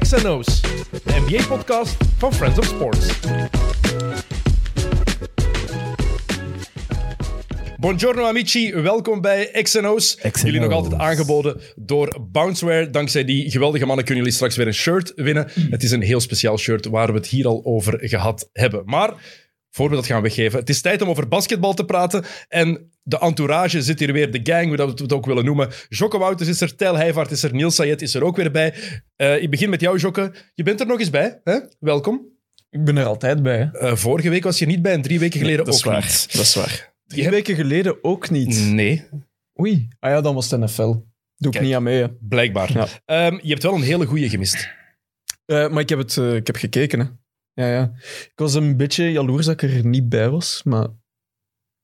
XNO's, de NBA-podcast van Friends of Sports. Buongiorno amici, welkom bij XNO's. XNO's. Jullie nog altijd aangeboden door Bounceware. Dankzij die geweldige mannen kunnen jullie straks weer een shirt winnen. Het is een heel speciaal shirt waar we het hier al over gehad hebben. Maar voor we dat gaan weggeven, het is tijd om over basketbal te praten. En de entourage zit hier weer, de gang, hoe dat we het ook willen noemen. Jokke Wouters is er, Tel Heijvaart is er, Niels Sayed is er ook weer bij. Eh, ik begin met jou, Jokke. Je bent er nog eens bij, hè? Welkom. Ik ben er altijd bij. hè. Eh, vorige week was je niet bij en drie weken geleden dat ook is waar. niet. Dat is waar. Mm. Drie Je hebt- weken geleden ook niet. Nee, Oei. Ah ja, dan was het NFL. Doe Kijk. ik niet aan mee. hè. blijkbaar. Ja. Ehm, je hebt wel een hele goeie gemist. Eh, maar ik heb, het, eh, ik heb gekeken. Hè. Ja, ja. Ik was een beetje jaloers dat ik er niet bij was. Maar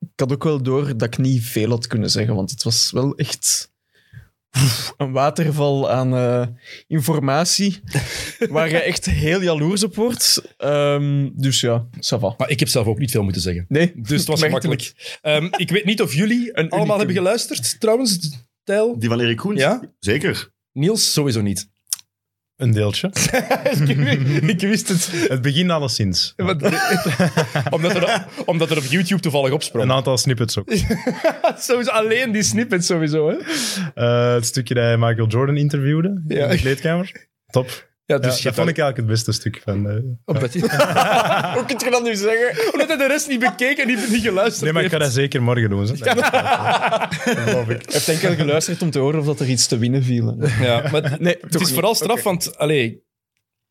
ik had ook wel door dat ik niet veel had kunnen zeggen. Want het was wel echt oef, een waterval aan eh, informatie. waar je echt heel jaloers op wordt. Ehm, dus ja, ça va. Maar ik heb zelf ook niet veel moeten zeggen. Nee, Dus het was merkelijk. gemakkelijk. Ehm, ik weet niet of jullie Een allemaal unicum. hebben geluisterd, trouwens. Tijl? Die van Erik Koens? Ja? Zeker. Niels sowieso niet. Een deeltje. ik, wist- ik wist het. Het begin alleszins. Want- omdat, er, omdat er op YouTube toevallig Een opsprong. aantal snippets ook. sowieso, alleen die snippet sowieso. Hè? dus Eh, het stukje dat hij Michael Jordan interviewde Ja. in de kleedkamer. Top. Ja, Ja, dus je dat vond ik eigenlijk het beste stuk van. eh. Hoe kun je dat nu zeggen? Omdat hij de rest niet bekeken en niet, niet geluisterd Nee, maar ik ga dat heeft. zeker morgen doen. Zo. Dat geloof ik. Ik heb denk ik geluisterd om te horen of dat er iets te winnen viel. Ja, maar het- Nee, het is vooral straf, want allee,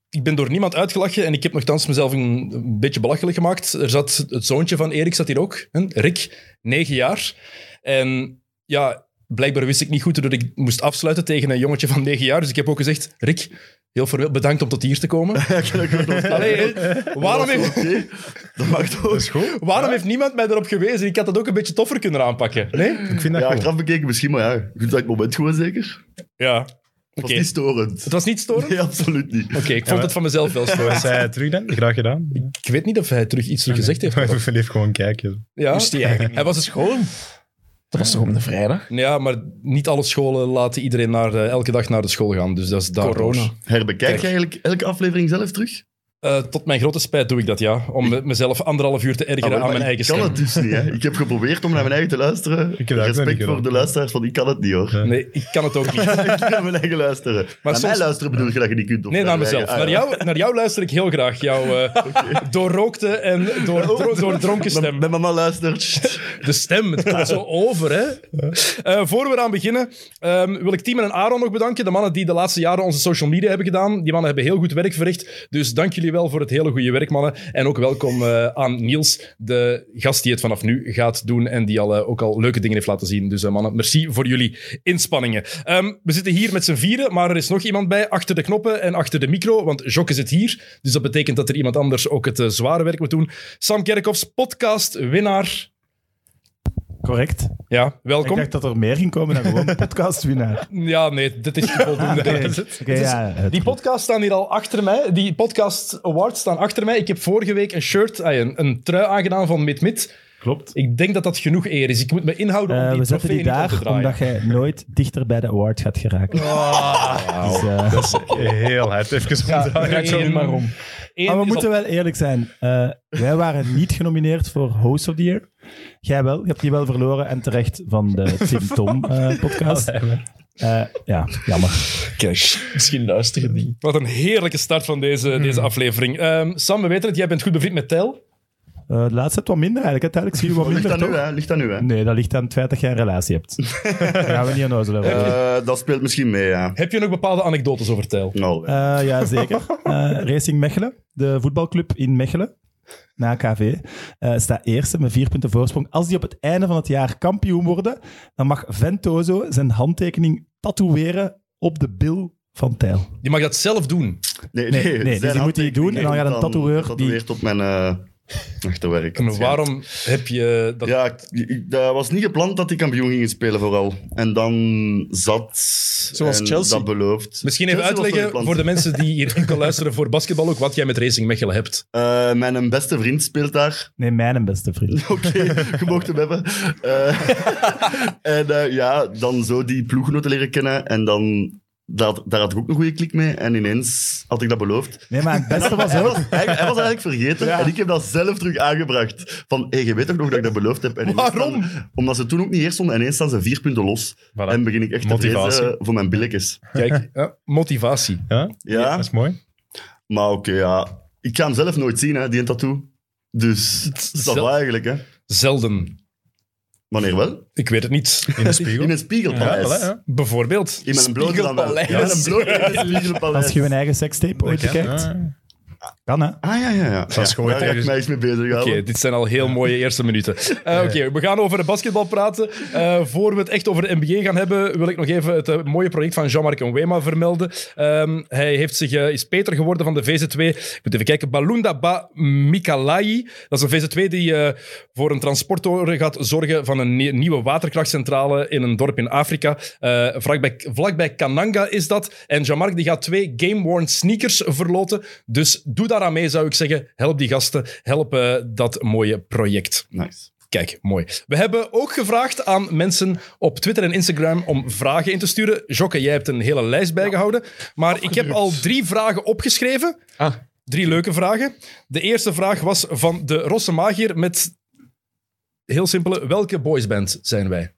ik ben door niemand uitgelachen en ik heb nogthans mezelf een, een beetje belachelijk gemaakt. Er zat het zoontje van Erik, zat hier ook, hè? Rick, negen jaar. En ja, blijkbaar wist ik niet goed doordat ik moest afsluiten tegen een jongetje van negen jaar. Dus ik heb ook gezegd, Rick, heel veel bedankt om tot hier te komen. Allee, hè, waarom, heeft, Oké, dat mag Dat toch. is goed. waarom heeft niemand mij erop gewezen? Ik had dat ook een beetje toffer kunnen aanpakken. Nee? Ik vind dat Ja, goed. achteraf bekeken misschien, maar ja. Ik vind dat het moment gewoon zeker. Ja. Het Oké. was niet storend. Het was niet storend? Nee, absoluut niet. Oké, ik vond maar- het van mezelf wel Wat storend. zei hij terug dan? Graag gedaan. Ik weet niet of hij terug iets terug gezegd heeft. Even even gewoon kijken. Ja. Moest die eigenlijk Hij was dus school. Dat was toch om de vrijdag? Ja, maar niet alle scholen laten iedereen naar, eh, elke dag naar de school gaan. Dus dat is daardoor. Corona. Herbekijk Kijk. je eigenlijk elke aflevering zelf terug? Eh, tot mijn grote spijt doe ik dat, ja. Om me- mezelf anderhalf uur te Ah, ergeren wel, aan maar mijn ik eigen kan stem. het dus niet. Hè. Ik heb geprobeerd om naar mijn eigen te luisteren. heb dat ook nog niet Respect gedaan. voor de luisteraars, want ik kan het niet hoor. Ja. Nee, ik kan het ook niet. ik kan naar mijn eigen luisteren. Maar naar soms- mij luisteren bedoel je dat je niet kunt? of Nee, naar je mezelf. eigen- Naar Ah, ja. jou, naar jou luister ik heel graag. Jouw eh, doorrookte en door, door, doordronken Mijn- stem. Mijn mama luistert. De stem, het gaat zo over, hè. Eh, voor we eraan beginnen, ehm, wil ik Tim en Aaron nog bedanken. De mannen die de laatste jaren onze social media hebben gedaan. Die mannen hebben heel goed werk verricht. Dus dank jullie wel voor het hele goede werk, mannen. En ook welkom eh, aan Niels, de gast die het vanaf nu gaat doen. En die al, eh, ook al leuke dingen heeft laten zien. Dus eh, mannen, merci voor jullie inspanningen. Ehm, we zitten hier met z'n vieren, maar er is nog iemand bij. Achter de knoppen en achter de micro, want Jokke zit hier. Dus dat betekent dat er iemand anders ook het eh, zware werk moet doen. Sam Kerkhoffs, podcast, winnaar. Correct. Ja, welkom. Ik dacht dat er meer ging komen dan gewoon podcastwinnaar. Ja, nee, dit is voldoende. Oké, oké, ja, het- Die podcast staan hier al achter mij. Die podcast awards staan achter mij. Ik heb vorige week een shirt, ah, een, een trui aangedaan van Mid Mid. klopt. Ik denk dat dat genoeg eer is. Ik moet me inhouden om Eh, die we zetten trofee die niet om te daar draaien. omdat jij nooit dichter bij de award gaat geraken. Oh. Dus, eh, Heel hard. Even omdraaien. Draai zo maar om. Eén maar we is moeten wel eerlijk zijn. Eh, wij waren niet genomineerd voor Host of the Year. Jij wel. Je hebt die wel verloren en terecht van de Tim Tom eh, podcast. Eh, ja, jammer. al- Kijk, Misschien luisteren die. Wat een heerlijke start van deze, Hmm. deze aflevering. Ehm, Sam, we weten het. Jij bent goed bevriend met Tel. Eh de laatste hebt wat minder eigenlijk. Uiteindelijk zie je wat Ligt minder, aan nu, toch? hè? Ligt aan nu, hè? Nee, dat ligt aan het feit dat jij een relatie hebt. Daar gaan we niet aan ozelen. Eh, dat speelt misschien mee, ja. Heb je nog bepaalde anekdotes over Tel? Nou, Eh, ja, zeker. Eh, Racing Mechelen, de voetbalclub in Mechelen, na KV, eh, staat eerste met vier punten voorsprong. Als die op het einde van het jaar kampioen worden, dan mag Ventoso zijn handtekening tatoeëren op de bil van Tijl. Je mag dat zelf doen. Nee, Nee, nee, dus die moet die doen en dan gaat een tatoeëur die- tatoeëert op mijn eh, achterwerk. En waarom heb je dat... Ja, ik- ik- dat was niet gepland dat die kampioen gingen spelen vooral. En dan zat... Zoals en Chelsea. Dat beloofd. Misschien even Chelsea was wel uitleggen gepland. voor de mensen die hier enkel luisteren voor basketbal ook, wat jij met Racing Mechelen hebt. Eh, mijn beste vriend speelt daar. Nee, mijn beste vriend. Oké, je mocht hem hebben. Eh, en eh, ja, dan zo die ploeggenoten leren kennen. En dan daar, daar had ik ook een goede klik mee. En ineens had ik dat beloofd. Nee, maar het beste was Hij was, ook... hij, hij was eigenlijk vergeten Ja. en ik heb dat zelf terug aangebracht. Van, hey, je weet toch nog dat ik dat beloofd heb? En ineens Waarom? staan- omdat ze toen ook niet eerst stonden en ineens staan ze vier punten los. Voilà. En begin ik echt te Motivatie. vrezen voor mijn billetjes. Kijk, ja, motivatie. Ja? Ja, dat is mooi. maar oké, ja. Ik ga hem zelf nooit zien, hè, die een tattoo. Dus dat Zel- was eigenlijk, hè. Zelden. Wanneer wel? Ik weet het niet. In de spiegel. In een ja, spiegelpaleis. voilà, ja. Bijvoorbeeld. In mijn blote dan wel. Spiegelpaleis. Ja, in een blote spiegelpaleis. Als je een eigen sekstape ooit Dat kan, bekijkt. ja. Kan, hè? Ah, ja, ja, ja. Dat is Ja, gewoon Daar ga ik tegen- mij iets mee bezig Oké, dit zijn al heel mooie eerste minuten. Eh, Oké, we gaan over de basketbal praten. Eh, voor we het echt over de NBA gaan hebben, wil ik nog even het eh, mooie project van Jean-Marc Onwema vermelden. Ehm, hij heeft zich, eh, is Peter geworden van de VZ2. Ik moet even kijken. Balunda Ba Mikalai. Dat is een VZ2 die eh, voor een transporttoren gaat zorgen van een nie- nieuwe waterkrachtcentrale in een dorp in Afrika. Eh, vlakbij, vlakbij Kananga is dat. En Jean-Marc die gaat twee game-worn sneakers verloten. Dus doe daar aan mee, zou ik zeggen. Help die gasten. Help eh, dat mooie project. Nice. Kijk, mooi. We hebben ook gevraagd aan mensen op Twitter en Instagram om vragen in te sturen. Jokke, jij hebt een hele lijst bijgehouden. Maar ik heb al drie vragen opgeschreven. Ah. Drie leuke vragen. De eerste vraag was van de Rosse Magier met heel simpele: welke boysband zijn wij?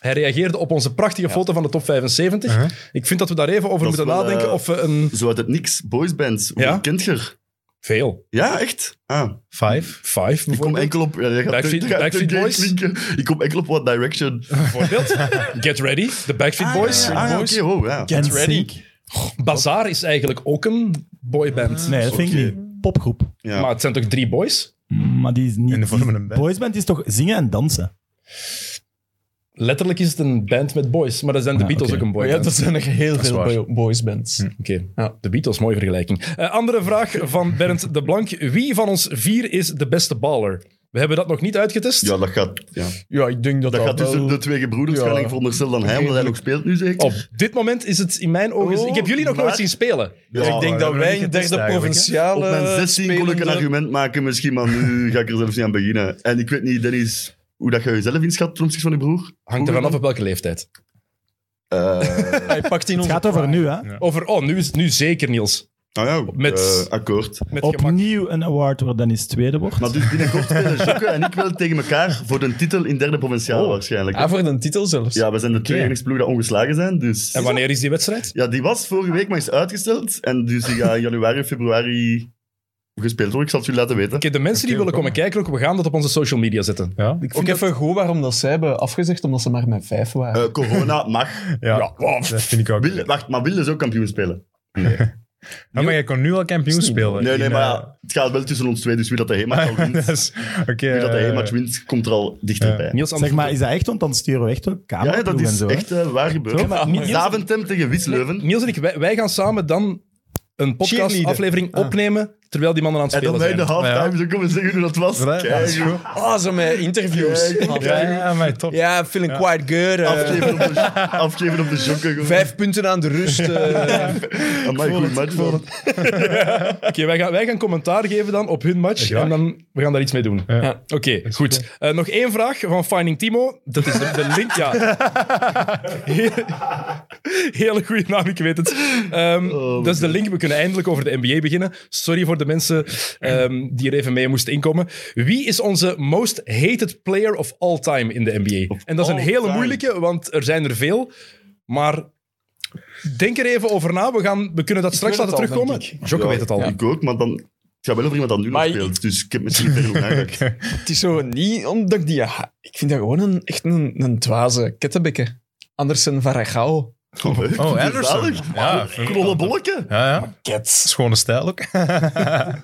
Hij reageerde op onze prachtige foto van de top 75. Uh-huh. Ik vind dat we daar even over Dat is moeten wel, nadenken eh, of we een. Zo uit het niks, boysbands. Hoe Ja? kent je er? Veel. Ja, echt? Ah, Five. Five ik kom bijvoorbeeld. enkel op... Ja, dat gaat Backstreet- dat gaat Backstreet gay Boys? klinken. Ik kom enkel op What Direction. Bijvoorbeeld. Get Ready, de Backstreet Boys. Ah, ja, ja, Boys. oké, wow, ja. En ready. Sync. Bazaar is eigenlijk ook een boyband. Nee, dat vind ik Oké. niet. Popgroep. Ja. Maar het zijn toch drie boys? Maar die is niet... En de vormen die- een band. Boysband is toch zingen en dansen? Letterlijk is het een band met boys, maar dan zijn de Ah, Beatles oké. ook een Maar ja, boyband. dat Hm. zijn er heel is veel waar. boy- boysbands. Oké, Ja. de Beatles, mooie vergelijking. Eh, andere vraag van Bernd de Blank. Wie van ons vier is de beste baller? We hebben dat nog niet uitgetest. Ja, dat gaat... Ja. Ja, ik denk dat Dat dat, gaat wel- tussen de twee gebroeders Ja. gaan. Ik veronderstel dan hij, omdat hij nog speelt nu zeker. Op dit moment is het in mijn ogen... Oh, ik heb jullie nog maar- nooit zien spelen. Ja, Dus ik denk we dat hebben wij niet een getest derde eigenlijk, hè? Op provinciale... mijn 16 kon ik een spelende- argument maken misschien, maar nu ga ik er zelfs niet aan beginnen. En ik weet niet, Dennis, hoe dat jij jezelf inschat ten opzichte van je broer? Hangt er Broer? vanaf op welke leeftijd. Eh, Hij pakt in Het onze gaat over prime. nu, hè? Over, oh, nu is het nu zeker, Niels. nou ja, Met- eh, akkoord. Met gemak. Opnieuw een award waar Dennis tweede wordt. Maar dus binnenkort spelen Jokke en ik wel tegen elkaar voor de titel in derde provinciaal Oh. waarschijnlijk. Ah, voor een titel zelfs. Ja, we zijn de twee enigste ploegen die ongeslagen zijn, dus... En wanneer is die wedstrijd? Ja, die was vorige week maar is uitgesteld. En dus die gaat in januari, februari gespeeld worden. Ik zal het jullie laten weten. Oké, de mensen die Oké, willen komen kijken, ook, we gaan dat op onze social media zetten. Ja. Ik ook even goed waarom dat zij hebben afgezegd, omdat ze maar met vijf waren. Eh, corona mag. Ja, wow. dat vind ik ook. Wil, wacht, maar willen ze ook kampioen spelen? Ja, maar jij kon nu al kampioen spelen. Nee, nee, In, maar eh, ja, het gaat wel tussen ons twee. Dus wie dat de Hema al wint, dat is- Oké. wie dat de eh, Hema wint, komt er al dichterbij. Niels, Zeg maar, is dat echt? Want dan sturen we echt wel Ja, camera ja, dat en is zo. hè? echt eh, waar gebeurd. maar niet- Zaventem tegen Wisleuven. Niels en ik, wij, wij gaan samen dan een podcast-aflevering Ah. opnemen terwijl die mannen aan het En dan spelen bij de zijn. halftime zo komen zeggen hoe dat was. voilà, dat Kijk, is goed. Ah, zo met interviews. Ja, Ja, Ja, ja, maar top. ja feeling quite good. eh, afgeven op de, afgeven op de jokken. gewoon. vijf punten aan de rust. eh. Amai, goed match. man. Oké, wij, gaan, wij gaan commentaar geven dan op hun match Graag. en dan we gaan daar iets mee doen. Ja. Oké, goed. Eh, nog één vraag van Finding Timo. Dat is de, de link, ja. Hele goede naam, ik weet het. Ehm, dat is de link. We kunnen eindelijk over de NBA beginnen. Sorry voor de mensen ehm, die er even mee moesten inkomen. Wie is onze most hated player of all time in de NBA? en dat is een all hele time. moeilijke, want er zijn er veel. Maar denk er even over na. We, gaan, we kunnen dat straks weet laten het al, terugkomen. denk Jocke Ja, weet het al. Ik ook, maar dan... Ik ga wel over iemand dat nu nog Maar ik- speelt. Dus ik heb misschien verder nog aangeraakt. Het is zo niet omdat ik die... ja, ik vind dat gewoon een, echt een, een dwaze kettenbekken. Andersen Varagao. Oh, Anderson. Ja, Ja, Knolle bolken. Ja, ja. Ket. Schone stijl ook. Hey,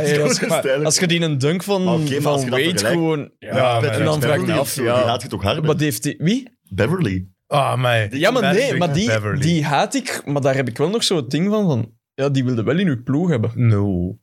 als, Dat is maar als je die een dunk van, Maar oké, maar als je dat van Wade vergelijkt- gewoon... Ja, maar- en dan vraag ik me af, Die ja. haat je toch hard? Wat heeft die... Wie? Beverly. Ah, mij. Ja, maar nee, Patrick maar die, Beverly. die haat ik. Maar daar heb ik wel nog zo'n ding van, van... Ja, die wilde wel in uw ploeg hebben. No.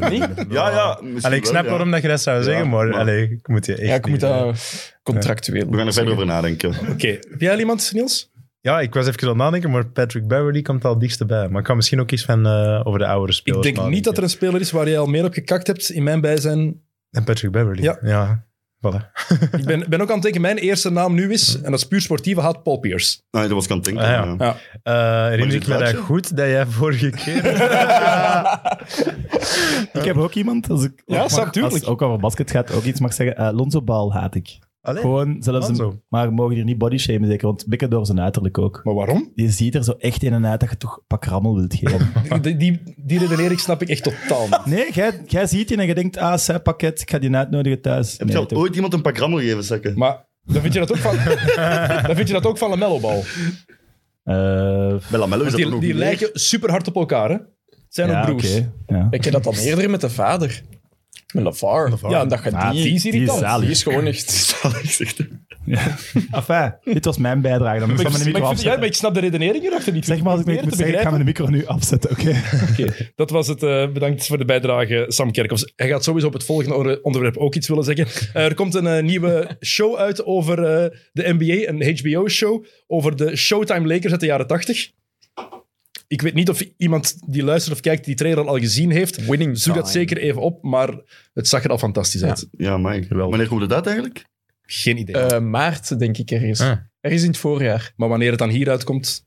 Nee? Ja, ja. misschien Allee, ik wel, snap ja. waarom dat je dat zou zeggen, maar, maar- allee, ik moet je echt Ja, ik moet niet, eh. dat contractueel... We gaan er verder over nadenken. Oké, heb jij al iemand, Niels? Ja, ik was even aan het nadenken, maar Patrick Beverly komt al dichtst bij. Maar ik kan misschien ook iets van eh, over de oudere Ik spelers denk niet dat er een speler is waar jij al meer op gekakt hebt in mijn bijzijn. En Patrick Beverly. Ja. Ja. Voilà. Ik ben, ben ook aan het denken, mijn eerste naam nu is, en dat is puur sportieve, had Paul Pierce. Nee, dat was ik aan het denken. Ah, ja. ja. Eh herinner dit ik me dat plaatje? goed dat jij vorige keer... eh, Ik heb ook iemand, als ik Ja, ook snap, mag, tuurlijk. als het ook over basket gaat, ook iets mag zeggen. Eh, Lonzo Ball haat ik. Allee, Gewoon zelfs een- Lonzo. maar we mogen hier niet body shamen zeker, want bikken door zijn uiterlijk ook. Maar waarom? Je ziet er zo echt in en uit dat je toch een pak rammel wilt geven. Die, die, die redenering snap ik echt totaal niet. Nee, jij, jij ziet die en je denkt, ah, zij pakket, ik ga die uitnodigen thuis. Heb Nee, je al toch. ooit iemand een pak rammel gegeven, Sakke? Maar dan vind je dat ook van, dan vind je dat ook van Lamello-bal. Eh, Bij Lamello is dat toch Die, nog die meer? lijken super hard op elkaar, hè? Het zijn ja, ook oké. broers. Ja. Ik heb dat dan eerder met de vader. Met LaVar. Ja, dat je Ah, die, die is irritant. zalig. die is gewoon echt... Zalig, zegt hij. Enfin, dit was mijn bijdrage. Dan moet ik Maar van ik, maar mijn ik vind- ja, micro afzetten. maar ik snap de redenering erachter niet. Zeg maar als ik het Probeer moet te zeggen, ik ga begrijpen. mijn micro nu afzetten, oké? Oké, Dat was het. eh, bedankt voor de bijdrage, Sam Kerkhoffs. Hij gaat sowieso op het volgende onder- onderwerp ook iets willen zeggen. Eh, er komt een eh, nieuwe show uit over eh, de NBA, een HBO-show, over de Showtime Lakers uit de jaren 80. Ik weet niet of iemand die luistert of kijkt die trailer al gezien heeft. Winning Zoek dat time. zeker even op, maar het zag er al fantastisch uit. Ja, maar Wanneer komt het uit eigenlijk? Geen idee. Eh, maart, denk ik, ergens. Ah. Ergens in het voorjaar. maar wanneer het dan hier uitkomt,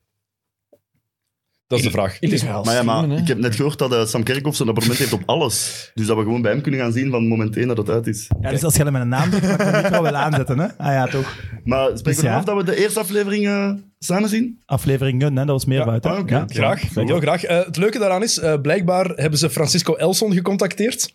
dat is de vraag. Het is- Illegaal Maar ja, maar streamen, hè. ik heb net gehoord dat eh, Sam Kerkhoff zijn abonnement heeft op alles. Dus dat we gewoon bij hem kunnen gaan zien van moment 1 dat het uit is. Ja, dus als je met een naam doet, mag ik de micro wel aanzetten, hè? Ah ja, toch. Maar spreken Dus we ja. af dat we de eerste aflevering eh, samen zien? Afleveringen, hè? Dat was meer Ja, buiten. ah, oké. Ja. Graag, heel graag. Eh, het leuke daaraan is, eh, blijkbaar hebben ze Francisco Elson gecontacteerd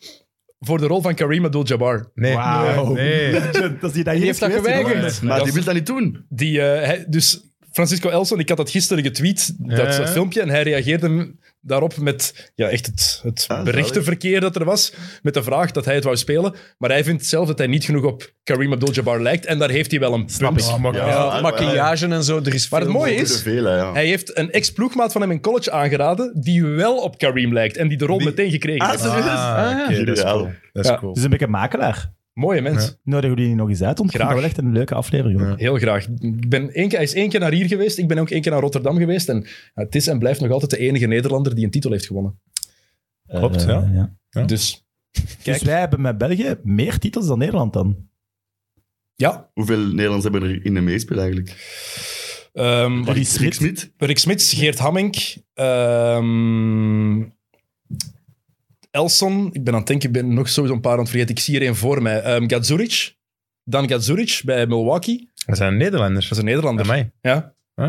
voor de rol van Kareem Abdul-Jabbar. Nee. Wauw. Nee. nee. Dat is die dat Die hier heeft dat is geweest, geweigerd. hè? Maar Dat die is- wil dat niet doen. Die, eh, hij- dus Francisco Elson, ik had dat gisteren getweet, dat, Ja. dat filmpje, en hij reageerde daarop met ja, echt het, het Ah, berichtenverkeer dat er was, met de vraag dat hij het wou spelen. Maar hij vindt zelf dat hij niet genoeg op Kareem Abdul-Jabbar lijkt, en daar heeft hij wel een punt. Oh, maar- Ja. Ja, maquillage en zo, er is Maar het veel mooie mogelijk. is, Te veel, hè, ja. hij heeft een ex-ploegmaat van hem in college aangeraden, die wel op Kareem lijkt, en die de rol meteen gekregen heeft. Ah, oké, dat is cool. Dat is Ja. cool. Dus een beetje makelaar. Mooie mens. Nodig jullie die nog eens uit, want ik Graag. vind dat wel echt een leuke aflevering. hoor. Heel graag. Ik ben één keer, hij is één keer naar hier geweest. Ik ben ook één keer naar Rotterdam geweest. En ja, het is en blijft nog altijd de enige Nederlander die een titel heeft gewonnen. Klopt, Eh, ja. Ja. Dus Dus wij hebben met België meer titels dan Nederland dan. ja. Hoeveel Nederlands hebben er in de meespel eigenlijk? Ehm Rick Rick Smit. Smit? Rick Smits, Geert Hammink, ehm, Elson. Ik ben aan het denken, ik ben nog sowieso een paar aan het vergeten. Ik zie er één voor mij. Ehm Gadzuric. Dan Gadzuric bij Milwaukee. Dat zijn Nederlanders. Dat is een Nederlander. mij. Ja. Hè?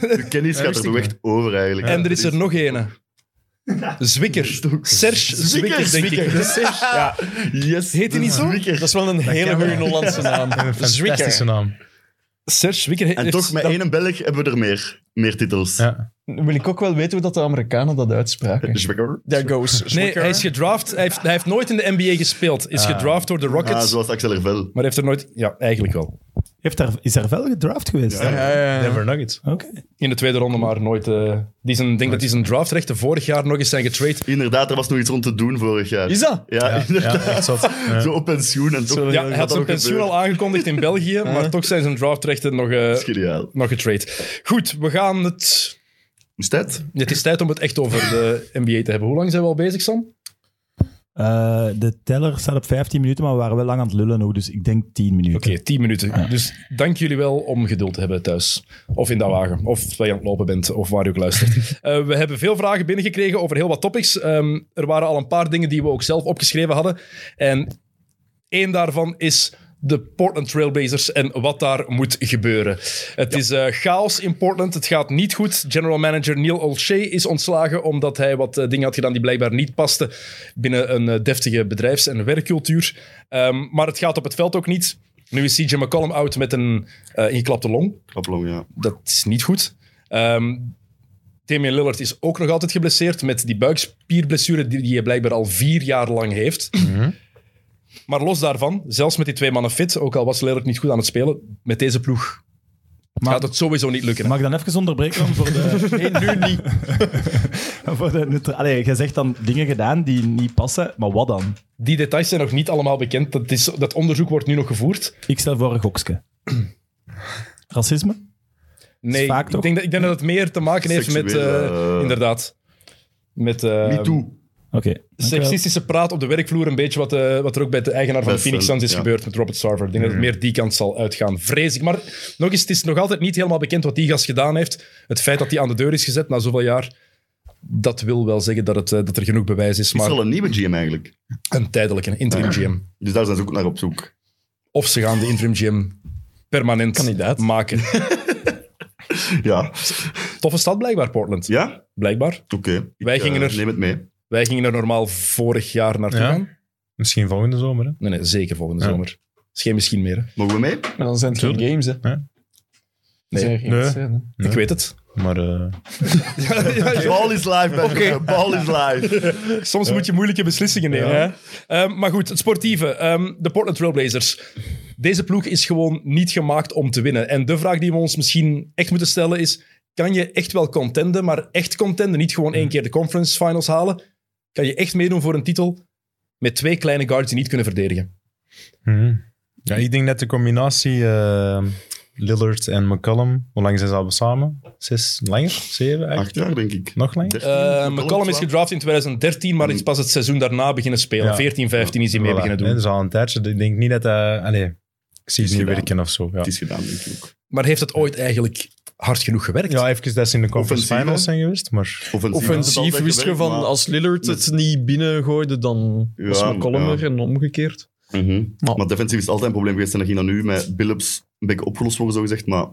De kennis gaat er wist ik toch echt over eigenlijk. En er is er nog ene. Zwikker. Serge Zwikker, denk ik. Ja. Yes. Heet hij niet zo? Dat is wel een hele kan goede wel. Hollandse naam. Een fantastische Zwicker. naam. Serge Zwikker heeft- En toch, met dat- één Belg hebben we er meer. Meer titels. Ja. Wil ik ook wel weten hoe dat de Amerikanen dat uitspraken. Zwicker. There goes. Nee, Zwicker. hij is gedraft. Hij heeft, hij heeft nooit in de NBA gespeeld. Is gedraft door de Rockets. Ah, zoals Axel Ervel. Maar heeft er nooit... Ja, eigenlijk wel. Heeft daar, is er wel gedraft geweest? Ja, ja, ja. Denver Nuggets. Oké. In de tweede ronde, maar nooit... eh die zijn, ik denk dat die zijn draftrechten vorig jaar nog eens zijn getrade. Inderdaad, er was nog iets rond te doen vorig jaar. Is dat? Ja, Ja, inderdaad. echt zot. Ja. Zo op pensioen en toch. Ja, hij had zijn pensioen al aangekondigd in België, maar toch zijn zijn draftrechten nog, eh, Geniaal. nog getrade. Goed, we gaan het... Is dat? Het is tijd om het echt over de NBA te hebben. Hoe lang zijn we al bezig, Sam? Eh, de teller staat op 15 minuten, maar we waren wel lang aan het lullen ook, dus ik denk 10 minuten. Oké, 10 minuten. Dus dank jullie wel om geduld te hebben thuis. Of in dat wagen. Of terwijl je aan het lopen bent. Of waar je ook luistert. Eh, we hebben veel vragen binnengekregen over heel wat topics. Ehm, er waren al een paar dingen die we ook zelf opgeschreven hadden. En één daarvan is de Portland Trailblazers en wat daar moet gebeuren. Het is eh, chaos in Portland. Het gaat niet goed. General manager Neil Olshay is ontslagen omdat hij wat eh, dingen had gedaan die blijkbaar niet pasten binnen een eh, deftige bedrijfs- en werkcultuur. Ehm, maar het gaat op het veld ook niet. Nu is CJ McCollum oud met een eh, ingeklapte long. Klaplong, ja. Dat is niet goed. Ehm Damian Lillard is ook nog altijd geblesseerd met die buikspierblessure die die hij blijkbaar al vier jaar lang heeft. Mhm. Maar los daarvan, zelfs met die twee mannen fit, ook al was Lillard niet goed aan het spelen, met deze ploeg Maar- gaat het sowieso niet lukken. hè? Mag ik dan even onderbreken om voor de... Nee, nu niet. voor de neutra- Allee, jij zegt dan dingen gedaan die niet passen, maar wat dan? Die details zijn nog niet allemaal bekend. Dat, is, dat onderzoek wordt nu nog gevoerd. Ik stel voor een gokske. Racisme? Nee, vaak ik toch? denk, dat, ik denk dat het meer te maken heeft met... Seksuele, eh, eh, inderdaad. Met... eh, Me too. dankjewel. Sexistische praat op de werkvloer, een beetje wat, eh, wat er ook bij de eigenaar van de Best Phoenix wel, Suns is ja. Mm. gebeurd met Robert Sarver. Ik denk dat het meer die kant zal uitgaan, vrees ik. Maar nog eens, het is nog altijd niet helemaal bekend wat die gast gedaan heeft. Het feit dat hij aan de deur is gezet na zoveel jaar, dat wil wel zeggen dat, het, eh, dat er genoeg bewijs is. is Maar er al een nieuwe GM eigenlijk? een tijdelijke, een interim GM. Dus daar zijn ze ook naar op zoek. Of ze gaan de interim GM permanent Kandidaat. maken. Ja. Toffe stad blijkbaar, Portland. Ja? Blijkbaar. Oké. Ik, Wij eh, gingen er- Neem het mee. Wij gingen er normaal vorig jaar naartoe Ja. gaan. Misschien volgende zomer, hè? Nee, nee, zeker volgende Ja. zomer. Is geen misschien meer. hè. Mogen we mee? Maar dan zijn het geen games, hè. Ja. Nee. Nee. Nee. Ja. Ik weet het. Maar eh, Ball is live, bij Ball is live. Soms moet je moeilijke beslissingen nemen. Ehm, maar goed, het sportieve. Ehm, de Portland Trailblazers. Deze ploeg is gewoon niet gemaakt om te winnen. En de vraag die we ons misschien echt moeten stellen is... Kan je echt wel contenden, maar echt contenden? Niet gewoon Hmm. één keer de conference finals halen. Kan je echt meedoen voor een titel met twee kleine guards die niet kunnen verdedigen? mhm. ja, ik denk net de combinatie eh, Lillard en McCollum. Hoe lang zijn ze al samen? Zes, langer? Zeven eigenlijk? Acht jaar, denk ik. Nog langer? Eh McCollum is twaalf. gedraft in 2013, maar is pas het seizoen daarna beginnen spelen. Hmm. Ja. 14, 15 is hij mee Voilà, beginnen hè, doen. Dat is al een tijdje. Ik denk niet dat hij... allee, ik zie het Is niet gedaan. werken of zo. Ja. Het is gedaan, denk ik ook. Maar heeft het ooit eigenlijk hard genoeg gewerkt? ja, even dat ze in de conference Offensief, finals hè? zijn geweest, maar... Offensief, is het Offensief altijd wist je gewerkt, van, maar- als Lillard het niet binnengooide, dan was Ja, McCollum ja. er en omgekeerd. Mhm. Maar- Maar defensief is altijd een probleem geweest. En dat ging dan nu met Billups een beetje opgelost worden, zogezegd. Maar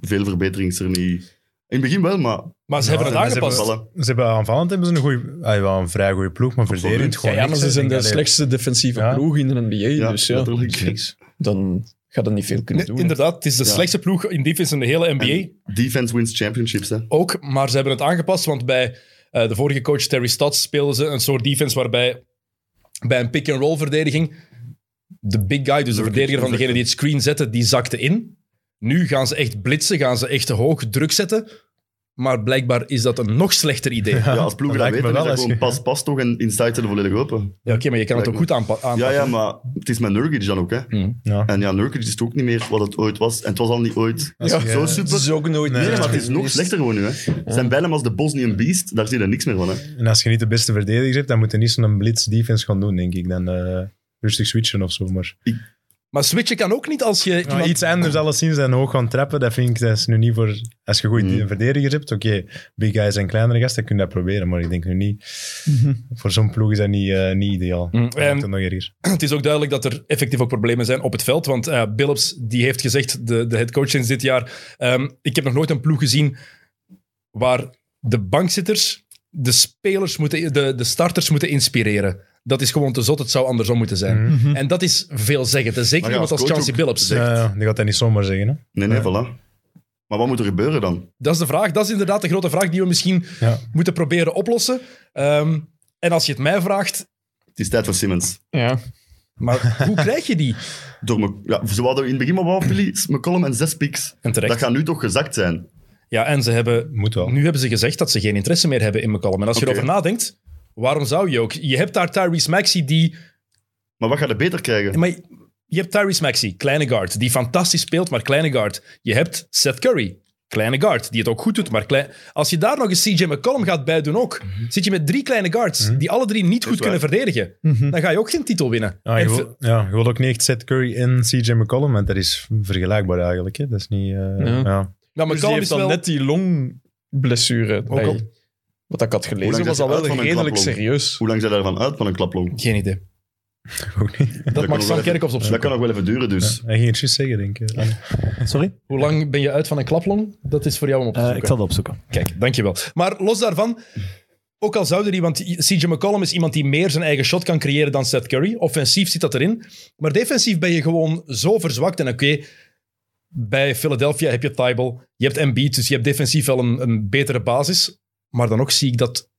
veel verbetering is er niet. In het begin wel, maar... Maar ze Ja, hebben en het ze aangepast. Vallen. Ze hebben aanvallend hebben ze een, goeie, ah, wel een vrij goede ploeg, maar Absoluut. verdedigend Ja, gewoon ja, maar niks, ze hè. zijn Ik de denk, allee, slechtste defensieve Ja. ploeg in de NBA, Ja, dus ja, natuurlijk. niks. dan gaat er niet veel kunnen doen. hè. Inderdaad, het is de Ja. slechtste ploeg in defense in de hele NBA. Defense wins championships, hè. ook, maar ze hebben het aangepast, want bij eh, de vorige coach Terry Stotts speelden ze een soort defense waarbij bij een pick-and-roll verdediging de big guy, dus de verdediger van degene die het screen zette, die zakte in. Nu gaan ze echt blitsen, gaan ze echt hoog druk zetten, maar blijkbaar is dat een nog slechter idee. Ja, Ja, als ploegen dat dat lijkt weten, is me wel dat eens gewoon pas, ge- pas toch en inside zijn volledig open. oké, maar je kan het ook goed aanpa- aanpakken. Ja, ja, maar het is met Nurkic dan ook, hè. Ja. En ja, Nurkic is het ook niet meer wat het ooit was. En het was al niet ooit Als je- zo Het super. is ook nooit Nee, Nee, meer. maar het is nog geweest. slechter gewoon nu, hè. Zijn bijlen als de Bosnian Beast, daar zie je niks meer van, hè. En als je niet de beste verdedigers hebt, dan moet je niet zo'n blitz defense gaan doen, denk ik. Dan eh, rustig switchen of zo. Maar Maar switchen kan ook niet als je... Ja, iemand- iets anders alleszins dan hoog gaan trappen, dat vind ik dat is nu niet voor... Als je goede Mm. verdedigers hebt, oké, big guys en kleinere gasten, kun je dat proberen. Maar ik denk nu niet... Voor zo'n ploeg is dat niet, eh, niet ideaal. Mm, Dan Mhm. en- moet het nog erger. Het is ook duidelijk dat er effectief ook problemen zijn op het veld. Want eh Billups die heeft gezegd, de, de headcoach sinds dit jaar, ehm, ik heb nog nooit een ploeg gezien waar de bankzitters de spelers moeten, de, de starters moeten inspireren. Dat is gewoon te zot, het zou andersom moeten zijn. Mhm. En dat is veelzeggend. En zeker Maar ja, iemand als coach Chauncey ook Billups. zegt- Ja, ja, die gaat dat niet zomaar zeggen, hè. Nee, nee, Ja. voilà. Maar wat moet er gebeuren dan? Dat is de vraag. Dat is inderdaad de grote vraag die we misschien Ja. moeten proberen oplossen. Ehm, en als je het mij vraagt, Het is tijd voor Simmons. Ja. maar hoe krijg je die? Door me, ja, ze hadden in het begin maar wat, Philly, McCollum en zes picks. En terecht. Dat gaat nu toch gezakt zijn. Ja, en ze hebben Moet wel. Nu hebben ze gezegd dat ze geen interesse meer hebben in McCollum. En als je Oké. erover nadenkt, waarom zou je ook? Je hebt daar Tyrese Maxey die... Maar wat gaat er beter krijgen? Maar je hebt Tyrese Maxey, kleine guard, die fantastisch speelt, maar kleine guard. Je hebt Seth Curry, kleine guard, die het ook goed doet, maar klein... Als je daar nog eens CJ McCollum gaat bij doen ook, zit je met drie kleine guards die alle drie niet goed waar. kunnen verdedigen. Dan ga je ook geen titel winnen. Ja, En Ah, nou, je ve- wil, Dus ja, je wil ook niet echt Seth Curry en CJ McCollum, want dat is vergelijkbaar eigenlijk. Hè. Dat is niet... eh, Ja. ja. nou, Maar dus die McCollum heeft is dan wel... net die longblessure. bij- al- Wat ik had Hoe gelezen lang was zijn al ze uit wel van een redelijk klaplong? serieus. Hoe lang zijn daarvan uit van een klaplong? Geen idee. Ook niet. Dat, kan mag nog Sam wel even- Kerkhoffs Dat opzoeken. kan nog wel even duren, dus. Hij ging het juist zeggen, denk ik. Ja. Sorry? Hoe lang ben je uit van een klaplong? Dat is voor jou om op te Eh, zoeken. ik zal dat opzoeken. Kijk, dankjewel. Maar los daarvan, ook al zouden die, want CJ McCollum is iemand die meer zijn eigen shot kan creëren dan Seth Curry. Offensief zit dat erin. Maar defensief ben je gewoon zo verzwakt. En oké, bij Philadelphia heb je Tybal, je hebt Embiid, dus je hebt defensief wel een, een betere basis. Maar dan ook zie ik dat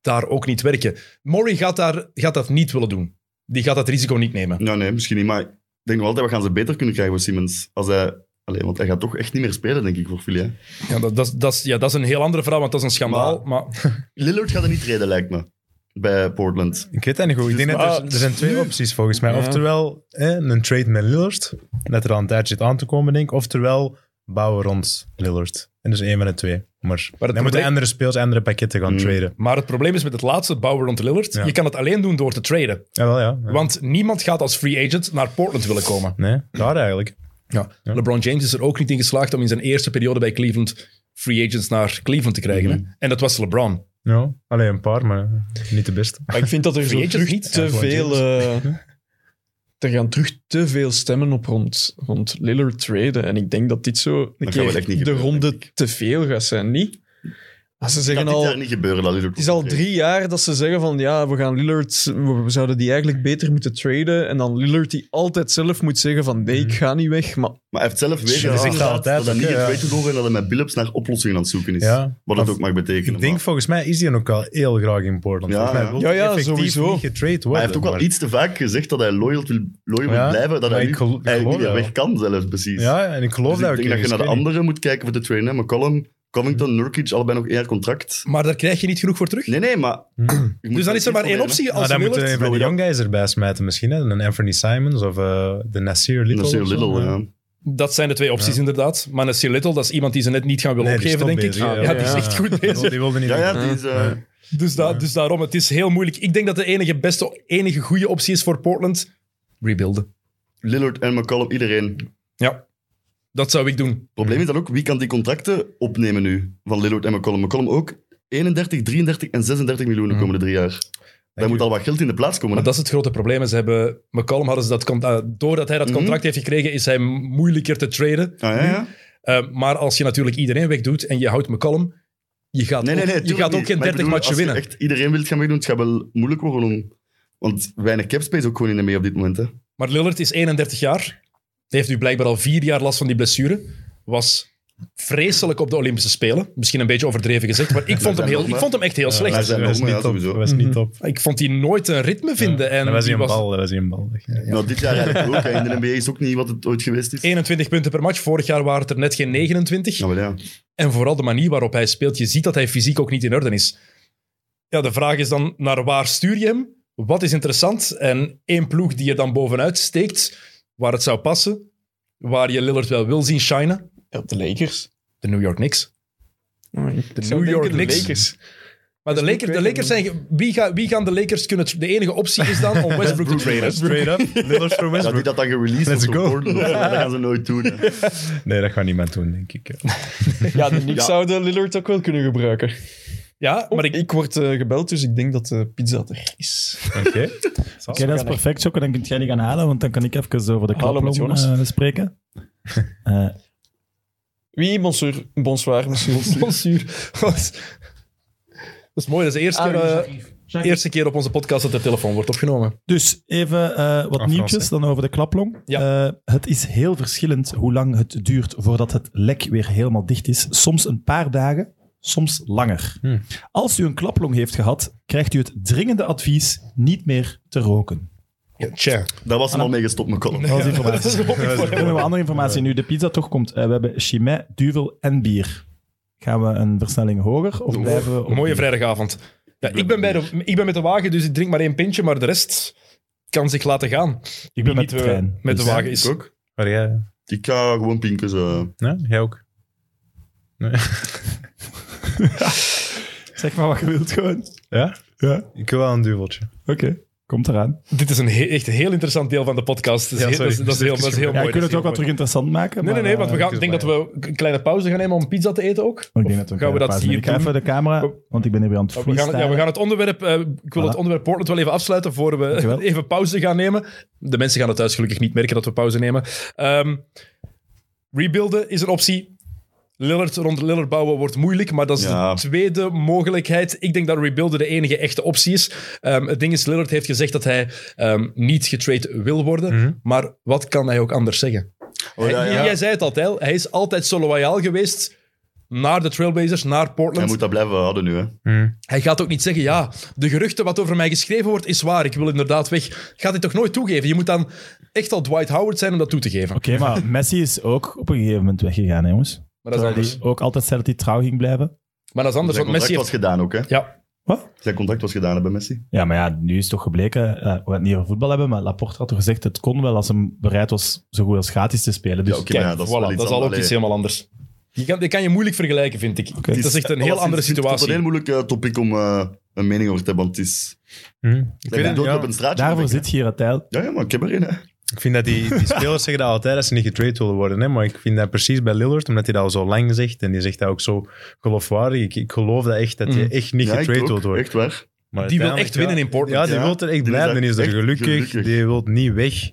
daar ook niet werken. Murray gaat, daar, gaat dat niet willen doen. Die gaat dat risico niet nemen. Nou, nee, misschien niet. Maar ik denk nog altijd, wat gaan ze beter kunnen krijgen voor Simmons? Als hij... Allee, want hij gaat toch echt niet meer spelen, denk ik, voor Philly. hè. Ja, dat, dat, is- dat is, ja, dat is een heel andere verhaal, want dat is een schandaal. Maar, Lillard gaat er niet treden, lijkt me. Bij Portland. Ik weet dat niet goed. Ik denk Dus, dat er, maar- er zijn twee opties volgens mij. Ja. Oftewel hè, een trade met Lillard, dat er al een tijd zit aan te komen, denk ik. Oftewel bouwen rond Lillard. En dus één van de twee. Maar, dan moeten probleem- andere speels, andere pakketten Hmm. gaan traden. Maar het probleem is met het laatste, het bouwen rond Lillard, Ja. je kan het alleen doen door te traden. Jawel, ja. ja. Want niemand gaat als free agent naar Portland willen komen. Nee, daar eigenlijk. Ja. LeBron James is er ook niet in geslaagd om in zijn eerste periode bij Cleveland free agents naar Cleveland te krijgen. hè. Mhm. En dat was LeBron. Ja, alleen een paar, maar niet de beste. Maar ik vind dat er zo Vergeet het terug niet. te Ja, gewoon veel... eh, er gaan terug te veel stemmen op rond, rond Lillard traden. En ik denk dat dit zo een Dat gaat wel keer echt niet de gebeuren, ronde denk te veel gaat zijn, niet? Als ze Dat zeggen dit al... jaar niet gebeuren. Dat Het is al drie jaar dat ze zeggen van ja, we gaan Lillard, we we zouden die eigenlijk beter moeten traden. En dan Lillard die altijd zelf moet zeggen van nee, ik ga niet weg. Maar Maar hij heeft zelf weer Ja, gezegd dat zegt hij inderdaad altijd dat hij ook, niet hè, heeft ja. weten door en dat hij met Billups naar oplossingen aan het zoeken is. Ja. Wat dat Maar ook mag betekenen. Ik denk, maar- volgens mij is hij ook wel heel graag in Portland. Ja, Volgens mij ja. wil Ja, hij ja, effectief sowieso. niet getrade worden. maar hij heeft ook al maar- iets te vaak gezegd dat hij loyal wil, loyal wil Ja, blijven. Dat maar hij ik nu gel- eigenlijk geloof niet meer dat. weg kan zelfs, precies. Ja, en ik geloof Dus dat ook. ik denk dat je naar de ergens, ik weet niet. Mm. anderen moet kijken voor de trainen. hè. McCollum, Covington, Nurkic, allebei nog één jaar contract. Maar daar krijg je niet genoeg voor terug. Nee, nee, maar... Mm. Ik moet Dus dan dat is er maar één proberen, optie. Maar Als dan moeten Lillard... we even de young guys erbij smijten misschien. Hè? Een Anthony Simons of eh, de Nasir hè. Little. Dat is heel of zo. little, ja. Dat zijn de twee opties, inderdaad. Maar Nasir Little, dat is iemand die ze net niet gaan willen Nee, die is opgeven, top denk ik. bezig, ja, ja. die is echt goed Die wil- bezig. Die wilde niet Ja, ja, weg. die is... eh, Ja. Dus, da- dus daarom, het is heel moeilijk. Ik denk dat de enige beste, enige goede optie is voor Portland, rebuilden. Lillard en McCollum, iedereen. Ja, dat zou ik doen. probleem is dan ook, wie kan die contracten opnemen nu? Van Lillard en McCollum. McCollum ook 31, 33 en 36 miljoen Mm. de komende drie jaar. Daar moet al wat geld in de plaats komen. Maar hè. dat is het grote probleem. Ze hebben, McCollum hadden ze dat, con- eh, doordat hij Mhm. dat contract heeft gekregen, is hij moeilijker te traden. Ah, ja, ja. Eh, maar als je natuurlijk iedereen wegdoet en je houdt McCollum, je gaat Nee, nee, nee. ook, je tuurlijk gaat ook niet. geen Maar ik 30 bedoel, matchen winnen. Als je echt iedereen wilt gaan wegdoen, het gaat wel moeilijk worden om... Want weinig capspace ook gewoon in de mee op dit moment. Hè. Maar Lillard is 31 jaar. Hij heeft nu blijkbaar al vier jaar last van die blessure. Was vreselijk op de Olympische Spelen. Misschien een beetje overdreven gezegd, maar ik vond hem, heel, ik vond hem echt heel Dat slecht. was- zijn dat nog, was maar ja, niet top. sowieso. Dat was niet top. Ik vond hij nooit een ritme vinden. En Dat was die hij een was bal. Dat was hij een bal. Nou, dit jaar eigenlijk ook. hè. In de NBA is ook niet wat het ooit geweest is. 21 punten per match. Vorig jaar waren het er net geen 29. Nou, wel ja. En vooral de manier waarop hij speelt. Je ziet dat hij fysiek ook niet in orde is. Ja, de vraag is dan, naar waar stuur je hem? Wat is interessant? En één ploeg die er dan bovenuit steekt, waar het zou passen, waar je Lillard wel wil zien shinen, ja, de Lakers. de New York Knicks. de Dus New York Knicks. Maar de Lakers, de Lakers zijn... Wie, ga, wie gaan de Lakers kunnen... tr- De enige optie is dan om Westbrook te traden. Straight up. Lillard Dat die for Westbrook. dat dan gereleased Let's wordt door go. Portland, of zo, dat gaan ze nooit doen. hè. Nee, dat gaat niemand doen, denk ik. hè. Ja, de Knicks Ja. zouden Lillard ook wel kunnen gebruiken. Ja, maar ik, Ik word eh, gebeld, dus ik denk dat de pizza er is. Oké. Oké, dat is perfect, Jocke. Dan kun jij die gaan halen, want dan kan ik even over de Hallo, met klaplong Jonas. eh, spreken. Eh, Wie? Bonsoir. Bonsoir, monsieur. Bonsuur. Dat is mooi. Dat is de eerste, Ah, keer, eh, eerste keer op onze podcast dat de telefoon wordt opgenomen. dus even eh, wat Frans, nieuwtjes dan over de klaplong. Ja. Eh, het is heel verschillend hoe lang het duurt voordat het lek weer helemaal dicht is. Soms een paar dagen, soms langer. Hm. Hmm. Als u een klaplong heeft gehad, krijgt u het dringende advies niet meer te roken. Ja, tja. Daar was hem al mee gestopt, McCollum. Dat was informatie. Dat is ook niet voor Dan hebben we andere informatie. Nu de pizza toch komt. Eh, we hebben chimay, duvel en bier. Gaan we een versnelling hoger of blijven we... op- Mooie vrijdagavond. Ja, ik, ben bij de, ik ben met de wagen, dus ik drink maar één pintje, maar de rest kan zich laten gaan. Ik ben met Niet, de eh, trein. Met de Dus- wagen is. Ik ook. Maar jij? Ik ga gewoon pinkers. eh. Nee, jij ook. Zeg maar wat je wilt gewoon. Ja? Ja, Ik wil wel een duveltje. oké. Komt eraan. Dit is een he- echt een heel interessant deel van de podcast. Dat is, Ja, heel- dat is, sorry. dat is heel, dat is heel Ja, mooi. je kunt dat het is ook heel wat terug interessant maken. mooi. Nee, nee, nee, want we eh, gaan, ik denk dat we een kleine pauze gaan nemen om pizza te eten ook. ik denk Of dat gaan we dat hier Ik ga doen? Oh. even de camera, want ik ben hier weer aan het We gaan, freestylen. ja, we gaan het onderwerp, eh, ik wil Voilà. het onderwerp Portland wel even afsluiten voor we Dankjewel. even pauze gaan nemen. De mensen gaan het thuis gelukkig niet merken dat we pauze nemen. Ehm, rebuilden is een optie. Lillard, rond Lillard bouwen wordt moeilijk, maar dat is Ja. de tweede mogelijkheid. Ik denk dat rebuilden de enige echte optie is. Ehm, het ding is, Lillard heeft gezegd dat hij ehm, niet getrade wil worden. Maar wat kan hij ook anders zeggen? Oh, ja, Hij- ja. Jij zei het altijd, hij is altijd zo loyaal geweest naar de Trailblazers, naar Hij Portland. moet dat blijven houden nu. Hè. Hij gaat ook niet zeggen, ja, de geruchten wat over mij geschreven wordt, is waar. Ik wil inderdaad weg. Gaat hij toch nooit toegeven? Je moet dan echt al Dwight Howard zijn om dat toe te geven. Oké, maar Messi is ook op een gegeven moment weggegaan, hè, jongens. Maar dat is Terwijl anders. die ook altijd zei dat hij trouw ging blijven. Maar dat is anders, Zijn want contract Messi was heeft... gedaan ook, hè. Ja, Oké, Wat? Zijn contract was gedaan hè, bij Messi. Ja, maar ja, nu is toch gebleken, eh, we gaan het niet over voetbal hebben, maar Laporte had toch gezegd, het kon wel als hem bereid was zo goed als gratis te spelen. Dus Ja, oké. Kijk, dat is voilà, wel dat iets is al ook anders. iets helemaal anders. Je kan, die kan je moeilijk vergelijken, vind ik. Het is echt een heel andere Oh, Het is een situatie. heel moeilijk eh, topic om eh, een mening over te hebben, want het is... Hm. Ik, Ik vind, ben dood ja, op een straatje. daarvoor denk ik, zit Gerard Tijl. hè. Ja, ja, maar ik heb er een, hè. ik vind dat die, die spelers zeggen dat altijd dat ze niet getraind willen worden. Hè? Maar ik vind dat precies bij Lillard, omdat hij dat al zo lang zegt en die zegt dat ook zo geloofwaardig. Ik, ik geloof dat echt dat je Mhm. echt niet Mm. ja, ik getraind ook, wilt worden. Echt waar. Maar Die wil uiteindelijk, echt winnen ja. in Portland. Ja, die Ja. wil er echt Die is blijven. Die daar is er echt gelukkig. gelukkig. Die wil niet weg.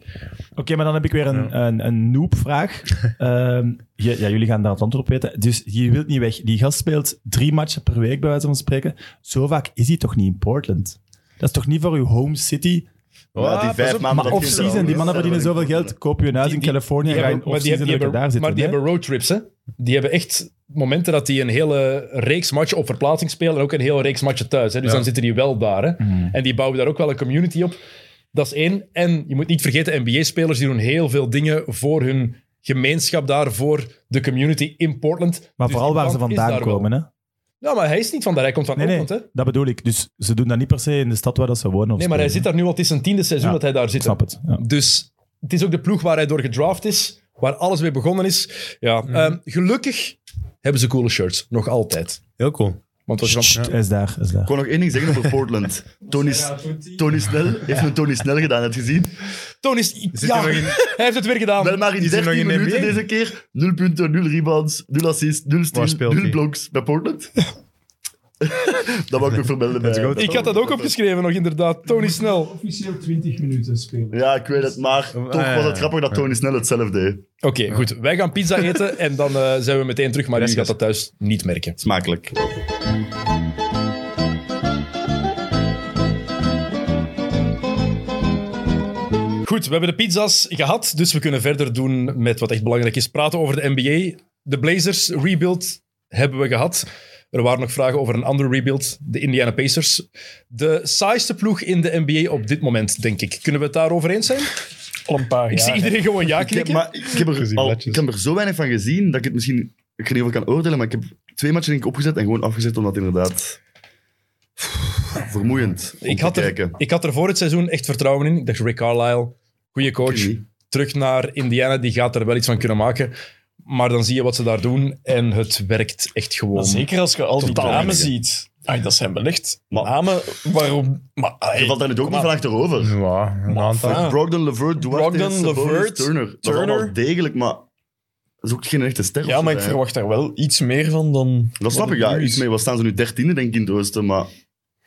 Oké, maar dan heb ik weer een, een, een noob-vraag. Ehm, je- ja, jullie gaan daar het antwoord op weten. Dus je wilt niet weg. Die gast speelt drie matchen per week, bij wijze van spreken. Zo vaak is hij toch niet in Portland? Dat is toch niet voor uw home city? Ja, die vijf maanden Maar dat je- off-season, die mannen verdienen zoveel geld. Koop je een huis Die- in die- Californië en Die ga je hebben- in maar die, off-season hebben- die dat hebben, je daar zit. maar die hebben roadtrips, hè. Die hebben echt momenten dat die een hele reeks matchen op verplaatsing spelen en ook een hele reeks matchen thuis. Hè. Dus Ja. dan zitten die wel daar. Hè. Hmm. En die bouwen daar ook wel een community op. Dat is één. En je moet niet vergeten, NBA-spelers die doen heel veel dingen voor hun gemeenschap daar, voor de community in Portland. Maar Dus vooral die waar ze band is vandaan daar wel. komen, hè? Ja, maar hij is niet van daar. Hij komt van Nee, nee, Oakland, hè. dat bedoel ik. Dus ze doen dat niet per se in de stad waar dat ze wonen. of Nee, maar hij zit spelen. daar nu al. Het is zijn tiende seizoen Ja, dat hij daar zit. Ik snap het. Ja. Dus het is ook de ploeg waar hij door gedraft is, waar alles mee begonnen is. Ja, Mhm. ehm, gelukkig hebben ze coole shirts, nog altijd. Heel cool. Want als je van- Hij is daar, hij is Ik daar. kon nog één ding zeggen over Portland. Tony, Tony Snell heeft een Tony Snell gedaan, heb je gezien? Toon is... Ja, nog in- hij heeft het weer gedaan. Wel maar in hij nog 13 in de minuten NBA? deze keer. 0 punten, 0 rebounds, 0 assists, 0 Waar steals, speelt 0 hij? blocks bij Portland. dat wou ik ook vermelden bij. goed. bij Ik had dat ook Portland. opgeschreven nog, inderdaad. Tony Snel. Oké, Officieel 20 minuten spelen. Ja, ik weet het, maar toch ja, was Ah, ja, het ja. grappig dat Tony Snell hetzelfde deed. goed. Wij gaan pizza eten en dan eh, zijn we meteen terug. Maar u gaat dat thuis niet merken. Smakelijk. Goed, we hebben de pizza's gehad, dus we kunnen verder doen met wat echt belangrijk is. Praten over de NBA. De Blazers rebuild hebben we gehad. Er waren nog vragen over een andere rebuild, de Indiana Pacers. De saaiste ploeg in de NBA op dit moment, denk ik. Kunnen we het daarover eens zijn? Al een paar Ik zie iedereen gewoon ja Ik heb, knikken. maar ik heb, er Gezien, al, bladjes. Oh, ik heb er zo weinig van gezien dat ik het misschien... Ik weet niet of ik kan oordelen, maar ik heb twee matchen denk ik opgezet en gewoon afgezet, omdat inderdaad... Vermoeiend om ik, te had er, kijken. ik had er voor het seizoen echt vertrouwen in. Ik dacht, Rick Carlisle, goede coach. Ik niet. Terug naar Indiana, die gaat er wel iets van kunnen maken. Maar dan zie je wat ze daar doen en het werkt echt gewoon. Maar Nou, zeker als je al die Totaal namen niet. ziet. Ai, dat zijn wel echt namen waarom... Maar, ai, Je valt daar nu ook kom niet van aan. achterover. Ja, een aantal. Ah. Brogdon, Levert, Duarte, Brogdon, Sabonis, Levert, Turner. Dat is Turner. allemaal degelijk, maar dat is ook geen echte ster. Ja, maar ik Eh, verwacht daar wel Iets meer van dan... Dat snap wat ik, het ja. nu is. Iets mee, wat staan ze nu dertiende, denk ik, in het oosten, maar...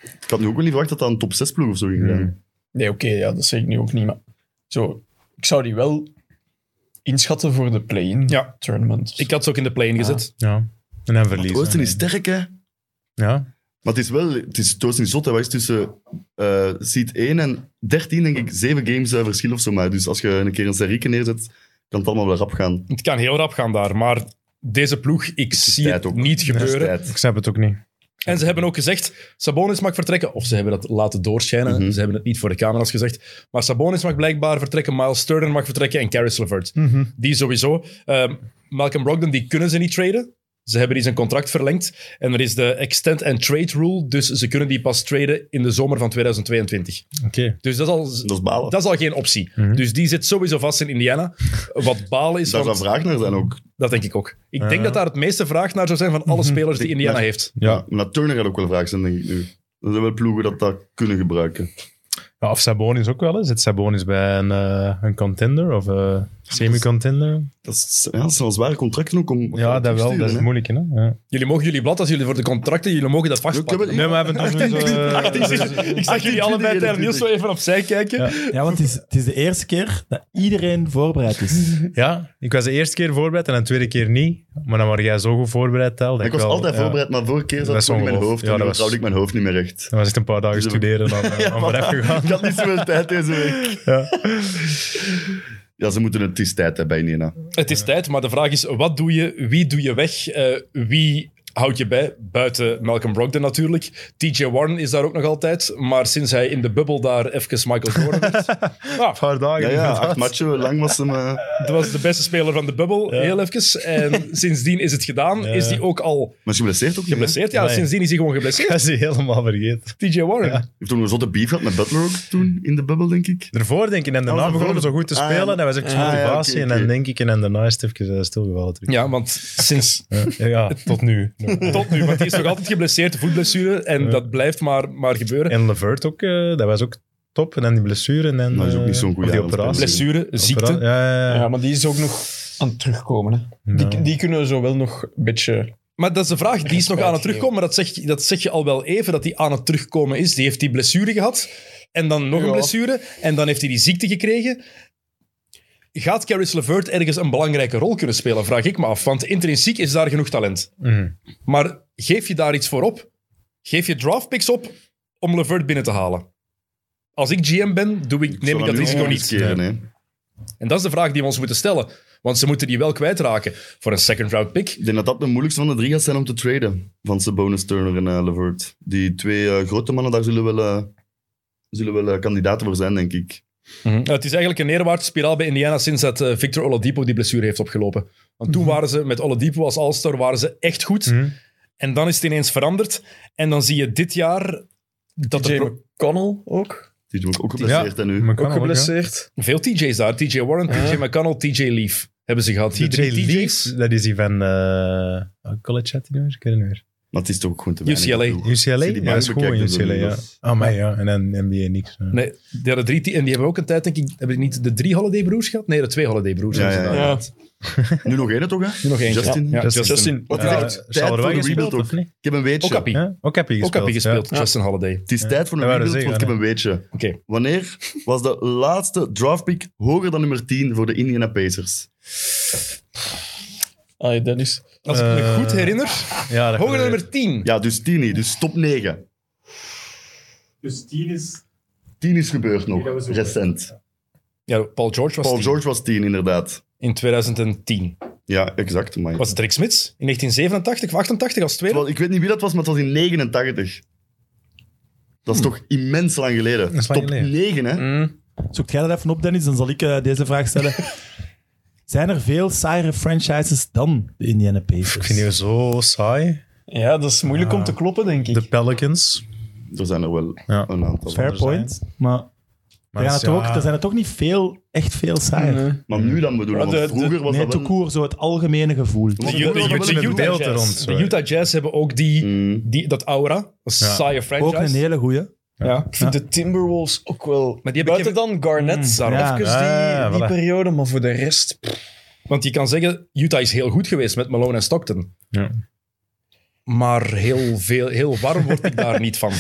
Ik had nu ook wel niet verwacht dat dat een top 6 ploeg of zo ging zijn. Nee, oké, ja, dat zeg ik nu ook niet. Maar zo, ik zou die wel inschatten voor de play-in Ja. tournament. Ik had ze ook in de play gezet. Ja. En dan Het verliezen. oosten is sterk, hè. Ja. Maar het is wel... Het, is, het oosten is zot, hè. Wat is tussen eh seed 1 en 13, denk ik, 7 games eh, verschil of zo. Maar dus als je een keer een serieke neerzet, kan het allemaal wel rap gaan. Het kan heel rap gaan daar, maar deze ploeg, ik zie tijd het ook. niet gebeuren. Tijd. Ik snap het ook niet. En ze hebben ook gezegd, Sabonis mag vertrekken. Of ze hebben dat laten doorschijnen. Mhm. Ze hebben het niet voor de camera's gezegd. Maar Sabonis mag blijkbaar vertrekken, Miles Turner mag vertrekken en Caris LeVert. Die sowieso. Ehm, Malcolm Brogdon, die kunnen ze niet traden. Ze hebben die zijn contract verlengd. En er is de extend and trade rule, dus ze kunnen die pas traden in de zomer van 2022. Oké. Dus dat is al, Dat is balen. dat is al geen optie. Dus die zit sowieso vast in Indiana. Wat balen is, Daar zou want- vraag naar zijn ook. dat denk ik ook. Ik denk dat daar het meeste vraag naar zou zijn van alle spelers die Mhm. Ik- Indiana maar- heeft. Ja. Maar naar Turner gaat ook wel vraag zijn, denk ik nu. Er zijn wel ploegen dat dat kunnen gebruiken. Ja, of Sabonis ook wel. Hè. Zit Sabonis bij een, eh, een contender of eh, semi-contender? Dat, is, ja, dat zijn wel zware contracten ook om... Ja, dat wel. Dat is moeilijk. moeilijk. Hè. Ja. Jullie mogen jullie blad als jullie voor de contracten, jullie mogen dat Ik heb vastpakken. het- Nee, maar we hebben dus... ik zag- ik zag jullie allebei tegen Niels zo even opzij kijken. Ja, want het is, het is de eerste keer dat iedereen voorbereid is. Ja, ik was de eerste keer voorbereid en de tweede keer niet. Maar dan was jij zo goed voorbereid, Tel. dat Ik was wel- altijd ja. voorbereid, maar vorige keer Dat zat is het gewoon in mijn ongeloof. hoofd. Ja, en nu dat was- vertrouwde ik mijn hoofd niet meer recht. Dat was echt een paar dagen Dus we- studeren dan, eh, Ja, om maar- eraf gegaan. Ik had niet zoveel tijd deze week. Ja. ze moeten het, het is tijd hebben bij Nina. Het is tijd, maar de vraag is, wat doe je? Wie doe je weg? Eh, wie houd je bij, buiten Malcolm Brogdon natuurlijk. TJ Warren is daar ook nog altijd. Maar sinds hij in de bubbel daar even Michael Jordan werd, Een paar dagen. Ja, ja, inderdaad. acht matchen lang was hem... eh, dat was de beste speler van de bubbel, heel even. En sindsdien is het gedaan. Is die ook al maar is geblesseerd ook niet, hè? geblesseerd? Ja, Nee. sindsdien is hij gewoon geblesseerd. Dat is hij helemaal vergeten. TJ Warren. heeft toen een zotte beef gehad met Butler ook toen, in de bubbel, denk ik. Daarvoor denk ik, en daarna Oh, begonnen we daarvoor. zo goed te Ah, ja. spelen. En dat was echt Ah, ja, motivatie. oké, En dan oké. denk ik, en dan daarna is het even eh, stilgevallen terug. Ja, want sinds Ja, ja, tot nu. Ja. tot nu. Want die is nog altijd geblesseerd, voetblessure. En dat blijft maar, maar gebeuren. En Levert ook, eh, dat was ook top. En dan die blessure. En dan, Dat is ook eh, niet zo'n goede of die aanspeler. operatie. blessure, ziekte. Opera- Ja, ja, ja. Ja, maar die is ook nog aan het terugkomen. Hè. Die, die kunnen we zo wel nog een beetje... Maar dat is de vraag, die is nog aan het terugkomen. Maar dat zeg, je- dat zeg je al wel even, dat die aan het terugkomen is. Die heeft die blessure gehad. En dan nog een Ja. blessure. En dan heeft hij die ziekte gekregen. Gaat Caris LeVert ergens een belangrijke rol kunnen spelen? Vraag ik me af. Want intrinsiek is daar genoeg talent. Mhm. Maar geef je daar iets voor op? Geef je draftpicks op om LeVert binnen te halen? Als ik GM ben, doe ik, neem Zou ik dat nu risico ook niet. eh. riskeren, hè. En dat is de vraag die we ons moeten stellen. Want ze moeten die wel kwijtraken voor een second round pick. Ik denk dat dat de moeilijkste van de drie gaat zijn om te traden. Van Sabonis, Turner en eh, Levert. Die twee eh, grote mannen, daar zullen wel, eh, zullen wel eh, kandidaten voor zijn, denk ik. Mhm. Nou, het is eigenlijk een neerwaartse spiraal bij Indiana sinds dat eh, Victor Oladipo die blessure heeft opgelopen. Want toen waren ze met Oladipo als All-Star waren ze echt goed. Mhm. En dan is het ineens veranderd. En dan zie je dit jaar dat er Jay pro- McConnell ook. Die is ook, ook geblesseerd en nu. Maar kan Ook ook, ja. geblesseerd. veel TJ's daar. TJ Warren, TJ McConnell, TJ Leaf hebben ze gehad. Die TJ drie TJ's. Leafs, dat is die van eh, college chat nu, ik weet het niet meer. Maar het is toch ook gewoon te weinig. UCLA. ploeg. UCLA? City Ja, Bank dat is gewoon bekijkt, UCLA, ja. dus Oh, maar ja, en dan NBA niks. ja. Nee, die hadden drie te- en die hebben ook een tijd, denk ik, hebben die niet de drie Holiday Broers gehad? Nee, de twee Holiday Broers. Ja, hebben ze ja, daar ja. gehad. Nu nog één toch, hè? Nu nog eentje. Justin. Ja, ja, Justin. Justin. Wat is Ja, echt zal tijd er voor wel de gespeeld, rebuild of ook. niet? Ik heb een weetje. Ook Appie. Ja, ook heb je Ook gespeeld. Appie gespeeld, ja. Justin Holiday. Het is tijd voor een Ja, wou rebuild, dat want ik zeggen, heb een weetje. Oké. Wanneer was de laatste draftpick hoger dan nummer 10 voor de Indiana Pacers? Ah, Dennis. Als ik me Eh, goed herinner, Ja, hoger dat kan dan weer. nummer 10. Ja, dus 10 niet, dus top 9. Dus tien is... 10 is gebeurd nog, Nee, dat was ook- recent. Ja, Paul George was Paul 10. George was 10, inderdaad. in 2010. Ja, exact. amai. Was het Rick Smits in 1987 of 88 als tweede? Terwijl, ik weet niet wie dat was, maar het was in 89. Dat is toch immens lang geleden. is lang Top geleden. 9, hè? Zoekt jij dat even op, Dennis? Dan zal ik eh, deze vraag stellen. Zijn er veel saaiere franchises dan de Indiana Pacers? Ik vind die zo saai. Ja, dat is moeilijk om te kloppen, denk ik. De Pelicans. Er zijn er wel Ja. een aantal. Fair zijn. point, maar... Maar er, gaan dat is- er toch- ja, er zijn er toch niet veel, echt veel saaier. Maar nu dan bedoelen, Maar de- want vroeger was nee, dat te wel... koer, zo het algemene gevoel. De, Want Ju- de, vroeger Ju- was de dat wel een Utah beeld Jazz. er rond, de sorry. Utah Jazz hebben ook die, Mm. die, dat aura. Dat is een Ja. saaie Ook franchise. een hele goeie. ja. Ik vind de Timberwolves ook wel... Maar die hebben Buiten dan Garnett, Mm, ja. even Ah, die, die voilà. periode, maar voor de rest... pff, Want je kan zeggen, Utah is heel goed geweest met Malone en Stockton. Ja. Maar heel, veel, heel warm word ik daar niet van.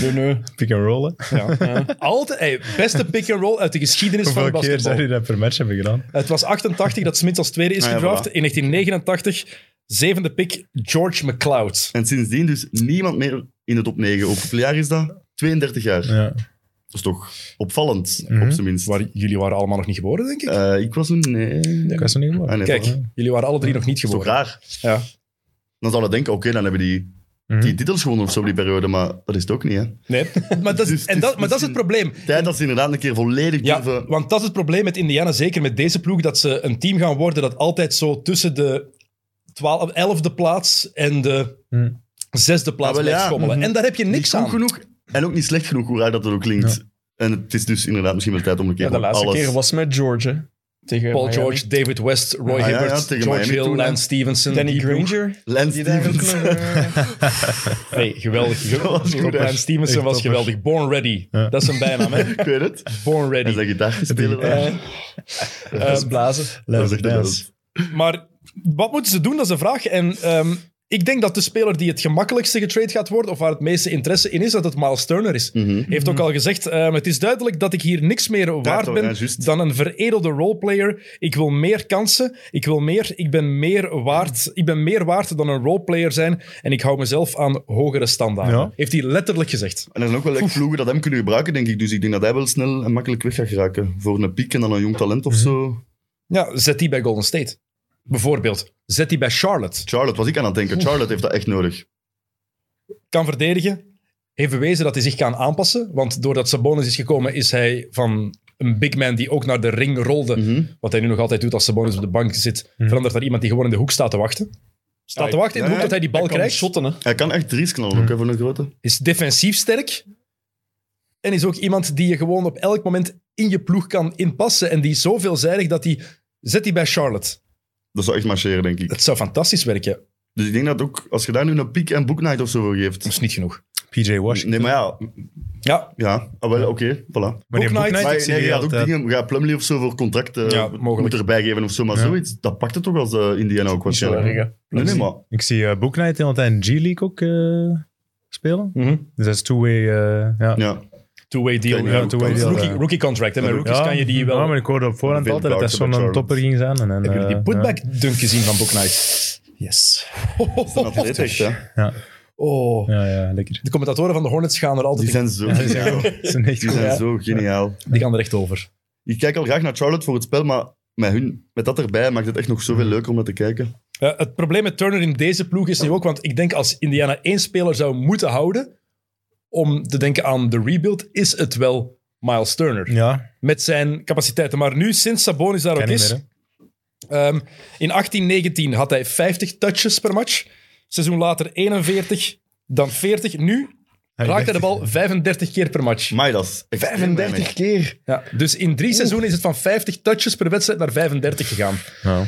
Pick and rollen. Ja. Altijd, hey, beste pick-and-roll uit de geschiedenis van Hoeveel het keer basketbal. zou je dat per match hebben gedaan? Het was 88 dat Smith als tweede is Ah, ja, gedraft. voilà. In 1989, zevende pick, George McLeod. En sindsdien dus niemand meer in de top 9. Hoeveel jaar is dat? 32 jaar. Ja. Dat is toch opvallend, Mhm. op zijn minst. Waar, jullie waren allemaal nog niet geboren, denk ik. Eh, ik was toen... Nee. Ik was er niet Ah, geworden. nee, Kijk, dat jullie waren alle drie nog niet is toch geboren. raar? Ja. Dan zou je denken, oké, dan hebben die, Mhm. die titels gewonnen of zo die periode, maar dat is het ook niet, hè? Nee, maar dat, is, Dus- en dat, maar dat is het misschien- probleem. Tijd dat ze inderdaad een keer volledig Ja, durven... want dat is het probleem met Indiana, zeker met deze ploeg, dat ze een team gaan worden dat altijd zo tussen de 12 11e plaats en de Hm. Hmm. zesde plaats Ah, wel, blijft ja. schommelen. Mhm. En daar heb je Niet niks goed aan. genoeg en ook niet slecht genoeg, hoe raar dat het ook klinkt. En het is dus inderdaad misschien wel tijd om een keer Ja, de om laatste alles... keer was met George, hè. Tegen Paul Miami. George, David West, Roy Ah, ja, ja, Hibbert, tegen George Miami Hill, toen, hè. Lance Stevenson. Danny die ploeg. Granger. Lance Die daar ook Stevens. nog, eh, Nee, geweldig. was goed, Rob hè. Lance Stevenson Echt was toppers. geweldig. Born Ready. Dat is een bijnaam, hè? Ik weet het. Born En Ready. Ehm, zijn gitaarspeler. daar. dat is blazen. Dat is echt wel eens. Maar wat moeten ze doen, dat is de vraag. En ehm, ik denk dat de speler die het gemakkelijkste getrade gaat worden, of waar het meeste interesse in is, dat het Miles Turner is. Mhm. Heeft ook al gezegd, ehm, het is duidelijk dat ik hier niks meer waard toch, ben ja, juist. dan een veredelde roleplayer. Ik wil meer kansen, ik wil meer, ik ben meer waard, ik ben meer waard dan een roleplayer zijn en ik hou mezelf aan hogere standaarden. Ja. Heeft hij letterlijk gezegd. En er zijn ook wel echt ploegen dat hem kunnen gebruiken, denk ik. Dus ik denk dat hij wel snel en makkelijk weg gaat geraken. Voor een piek en dan een jong talent of zo. Ja, zet die bij Golden State. Bijvoorbeeld. Zet die bij Charlotte. Charlotte was ik aan het denken. Charlotte heeft dat echt nodig. kan verdedigen. Heeft bewezen dat hij zich kan aanpassen. Want doordat Sabonis is gekomen, is hij van een big man die ook naar de ring rolde. Mhm. Wat hij nu nog altijd doet als Sabonis op de bank zit. Verandert naar iemand die gewoon in de hoek staat te wachten. Staat te wachten in de hoek dat hij die bal krijgt. shotten, hè. Hij kan echt drie's knallen, ook hè, voor een grote. Is defensief sterk. En is ook iemand die je gewoon op elk moment in je ploeg kan inpassen. En die is zo veelzijdig dat hij... Zet die bij Charlotte. Dat zou echt marcheren, denk ik. Dat zou fantastisch werken. Dat Dus ik denk dat ook, als je daar nu een piek en boeknight of zo voor geeft. is niet genoeg. PJ Washington. Nee, maar ja, Ja, ja ah, wel, oké, voilà. Maar die Boeknight- Boeknight, Maar ik nee, zie je die gaat ook altijd. dingen, ja, Plumlee of zo voor contract eh, Ja, moet mogelijk. erbij geven of zo, maar Ja. zoiets, dat pakt het toch als eh, Indiana ook Niet zo erg, waarschijnlijk. hè. Nee, nee, maar Ik zie eh, Boeknight heel altijd in G-League ook eh, spelen. Dus dat is two-way. eh, ja. Mhm. ja. two-way deal. Kijk, ja, Ja, two-way deal, rookie, ja. rookie contract. En met Ja. rookies kan je die wel... Ja, maar ik hoorde op voorhand Veel altijd dat dat buiten bij zo'n Charlotte. topper ging zijn. En, dan, Hebben jullie die eh, putback dunk gezien van Boeknight? Yes. Dat is een atleet echt, hè. Oh. Ja, ja, ja, lekker. De commentatoren van de Hornets gaan er altijd Die in- zijn zo geniaal. Dat is een echt Die goed. zijn zo geniaal. die gaan er echt over. Ik kijk al graag naar Charlotte voor het spel, maar met, hun, met dat erbij maakt het echt nog zoveel leuker om dat te kijken. Eh, het probleem met Turner in deze ploeg is nu ook, want ik denk als Indiana één speler zou moeten houden om te denken aan de rebuild, is het wel Miles Turner. Ja, Met zijn capaciteiten. Maar nu, sinds Sabonis daar ook ken ik is, meer. hè. Ehm, in 18-19 had hij 50 touches per match. Seizoen later 41, dan 40. Nu raakt hij de bal 35 keer per match. Maar dat is extreem weinig. 35 keer. Ja, dus in drie seizoenen is het van 50 touches per wedstrijd naar 35 gegaan. Ja.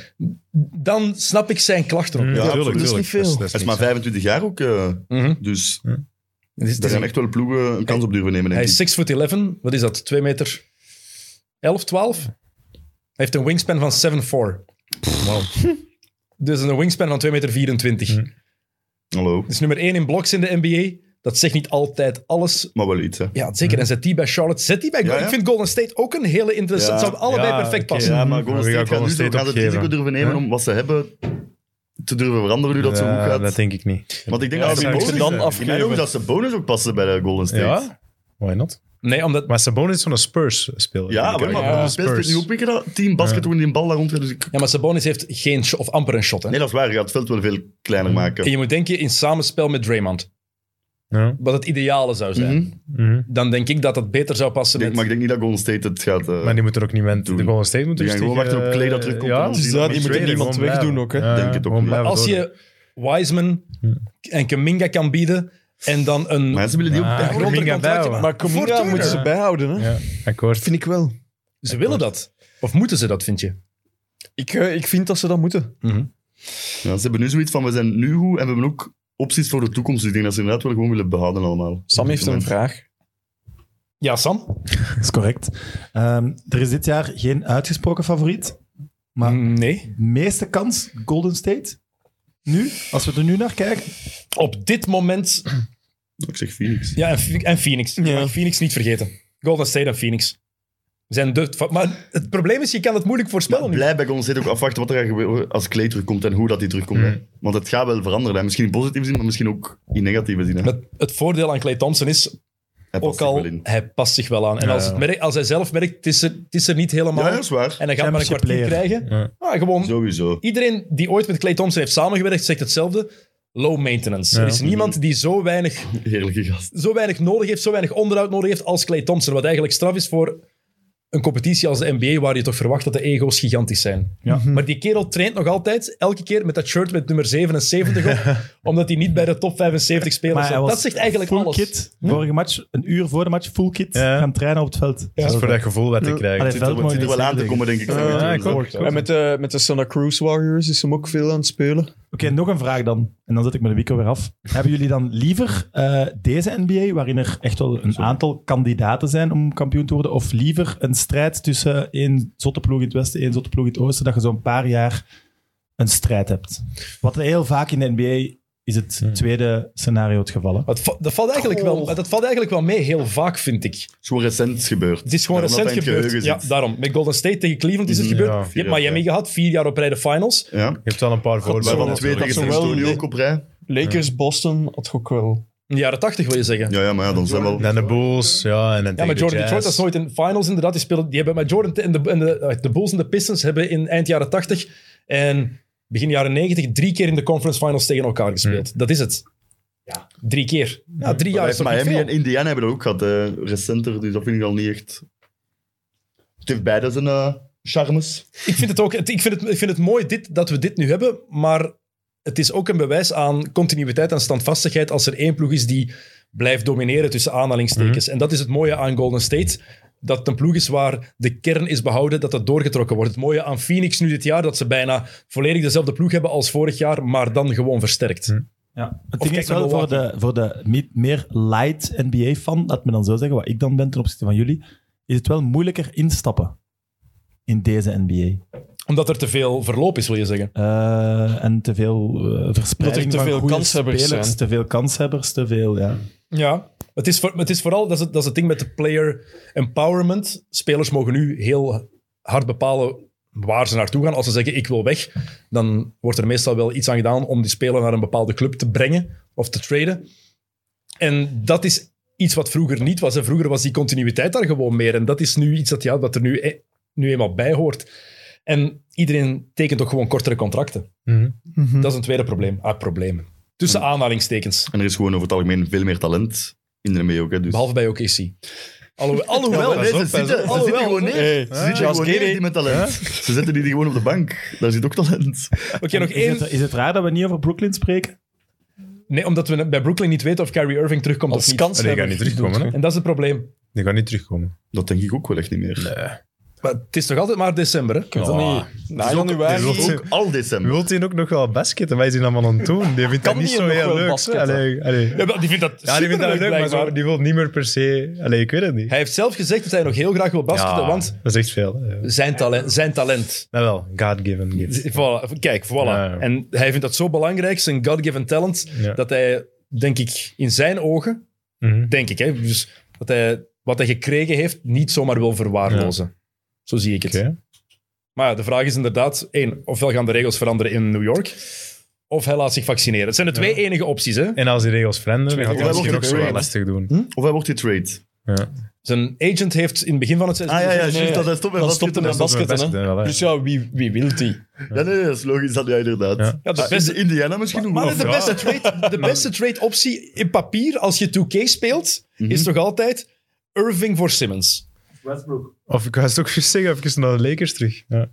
Dan snap ik zijn klacht erop. Ja, absoluut. tuurlijk, Dat is tuurlijk. niet veel. Hij is maar 25 jaar ook, eh, Mhm. dus Het is- het daar is gaan een- echt wel ploegen een kans op durven nemen, Hij denk is ik. 6 foot 11. Wat is dat? 2 meter 11, 12? Hij heeft een wingspan van 7'4. Dus een wingspan van 2 meter 24. Hallo. Dus nummer 1 in bloks in de NBA. Dat zegt niet altijd alles, Maar wel iets, hè. Ja, zeker. En zet die bij Charlotte. Zet die bij Golden Hm. ja. Ik vind Golden State ook een hele interessante. Ja. Het zou allebei Ja, perfect oké. passen. Ja, maar Golden We gaan State gaat nu Golden zo, State gaan ze het opgeven. risico durven nemen Ja. om wat ze hebben te durven veranderen nu dat zo goed Ja, gaat. dat denk ik niet. Want ik denk dat, Ja, dat ze zou ik bonus, ze dan dan afgeven. Ik denk ook dat ze bonus ook passen bij de Golden State. Ja? Why not? Nee, omdat... Maar Sabonis is van een Spurs speler. Ja, maar, Vind ik maar eigenlijk. Golden State speelt nu ook weer dat team basket toen die een bal daar rond gaat, dus ik- Ja, maar Sabonis heeft geen sh- of amper een shot. Hè? Nee, dat is waar. Je gaat het veld wel veel Mm. kleiner maken. En je moet denken in samenspel met Draymond. Ja. Wat het ideale zou zijn. Mhm. Mhm. Dan denk ik dat dat beter zou passen Ik denk- maar met... ik denk niet dat Golden State het gaat... eh, Maar die moeten er ook niet met de Doen. Golden State moeten Die gaan dus gewoon tegen, wachten op Klay dat eh, terugkomt en Ja, dan zien dus we ja, hem die moeten traden. niemand Gewoon wegdoen blijven. ook. Hè. Ja, denk het ook niet. blijven Als doordoen. je Wiseman en Kaminga kan bieden en dan een... Hm. Maar ze willen die Ah, ook... een groter Kuminga contractje- bijhouden. Maar Cominga Fortuna. moeten ze bijhouden, hè? Ja, akkoord. Vind ik wel. Ze willen dat. Of moeten ze dat, vind je? Ik, eh, ik vind dat ze dat moeten. Ja, ze hebben nu zoiets van, we zijn nu goed en we hebben ook opties voor de toekomst. Dus ik denk dat ze inderdaad wel gewoon willen behouden allemaal. Sam heeft een vraag. Ja, Sam? Dat is correct. Ehm, er is dit jaar geen uitgesproken favoriet. Maar- Nee. Meeste kans Golden State. Nu, als we er nu naar kijken. Hm. Op dit moment... Ik zeg Phoenix. Ja, en, Phoe- en Phoenix. Je Ja. mag Phoenix niet vergeten. Golden State en Phoenix. Zijn de, fa- maar het probleem is, je kan het moeilijk voorspellen. Maar nu. blij bij Golden State ook afwachten wat er gaat gebeuren als Clay terugkomt en hoe dat die terugkomt. hè. Want het gaat wel veranderen. Hè. Misschien in positieve zin, maar misschien ook in negatieve zin. Hè. Het, het voordeel aan Clay Thompson is, Hij past ook zich al, wel in. hij past zich wel aan. En Ja, als, ja. het merkt, als hij zelf merkt, het is er, het is er niet helemaal. Ja, dat is waar. en hij gaat maar een kwartier Championship krijgen. Ja. Ah, gewoon, Sowieso. iedereen die ooit met Clay Thompson heeft samengewerkt, zegt hetzelfde. Low maintenance. Ja. Er is niemand die zo weinig, Heerlijke gast. zo weinig nodig heeft, zo weinig onderhoud nodig heeft als Clay Thompson. Wat eigenlijk straf is voor een competitie als de NBA, waar je toch verwacht dat de ego's gigantisch zijn. Mhm. Ja. Mhm. Maar die kerel traint nog altijd, elke keer met dat shirt met nummer 77 op, omdat hij niet bij de top 75 spelers Maar hij zat. was Dat zegt eigenlijk full alles. Hm? kit. Vorige match, een uur voor de match, full kit. Ja. Gaan trainen op het veld. Dat is voor dat gevoel wat te Ja. krijgen. Allee, Het zit er, het zit er wel is aan te heel komen, denk ik. Ja, ik ook. En Eh, met de, met de Santa Cruz Warriors is hem ook veel aan het spelen. Oké, nog een vraag dan. En dan zet ik me de week weer af. Hebben jullie dan liever eh, deze NBA, waarin er echt wel een aantal kandidaten zijn om kampioen te worden, of liever een strijd tussen één zotte ploeg in het westen en één zotte ploeg in het oosten, dat je zo'n paar jaar een strijd hebt? Wat heel vaak in de NBA is het Hmm. tweede scenario het geval. hè? Maar het va- dat, valt eigenlijk wel, Oh. maar dat valt eigenlijk wel mee, heel vaak, vind ik. Het is gewoon recent gebeurd. Het is gewoon Daarom dat recent hij in het gebeurd. Ja, geheugen zit. daarom. Met Golden State tegen Cleveland is het Mhm, gebeurd. ja, je vier hebt jaar, Miami ja. gehad, vier jaar op rij de finals. Ja. Je hebt wel een paar voorbeelden. Waarvan dat twee is tegen San wel- Antonio ook op rij. Lakers, Boston had ik ook wel. In de jaren tachtig, wil je zeggen. Ja, Ja, ja, maar ja, dan zijn we wel... En de Bulls, ja. En maar dan tegen de Jordan Detroit was Jazz. nooit in finals, inderdaad. Die, speelden, die hebben, maar Jordan en de, en de, eh, de Bulls en de Pistons hebben in eind jaren tachtig en begin jaren negentig drie keer in de conference finals tegen elkaar gespeeld. Dat is het. Drie keer. Ja, drie jaar Maar is toch niet Miami en veel? Indiana hebben dat ook gehad, hè, recenter. Dus dat vind ik al niet echt... Het heeft beide zijn eh, charmes. Ik vind het ook het- ik vind het, ik vind het mooi dit, dat we dit nu hebben, maar het is ook een bewijs aan continuïteit en standvastigheid als er één ploeg is die blijft domineren tussen aanhalingstekens. En dat is het mooie aan Golden State. Dat het een ploeg is waar de kern is behouden, dat dat doorgetrokken wordt. Het mooie aan Phoenix nu dit jaar, dat ze bijna volledig dezelfde ploeg hebben als vorig jaar, maar dan gewoon versterkt. Ja, het Of ding kijk is naar wel voor de, Milwaukee. voor de mi- meer light NBA-fan, laat me dan zo zeggen, wat ik dan ben ten opzichte van jullie, is het wel moeilijker instappen in deze NBA. Omdat er te veel verloop is, wil je zeggen. Eh, en te veel eh, verspreiding te van veel goede kanshebbers spelers, zijn. te veel kanshebbers, te veel, ja. Ja, het is, voor, het is vooral, dat is het, dat is het ding met de player empowerment. Spelers mogen nu heel hard bepalen waar ze naartoe gaan. Als ze zeggen, ik wil weg, dan wordt er meestal wel iets aan gedaan om die speler naar een bepaalde club te brengen of te traden. En dat is iets wat vroeger niet was. En vroeger was die continuïteit daar gewoon meer. En dat is nu iets dat, ja, dat er nu, e- nu eenmaal bij hoort. En iedereen tekent ook gewoon kortere contracten. Mhm. Dat is een tweede probleem. Ah, problemen. Tussen aanhalingstekens. En er is gewoon over het algemeen veel meer talent in de NBA ook. Hè, dus. Behalve bij OKC. Alhoewel, alhoewel, nee, ze pas op, zitten, ze pas op. zitten gewoon neer. Ze zitten Charles gewoon neer, Kelly. die met talent. Ze zetten die gewoon op de bank. Daar zit ook talent. oké, nog is, één. het, is het raar dat we niet over Brooklyn spreken? Nee, omdat we bij Brooklyn niet weten of Kyrie Irving terugkomt of Als niet. Nee, die kanshebber. gaat niet terugkomen. Hè? En dat is het probleem. Die gaat niet terugkomen. Dat denk ik ook wel echt niet meer. Maar het is toch altijd maar december, hè? Ik weet dat Ah. niet. Na Het is ook- januari... het is ook al december. Wilt hij ook nog wel basketten? Wij zien allemaal aan het doen. Die vindt Kan dat niet die zo nog wel heel leuk. basketten? Allee, allee. Ja, wel, die vindt dat Ja, die vindt dat superleuk, leuk, maar blijkbaar. zo, die wil niet meer per se... Allee, ik weet het niet. Hij heeft zelf gezegd dat hij nog heel graag wil basketten, Ja, want Dat is echt veel. hè. Ja. zijn talent... Zijn talent Nou wel, God-given gift. Voilà, kijk, voilà. Ja, ja. En hij vindt dat zo belangrijk, zijn God-given talent, Ja. dat hij, denk ik, in zijn ogen, Mhm. denk ik, hè, dus dat hij wat hij gekregen heeft, niet zomaar wil verwaarlozen. Zo zie ik het. Oké. Maar ja, de vraag is inderdaad, één, ofwel gaan de regels veranderen in New York, of hij laat zich vaccineren. Het zijn de twee enige opties, hè. En als die regels veranderen, dan gaat hij Wij misschien ook worden zo wel getraind. lastig doen. Of hij wordt getrade. Zijn agent heeft in het begin van het seizoen... Ah ja, ja, gezegd- juist. dat hij stopt met Dan stopt hij basketten. met en- Basketten, basketten. hè. wel, hè. Dus ja, wie, wie wil die? Ja, nee, nee, dat is logisch. Dat ja, inderdaad. Ja. Ja, de Ah, beste- Indi- Indiana misschien nog Maar wel. de beste, trade, de beste trade optie in papier, als je 2K speelt, is toch altijd Irving voor Simmons. Of ik was het ook juist zeggen, even naar de Lakers terug. Ja.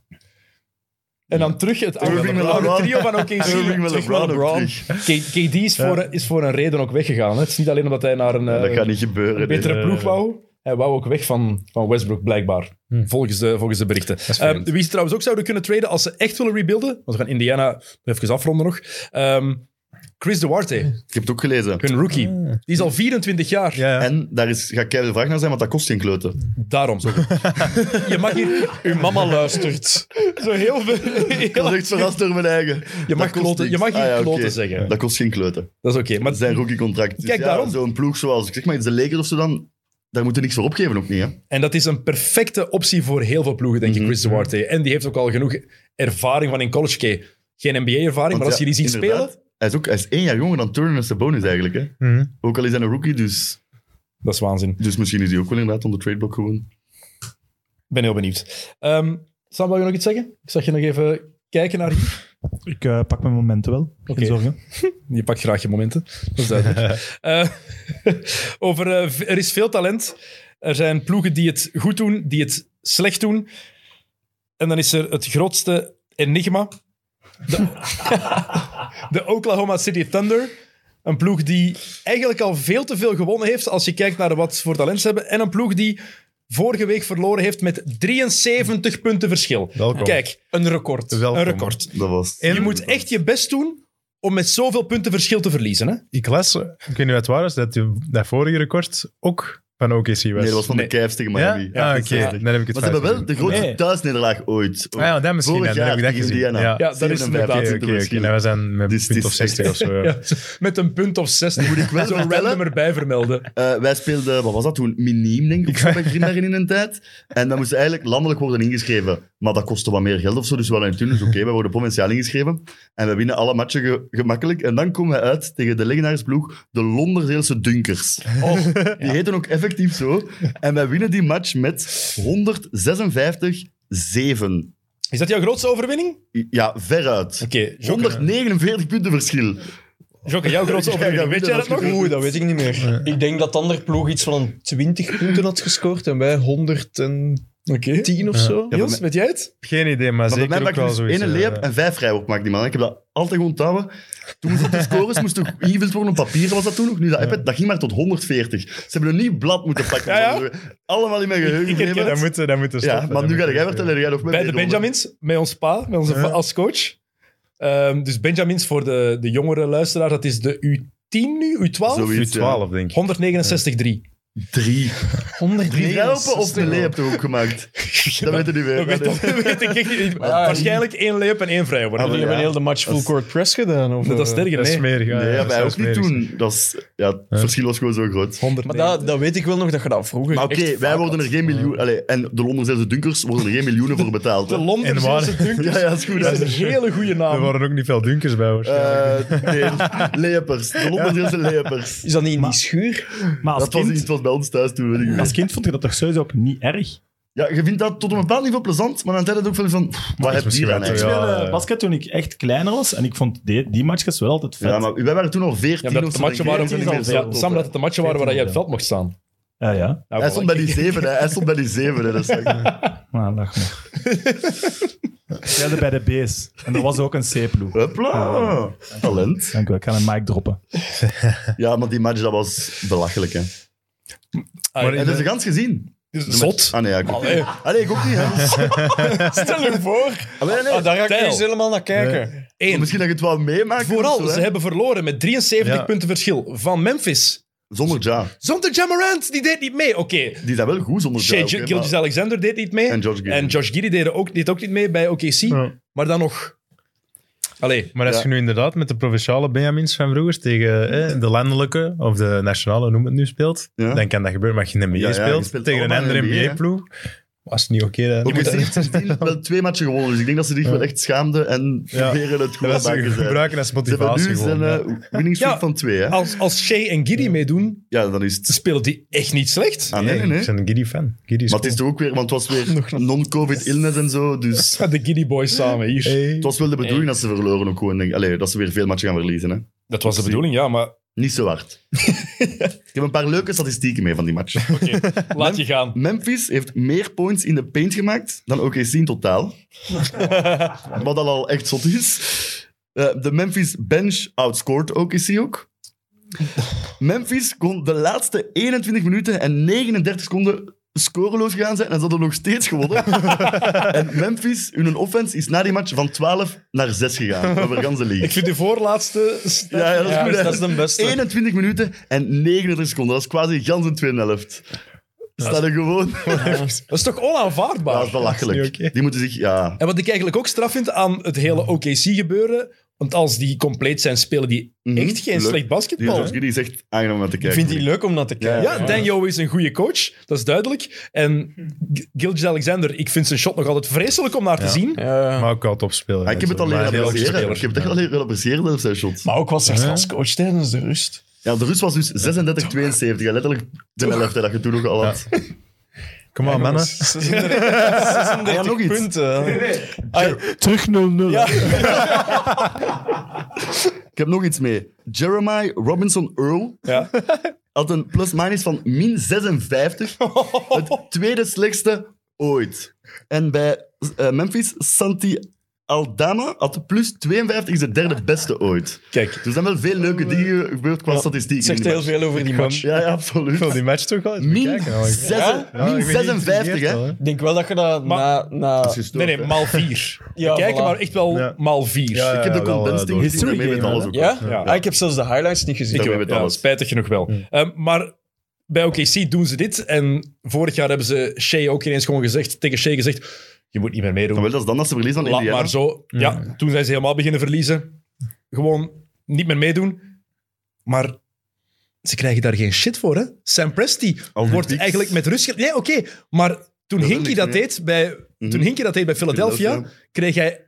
En dan terug het oude, Irving het met oude LeBron. trio van OKC. Irving met Terug naar LeBron ook LeBron. terug. K- KD is, voor, is voor een reden ook weggegaan. Hè. Het is niet alleen omdat hij naar een, Ja, eh, Dat gaat niet gebeuren. een betere eh, ploeg wou. Hij wou ook weg van, van Westbrook, blijkbaar. Volgens, de, volgens de berichten. Hm. vreemd. Ehm, wie ze trouwens ook zouden kunnen traden als ze echt willen rebuilden. Want we gaan Indiana even afronden nog. Ehm, Chris Duarte, Ik heb het ook gelezen. hun rookie. Die is al 24 jaar. Ja, ja. En daar is, ga ik de vraag naar zijn, want dat kost geen kleuter. Daarom. Zo. Je mag hier Uw mama luistert. zo heel veel... Ik was echt verrast door mijn eigen. Dat mag kost kloten- niks. Ah je mag geen oké. kloten zeggen. Dat kost geen kleuter. Dat is oké. maar Dat zijn rookiecontract. Dus Kijk, ja, daarom. Zo'n ploeg zoals, ik zeg maar, de Lakers of zo dan, daar moeten niks voor opgeven ook niet, hè. En dat is een perfecte optie voor heel veel ploegen, denk ik, Mhm. Chris Duarte. En die heeft ook al genoeg ervaring van in college. Oké, geen NBA-ervaring, maar Want als je die ja, ziet inderdaad, spelen... Hij is, ook, hij is één jaar jonger dan Turner en Sabonis eigenlijk, hè. Mhm. Ook al is hij een rookie, dus, Dat is waanzin. dus misschien is hij ook wel inderdaad onder tradeblock gewoon. Ik ben heel benieuwd. Ehm Sam, wil je nog iets zeggen? Ik zag je nog even kijken naar hier. Ik eh, pak mijn momenten wel, geen Oké. zorgen. Je pakt graag je momenten. Dat is duidelijk. Eh, over, eh, v- er is veel talent. Er zijn ploegen die het goed doen, die het slecht doen. En dan is er het grootste enigma. De, de Oklahoma City Thunder. Een ploeg die eigenlijk al veel te veel gewonnen heeft als je kijkt naar wat ze voor talent ze hebben. En een ploeg die vorige week verloren heeft met 73 punten verschil. Welkom. Kijk, Een record. Welkom. een record. Dat was... Je moet echt je best doen om met zoveel punten verschil te verliezen. Hè? Ik las, ik weet niet wat het waar is, dat die- dat vorige record ook van OKC was. Nee, dat was van de Cavs tegen Miami. Ja? Ah, oké. ja. Dan heb ik het Maar ze hebben wel fout de grootste Nee. thuisnederlaag ooit. Ah ja, dat misschien, Vorig dan heb ik jaar dat gezien. tegen Indiana. Ja. Ja, dat is inderdaad. Oké, punten oké, oké. verschil. Nou, we zijn met Dus het punt is of 60 of zo. ja. Met een punt of 60 moet ik wel zo vertellen- random erbij vermelden. Eh, wij speelden, wat was dat toen? Miniem, denk ik, of zo bij Grimbergen in een tijd. En dat moest eigenlijk landelijk worden ingeschreven. Maar dat kostte wat meer geld of zo. Dus we hadden toen, dus oké, wij worden provinciaal ingeschreven. En we winnen alle matchen ge- gemakkelijk. En dan komen we uit tegen de legendaarsploeg, de Londerzeelse Dunkers. die heten ook effectief zo. En wij winnen die match met 156-7. Is dat jouw grootste overwinning? Ja, veruit. Oké, jokken. 149 punten verschil. Jokke, jouw grootste overwinning. Weet jij dat nog? Oeh, dat weet ik niet meer. Ik denk dat de andere ploeg iets van 20 punten had gescoord en wij 110 Oké. of zo. Ja, Jos, maar- weet jij het? Geen idee, maar, Maar bij mij zeker ook wel maakt dus zoiets. één eh, leep en vijf vrijworp maakt die man. Ik heb dat altijd gewoon touwen. Toen moest het de scores moest toch ingevuld worden op papier, was dat toen nog? Nu dat iPad, dat ging maar tot 140. Ze hebben een nieuw blad moeten pakken. Ja, Allemaal in mijn geheugen Ja, gebleven. dat moet, dat moet Ja, maar nu ga jij vertellen, jij nog met Bij de Benjamins, met ons pa, met onze pa als coach. Ehm, dus Benjamins voor de, de jongere luisteraar, dat is de U10 nu, U12? Zoiets, ja. 12, denk ik. 169-3. Drie. Drie vrijworpen of een 163. leep toch ook gemaakt? Dat weten we nu Dat weer. weet, dat weet ik echt niet. Waarschijnlijk één leep en één vrijwoord. Dat Ah, wel, Jullie hebben ja. heel de match full court press gedaan. Of, dat is eh, sterker, Dat is nee. smerig. Nee, ja, dat wij zou ook niet smerig zijn. toen. Dat is, ja, het verschil was gewoon zo groot. 100 Maar dat, dat weet ik wel nog dat je dat vroeger Maar oké, echt wij vaak worden er had. geen miljoen... Allee, en de Londense dunkers worden er geen miljoenen voor betaald. hè. De Londense En waar- Dunkers Ja, ja, dat is goed. is een hele goede Er naam. waren ook niet veel dunkers bij, waarschijnlijk. Eh, nee, lepers. De Londense lepers. Is dat niet in Maar- die schuur? Maar als Dat was, iets kind, was bij ons thuis toen. Weet ik niet. als kind vond ik dat toch sowieso ook niet erg. Ja, je vindt dat tot een bepaald niveau plezant, maar aan het einde ook veel van... pff, Wat heb je misschien hier aan wel Ik eigenlijk? te- speelde ja. basket toen ik echt kleiner was en ik vond die, die matchjes wel altijd vet. Ja, maar wij waren toen al Ja, veertien dat of de zo. matchen waren, denk ik. is al Ja, veel. ja, Sam, dat het de matchen waren waar je op het veld mocht staan. ja. Eh, ja. Nou, Hij stond bij die zeven, hè. hij stond bij die zeven. Hè. Dat is echt- Maar lach maar. ik speelde bij de B's en er was ook een C-ploeg. Hupla. Talent. Dank u wel, ik ga een mic droppen. Ja, maar die match dat was belachelijk. Hè. Ah, Maar ja, En dat is de gans gezien. dat is Zot. Ah nee, ja, ik ook Allee. niet. Allee, ik ook niet. Hè. Stel je voor. Ah, maar ja, nee. Ah, daar ga ik Tijl. eens helemaal naar kijken. Maar Eén. Misschien dat je het wel meemaakt. of Vooral, zo, hè. ze hebben verloren met 73 Ja. punten verschil van Memphis. Zonder Ja. Zonder Jamarant, die deed niet mee. Oké, Die zijn wel goed zonder Ja. Shea oké, maar- Gilgeous Alexander deed niet mee. En Josh Giddey. En Josh Giddy deed ook, deed ook niet mee bij OKC. Ja. Maar dan nog... Allee, Maar als Ja. je nu inderdaad met de provinciale Benjamins van vroeger tegen eh, de landelijke of de nationale, noem het nu, speelt, Ja. dan kan dat gebeuren. Maar als je in de NBA Ja, ja, je speelt, speelt tegen een allemaal in andere de NBA, hè. NBA-ploeg, was het niet oké. dan. Ook al heeft het team wel twee matchen gewonnen, dus ik denk dat ze zich wel echt schaamden en Ja. proberen het goed dat te ze maken. zijn. gebruiken als Ze hebben motivatie nu zijn gewoon. ja. eh, winning streak Ja. van twee. Hè? als, als Shea en Giddy meedoen, Ja, dan is het... spelen die echt niet slecht. Ah, nee, nee, nee. Ik ben een Giddy-fan. Giddy is Maar het is cool. toch ook weer, want het was weer non-covid illness en zo, dus... De Giddy boys samen hier. Hey. Het was wel de bedoeling dat ze verloren ook gewoon. denk- Allee, dat ze weer veel matchen gaan verliezen. Hè? Dat was de bedoeling, ja, maar Niet zo hard. ik heb een paar leuke statistieken mee van die match. laat je gaan. Memphis heeft meer points in de paint gemaakt dan OKC in totaal. Wat al al echt zot is. Eh, de Memphis bench outscored OKC ook. Memphis kon de laatste 21 minuten en 39 seconden scoreloos gaan zijn en ze hadden nog steeds gewonnen. en Memphis, hun offense, is na die match van 12 naar 6 gegaan over de hele Ik league. vind die voorlaatste... st- Ja, ja, dat is Ja, goed. hè. dat is de beste. 21 minuten en 39 seconden. Dat is quasi gans een tweede helft. Staat er gewoon... Dat is toch Dat onaanvaardbaar? is belachelijk. Dat is niet oké. Die moeten zich... Ja, En wat ik eigenlijk ook straf vind aan het hele OKC-gebeuren, want als die compleet zijn, spelen die Mhm. echt geen Leuk. slecht die basketbal. Josh Giddy "Ah, is echt aangenaam om naar te Ik kijken. vind die leuk om naar te kijken. Ja, Daniel is een goede coach, dat is duidelijk. En Gilgis Alexander, ik vind zijn shot nog altijd vreselijk om naar te zien. Ja. Maar ook wel topspeler. Ah, ik heb het al Maar leren een heel goede appreciëren. speler. Ik heb het echt al leren appreciëren, dat zijn shots. Maar ook wat zegt als coach tijdens de rust. Ja, de Rus was dus 36-72. hè. Letterlijk de helft hè, dat je toen nog al had. Kom maar, mannen. 36 Ah, ja, nog iets. punten. Terug 0-0. Ik heb nog iets mee. Jeremiah Robinson Earl Ja. had een plus-minus van min 56. Het tweede slechtste ooit. En bij eh, Memphis, Santi Aldama had plus 52, is het derde beste ooit. Kijk. Dus er zijn wel veel leuke dingen gebeurd qua statistieken. Het zegt in die heel veel over die match. match. Ja, ja, absoluut. Ik wil die match toch wel eens Min, bekijken, eigenlijk. zes- Ja? Ja, min ik ben 56, geïntrigeerd hè? al, Ik denk wel dat je dat na... na Nee, nee, maal vier. Ja, Kijken, voilà. maar echt wel Ja. maal vier. Ja, Ik heb de wel, eh, condensed door. dingen History daarmee met game, alles hè? ook. ja? Ja. Ah, ik heb zelfs de highlights niet gezien. Ik heb- Ja, weet het alles. spijtig genoeg wel. Ehm, maar bij OKC doen ze dit. En vorig jaar hebben ze Shea ook ineens gewoon gezegd, tegen Shea gezegd, je moet niet meer meedoen. Maar wel, dat is dan dat ze verliezen van Laat Indiana. maar zo. Mm. Ja, toen zijn ze helemaal beginnen verliezen. Gewoon niet meer meedoen. Maar ze krijgen daar geen shit voor, hè? Sam Presti Al die wordt picks. eigenlijk met rust... ge- Nee, oké. Maar toen Dat wil Hinkie niks dat meer. deed bij, toen Mhm. Hinkie dat deed bij Philadelphia, Philadelphia. kreeg hij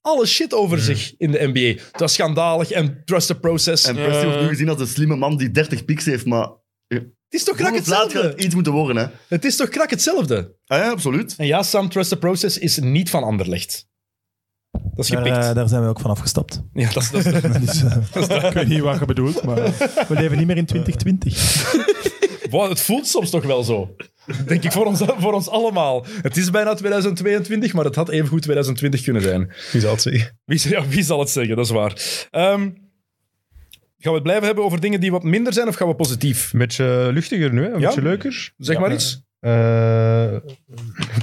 alle shit over Mhm. zich in de NBA. Dat was schandalig en trust the process. Eh, En Percy wordt nu gezien als de slimme man die 30 piks heeft, maar... het is toch krak Hoe laat gaat hetzelfde? het iets moeten worden, hè? Het is toch krak hetzelfde? Ah, ja, absoluut. En ja, Sam Trust the Process is niet van Anderlecht. Dat is Daar, gepikt. eh, daar zijn we ook van afgestapt. ja, dat is, dat is- Dus, eh, ik weet niet wat je bedoelt, maar eh, we leven niet meer in 2020. Wow, het voelt soms toch wel zo. Denk ik voor ons, voor ons allemaal. Het is bijna 2022, maar het had evengoed 2020 kunnen zijn. Wie zal het zeggen? Wie, z- ja, wie zal het zeggen? Dat is waar. Ehm, gaan we het blijven hebben over dingen die wat minder zijn, of gaan we positief? Een beetje eh, luchtiger nu, hè? een Ja. beetje leuker. Zeg maar iets. Eh,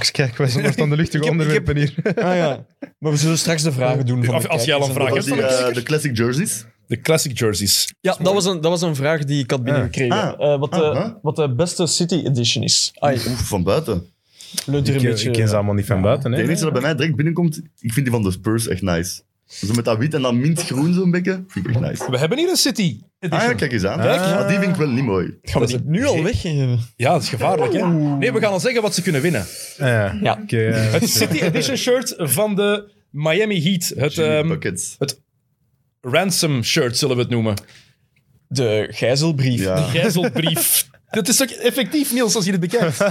ik kijk, wij zijn nog aan de luchtige heb- ik heb- onderwerpen hier. Ah ja. Maar we zullen straks de vragen doen. Van Als- de als jij al een kijkers en vraag de- Was hebt, die, van de eh, kijkers? de classic jerseys? De classic jerseys. Ja, dat was, een, dat was een vraag die ik had binnengekregen. Ah. Eh, wat, de, Ah, huh? wat de beste City Edition is. Ai, Oef, van buiten. leunt er Ik, een ken- beetje... ik eh, ken ze allemaal niet van buiten. De Hè? enige dat bij mij direct binnenkomt, ik vind die van de Spurs echt nice. Zo met dat wit en dat mintgroen zo'n beetje, vind ik echt nice. We hebben hier een City. Ah ja, kijk eens aan. Ah, die vind ik wel niet mooi. Gaan we die nu al weggeven? Ja, dat is gevaarlijk, hè? Nee, we gaan al zeggen wat ze kunnen winnen. Ja. Ja. Ik, eh, Het City Edition shirt van de Miami Heat. Het Jimmy ehm, Buckets. ransom shirt, zullen we het noemen. De gijzelbrief. Ja. Maar Gijzelbrief. Dat is ook effectief, Niels, als je dit bekijkt.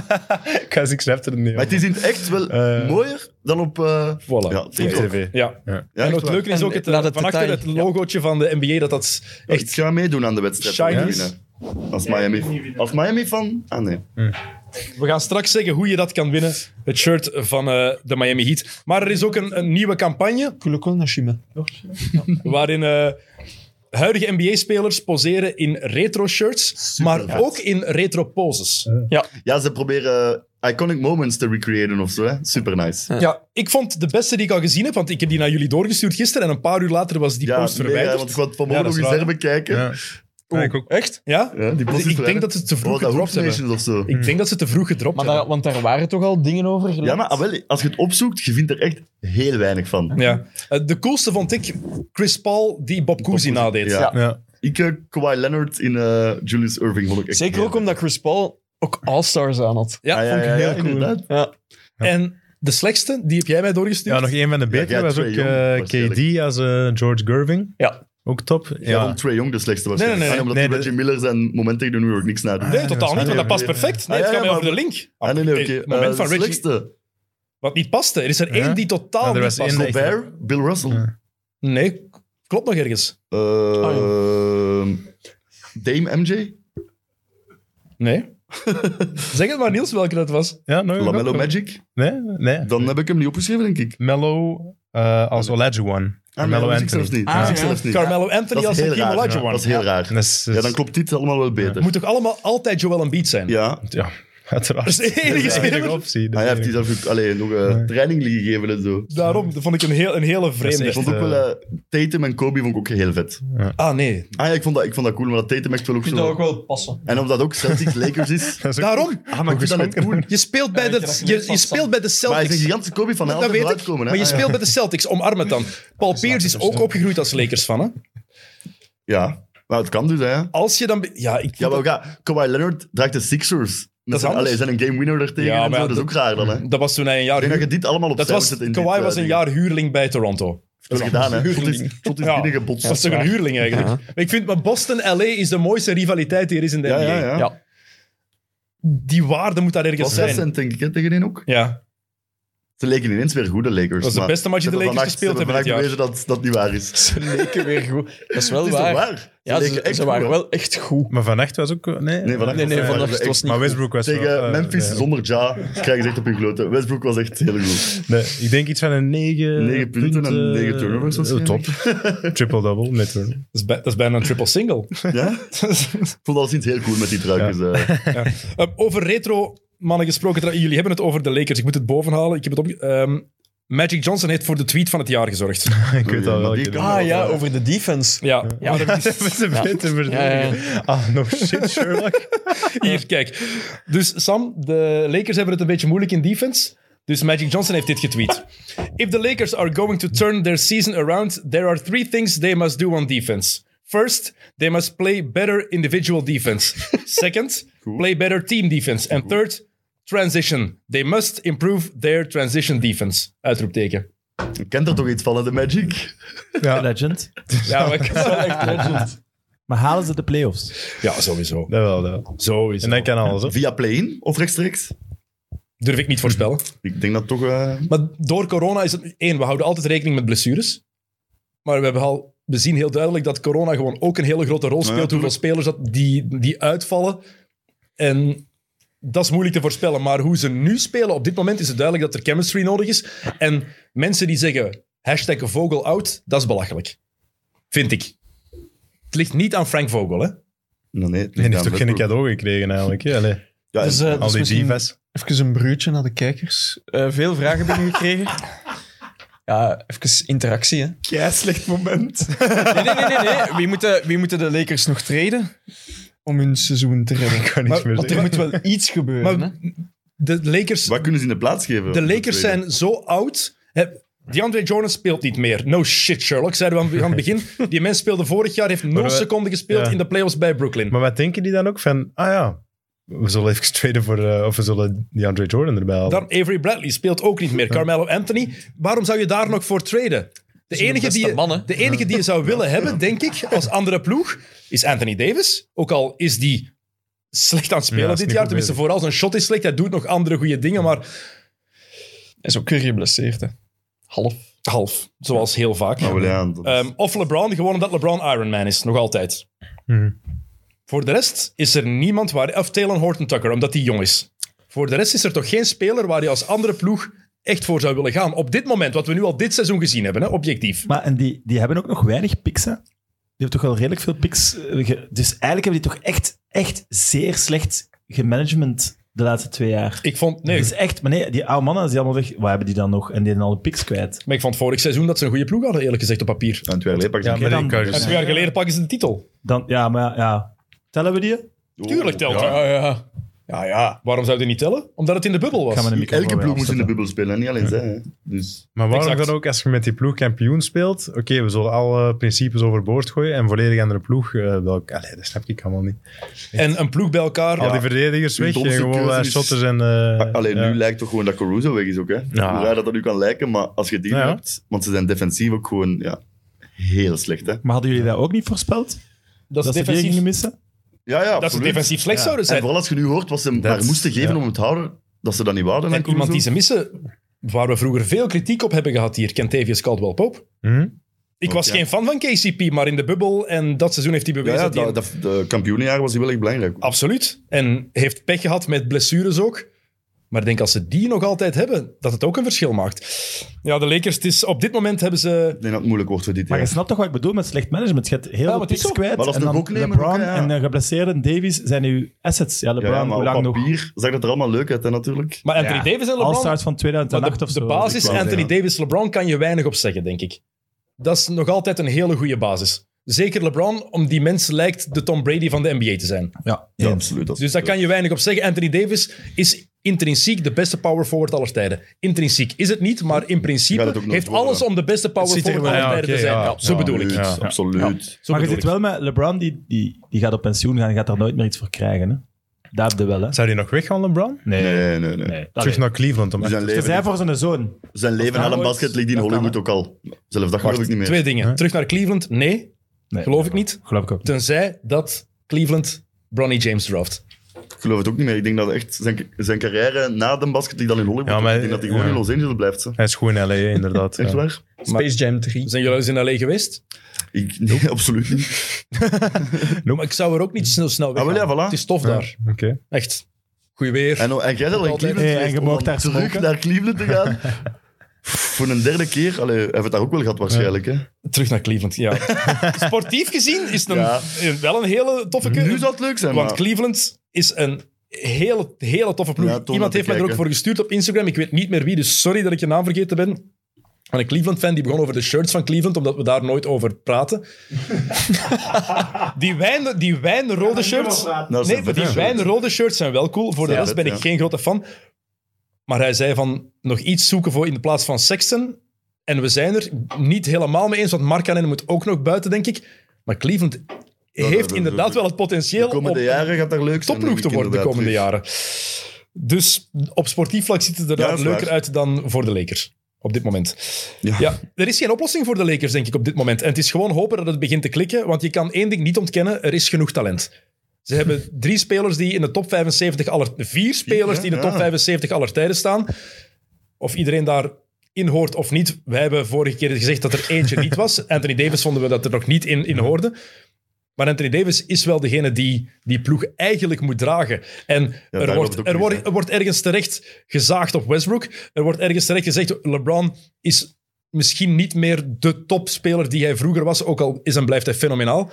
Guys, ik snap het niet. het is in het echt wel Eh. mooier dan op... eh, Voilà. Ja, man. TikTok. TV. Ja. Ja, En echt het waar. leuke is En ook het, eh, laat het van achter het detail- logootje van de NBA, dat dat Ik echt... ga meedoen aan de wedstrijd. Shinies. winnen. Als Miami, als Miami fan? Ah nee. We gaan straks zeggen hoe je dat kan winnen. Het shirt van eh, de Miami Heat. Maar er is ook een, een nieuwe campagne Ik wil ook wel naar Chimé. waarin eh, huidige NBA-spelers poseren in retro-shirts, maar vet. ook in retro-poses. Eh. Ja, ze proberen eh, iconic moments te recreëren of zo. Hè? Super nice. Ja, ik vond de beste die ik al gezien heb, want ik heb die naar jullie doorgestuurd gisteren en een paar uur later was die Ja, post nee, hè, verwijderd. want ik had vanmorgen Ja, dat nog is eens waar. herbekijken. Ja. Ja, ik ook. Echt? Ja? Ja, die post is ik denk verwijderd. dat ze het te vroeg Oh, dat gedropt Hoops hebben. Nations of zo. Ik denk dat ze het te vroeg gedropt Maar daar, hebben. want daar waren toch al dingen over gelekt? Ja, maar ah, wel, als je het opzoekt, je vindt er echt heel weinig van. Ja. Eh, De coolste vond ik Chris Paul die Bob Cousy nadeed. Ja. Ja. Ik eh, Kawhi Leonard in eh, Julius Irving vond ik echt Zeker heel ook omdat Chris Paul ook All-Stars aan had. Ja, Ah, ja, vond ik ja, ja, heel cool. inderdaad. Ja. En de slechtste, die heb jij mij doorgestuurd. ja, nog één van de betere jij was ook twee, jong, eh, waarschijnlijk. KD als eh, George Gerving. Ja. Ook top. Ja, dan Ja. Trae Young de slechtste was. Ah, Nee, nee, Ah, nee, omdat nee, die de- Reggie Miller zijn moment tegen de New York niks nadoet. Nee, totaal niet, want dat past perfect. Nee, het Ah, gaat ja, mij ja, over de maar- link. Ah, nee, nee, oké. Het moment Eh, van de Reggie- slechtste. Wat niet paste. Er is er Ja. één die totaal Ja, er niet was past. één die- Gobert, Bill Russell. Ja. Nee, klopt nog ergens. Eh, Dame MJ? Nee. zeg het maar, Niels, welke dat was. Ja, nou, Lamello ook- Magic? Nee, nee. Dan heb ik hem niet opgeschreven, denk ik. Mello eh, als Olajuwon. Ah, nee, Mello dat wist ik Ah, Anthony. zelfs niet. Ah, Dat wist ik ja. zelfs niet. Carmelo Dat Anthony is als heel Hakeem raar. Olajuwon. Dat is heel raar. Dat is- Ja, dan klopt dit allemaal wel beter. Moet toch allemaal altijd Joel Embiid zijn? Dus Ja. Ja, uiteraard. Dat is de enige Dat is de enige speler. optie. Hij Dat heeft is die zelf ook allee, nog eh, training gegeven en zo. Daarom dat vond ik een, heel, een hele Dat vreemde. is Ik vond ook Eh. wel... eh, Tatum en Kobe vond ik ook heel vet. Ah, nee. Ah ja, ik vond dat, ik vond dat cool, maar dat Tatum echt wel ook Ik vind dat ook zo... wel passen. En omdat ook Celtics Lakers is... ook- Daarom. Ah, maar ik vind dat net cool. Je speelt bij ik de, dacht, je, net je van speelt bij de Maar hij is een Celtics. gigantische Kobe van, hij Dat had er weet uit ik. komen. hè. Maar je Ah, ja. speelt bij de Celtics. Omarm het dan. Paul Pierce is ook opgegroeid als Lakers fan. Hè? Ah, Ja, maar het kan dus, hè. Als je dan... be- Ja, ik... Ja, maar ja, Kawhi Leonard draagt de Sixers. Dat Dat is zijn, anders. allee, zijn een game winner er tegen Ja, en maar zo, ja, dat is dat- ook raar dan, hè. Ik Dat was toen hij een jaar... denk dat je huur- dit allemaal opzij Dat was... zet in dit, Kawhi eh, was een ding. jaar huurling bij Toronto. Dat is gedaan, hè. Tot is, tot is Ja. binnengebotst. Dat is toch een huurling eigenlijk? Ik vind, maar Boston-LA is de mooiste rivaliteit die er is in de Ja, NBA. ja, ja. Ja. ja. Die waarde moet daar Was ergens zes zijn. cent, denk ik, hè, tegen hen ook. Ja, Ze leken ineens weer goede Lakers. dat was de maar beste match die de ze Lakers vandaag- gespeeld ze hebben dit jaar. vandaag bewezen dat dat niet waar is. Ze leken weer goed. Dat is wel Dat is toch waar. waar? Ja, leken ze, echt ze waren goed, hè. wel echt goed. Maar vannacht was ook... Nee, Nee, vannacht Nee, nee, was hij- vannacht echt- was niet Maar Westbrook was wel, Tegen eh, Memphis nee. zonder Ja krijgen ze echt op hun kloten. Westbrook was echt heel goed. Nee, ik denk iets van een 9... Negen punten en negen turnovers Top. waarschijnlijk. Triple-double, net turnovers. Dat is, bij- dat is bijna een triple single. Ja? Ik vond alleszins heel cool met die truikjes. eh. Eh, over retro mannen gesproken. tra- Jullie hebben het over de Lakers. Ik moet het bovenhalen. Ik heb het op, ehm, Magic Johnson heeft voor de tweet van het jaar gezorgd. Ik weet Ja, al maar wel. die Ik kan- Ah ja, Ja. over de defense. Ja, Maar dat is- Met de witte Ja, verdediger. Ah, no shit, Sherlock. hier, kijk. Dus Sam, de Lakers hebben het een beetje moeilijk in defense. Dus Magic Johnson heeft dit getweet. If the Lakers are going to turn their season around, there are three things they must do on defense. First, they must play better individual defense. Second, play better team defense. And third, transition. They must improve their transition defense. Uitroepteken. Je kent er toch iets van, hè, de Magic? Legend. Ja, maar ik- Maar halen ze de playoffs? ja, sowieso. Dat wel, dat wel. sowieso. En hij kan alles, hè. Via play-in of rechtstreeks? Durf ik niet voorspellen. Ik denk dat toch... eh, Maar door corona is het... één, we houden altijd rekening met blessures. Maar we, hebben al, we zien heel duidelijk dat corona gewoon ook een hele grote rol ja, speelt. hoeveel spelers dat die, die uitvallen. En dat is moeilijk te voorspellen. Maar hoe ze nu spelen, op dit moment is het duidelijk dat er chemistry nodig is. En mensen die zeggen hashtag Vogelout, dat is belachelijk. Vind ik. Het ligt niet aan Frank Vogel, hè? nee, nee, het En ligt die heeft aan toch geen Westbrook. cadeau gekregen eigenlijk. hè? Allee, Ja, Dus, eh, al dus die misschien divas. Even een bruutje naar de kijkers. Eh, veel vragen binnengekregen. Ja, even interactie, hè. Kei slecht moment. Nee, nee, nee. nee, nee. Wie, moeten, wie moeten de Lakers nog treden om hun seizoen te redden? Ik kan niks meer Want er zeggen. moet wel iets gebeuren, Maar- hè. De Lakers, Wat kunnen ze in de plaats geven? de Lakers zijn zo oud. Hè, DeAndre Jordan speelt niet meer. No shit, Sherlock, zeiden we aan- aan het begin. Die mens speelde vorig jaar, heeft 0 we- seconden gespeeld ja. in de playoffs bij Brooklyn. Maar wat denken die dan ook van, ah ja, we zullen even traden voor, eh, of we zullen die Andre Jordan erbij halen. Dan Avery Bradley speelt ook niet meer. Carmelo Anthony. Waarom zou je daar nog voor traden? De enige, beste die je, mannen. de enige die je zou willen hebben, denk ik, als andere ploeg, is Anthony Davis. Ook al is die slecht aan het spelen Ja, is dit niet jaar. goed Tenminste, vooral zijn shot is slecht. Hij doet nog andere goede dingen, maar Hij is ook weer geblesseerd, hè. Half. half. Zoals heel vaak. Nou, wel, ja, dat is- Ehm, of LeBron, gewoon omdat LeBron Iron Man is, nog altijd. Mhm. Voor de rest is er niemand waar... Of Talon Horton Tucker, omdat hij jong is. Voor de rest is er toch geen speler waar je als andere ploeg echt voor zou willen gaan. Op dit moment, wat we nu al dit seizoen gezien hebben, hè, objectief. Maar en die, die hebben ook nog weinig picks, hè? Die hebben toch wel redelijk veel picks. eh, ge- Dus eigenlijk hebben die toch echt, echt zeer slecht gemanagement de laatste twee jaar. Ik vond... Nee, Dus echt, maar nee, die oude mannen, als die allemaal weg, wat hebben die dan nog? En die zijn alle picks kwijt. maar ik vond vorig seizoen dat ze een goede ploeg hadden, eerlijk gezegd, op papier. dus- Ja, en twee jaar geleden pak ja, ze- maar dan- die Curry. En twee jaar geleden pakken ze de titel. Dan, ja, maar ja, ja. Tellen we die? Tuurlijk Oh, telt dat. Ja, ja. Ja, ja. Waarom zou je die niet tellen? Omdat het in de bubbel was. Gaan we een microfoon Elke bij ploeg moet in de afzetten. bubbel spelen, hè, niet alleen zij. hè. Dus Maar waarom Exact. dan ook, als je met die ploeg kampioen speelt, oké, we zullen alle principes overboord gooien en volledig andere ploeg, eh welk, allee, dat snap ik allemaal niet. En een ploeg bij elkaar. Al die verdedigers Hun weg, en domste gewoon keuze eh, is- shotters en... eh, Alleen ja. nu lijkt toch gewoon dat Caruso weg is ook. Hè? Ja. Hoe raar dat dat nu kan lijken, maar als je die Ja, ja. hebt... Want ze zijn defensief ook gewoon ja, heel slecht. Hè? Maar hadden jullie dat ook niet voorspeld? dat is Dat ze die defensief, gingen missen? Ja, ja, dat ze absoluut. defensief slecht zouden En zijn. vooral als je nu hoort wat ze hem daar That's- moesten geven ja. om het te houden, dat ze dat niet wouden. aan En iemand Caruso. die ze missen, waar we vroeger veel kritiek op hebben gehad hier, Kentavious Caldwell-Pope. Hm? Ik was Ook, Mhm. ja. geen fan van KCP, maar in de bubbel en dat seizoen heeft hij Ja, bewezen ja, dat hij... dat, dat, de kampioenenjaar was hij wel echt belangrijk. Absoluut. En heeft pech gehad met blessures ook. Maar ik denk als ze die nog altijd hebben, dat het ook een verschil maakt. Ja, de Lakers, het is, op dit moment hebben ze... Ik denk dat het moeilijk wordt voor dit Maar jaar. je snapt toch wat ik bedoel met slecht management? Je hebt heel maar veel het is picks zo. kwijt. Maar dat is en toch dan ook nemen, LeBron ook, ja. en de geblesseerde Davies zijn uw assets. Ja, Ja, LeBron, ja, hoe maar lang op nog? papier zag dat er allemaal leuk uit, hè, natuurlijk. Maar Anthony Davis en LeBron... All-stars van maar 2008 de, of zo. de basis wel, Anthony ja. Davis, LeBron kan je weinig op zeggen, denk ik. Dat is nog altijd een hele goede basis. Zeker LeBron, om die mens lijkt de Tom Brady van de NBA te zijn. Ja, Ja, eens. absoluut. Dus daar kan je weinig op zeggen. Anthony Davis is intrinsiek de beste power forward aller tijden. Intrinsiek is het niet, maar in Gaat principe het ook nog heeft worden. alles om de beste power Ziet er forward aller wel- tijden ja, te oké, zijn. ja. zo bedoel ik. Ja. Absoluut. Zo maar je bedoel zit ik. wel met LeBron, die, die, die gaat op pensioen gaan en gaat daar nooit meer iets voor krijgen. Hè? Daar heb je wel, hè? Zou die nog weggaan, LeBron? Nee, nee, nee. Allee. Terug naar Cleveland om Zijn echt... Ze zei leven, Dus voor zijn zoon. zijn leven aan een ooit- basket ligt in dat kan, Hollywood hè. ook al. Zelfs dat geloof ik niet meer. Twee dingen. Terug naar Cleveland? Nee, Nee, geloof ik niet. Geloof ik ook. niet. Tenzij dat Cleveland Bronny James draft. Ik geloof het ook niet meer. Ik denk dat echt zijn, zijn carrière na de basket ligt dan in Hollywood. Ja, ook. maar- ik denk dat hij gewoon ja. in Los Angeles blijft. Hè. Hij is gewoon in L.A., inderdaad. Echt ja. waar? Space Jam 3. Zijn jullie eens in LA geweest? Ik, nee, absoluut niet. Maar ik zou er ook niet zo snel weg. Ah, wel, ja, voilà. Het is tof daar. Oké. Echt. Goeie weer. En, en jij bent al in Altijd. Cleveland Hey, en geweest je om mag dan daar terug smoken. naar Cleveland te gaan. Voor een derde keer. Allee, hij heeft het daar ook wel gehad waarschijnlijk. Hè. Terug naar Cleveland, ja. Sportief gezien is het een, Ja. wel een hele toffe keuze. Nu zou het leuk zijn, Want maar- Cleveland is een hele, hele toffe ploeg. Ja, tof om Iemand te heeft mij er ook kijken. voor gestuurd op Instagram. Ik weet niet meer wie, dus sorry dat ik je naam vergeten ben. Maar een Cleveland-fan die begon over de shirts van Cleveland, omdat we daar nooit over praten. die, wijn, die wijnrode shirts... Nou, Nee, maar die wijnrode shirts zijn wel cool. Voor de Ja, rest ben dat, ik ja. geen grote fan. Maar hij zei van nog iets zoeken voor in de plaats van Sexton. En we zijn er niet helemaal mee eens, want Markkanen moet ook nog buiten, denk ik. Maar Cleveland Nou, dat- heeft dat- inderdaad dat- wel het De potentieel om komende jaren gaat daar leuk zijn. topploeg denk te ik, worden de inderdaad, komende terug. jaren. Dus op sportief vlak ziet het er Ja, daar dat is leuker waar. uit dan voor de Lakers. Op dit moment. Ja. Ja. er is geen oplossing voor de Lakers, denk ik, op dit moment. En het is gewoon hopen dat het begint te klikken, want je kan één ding niet ontkennen, er is genoeg talent. Ze hebben drie spelers die in de top 75 aller... Vier spelers die in de top ja. 75 aller tijden staan. Of iedereen daarin hoort of niet. Wij hebben vorige keer gezegd dat er eentje niet was. Anthony Davis vonden we dat er nog niet in, in hoorde. Maar Anthony Davis is wel degene die die ploeg eigenlijk moet dragen. En daar er, loopt wordt, het ook er, mis, wordt, hè? er wordt ergens terecht gezaagd op Westbrook. Er wordt ergens terecht gezegd, LeBron is misschien niet meer de topspeler die hij vroeger was, ook al is en blijft hij fenomenaal.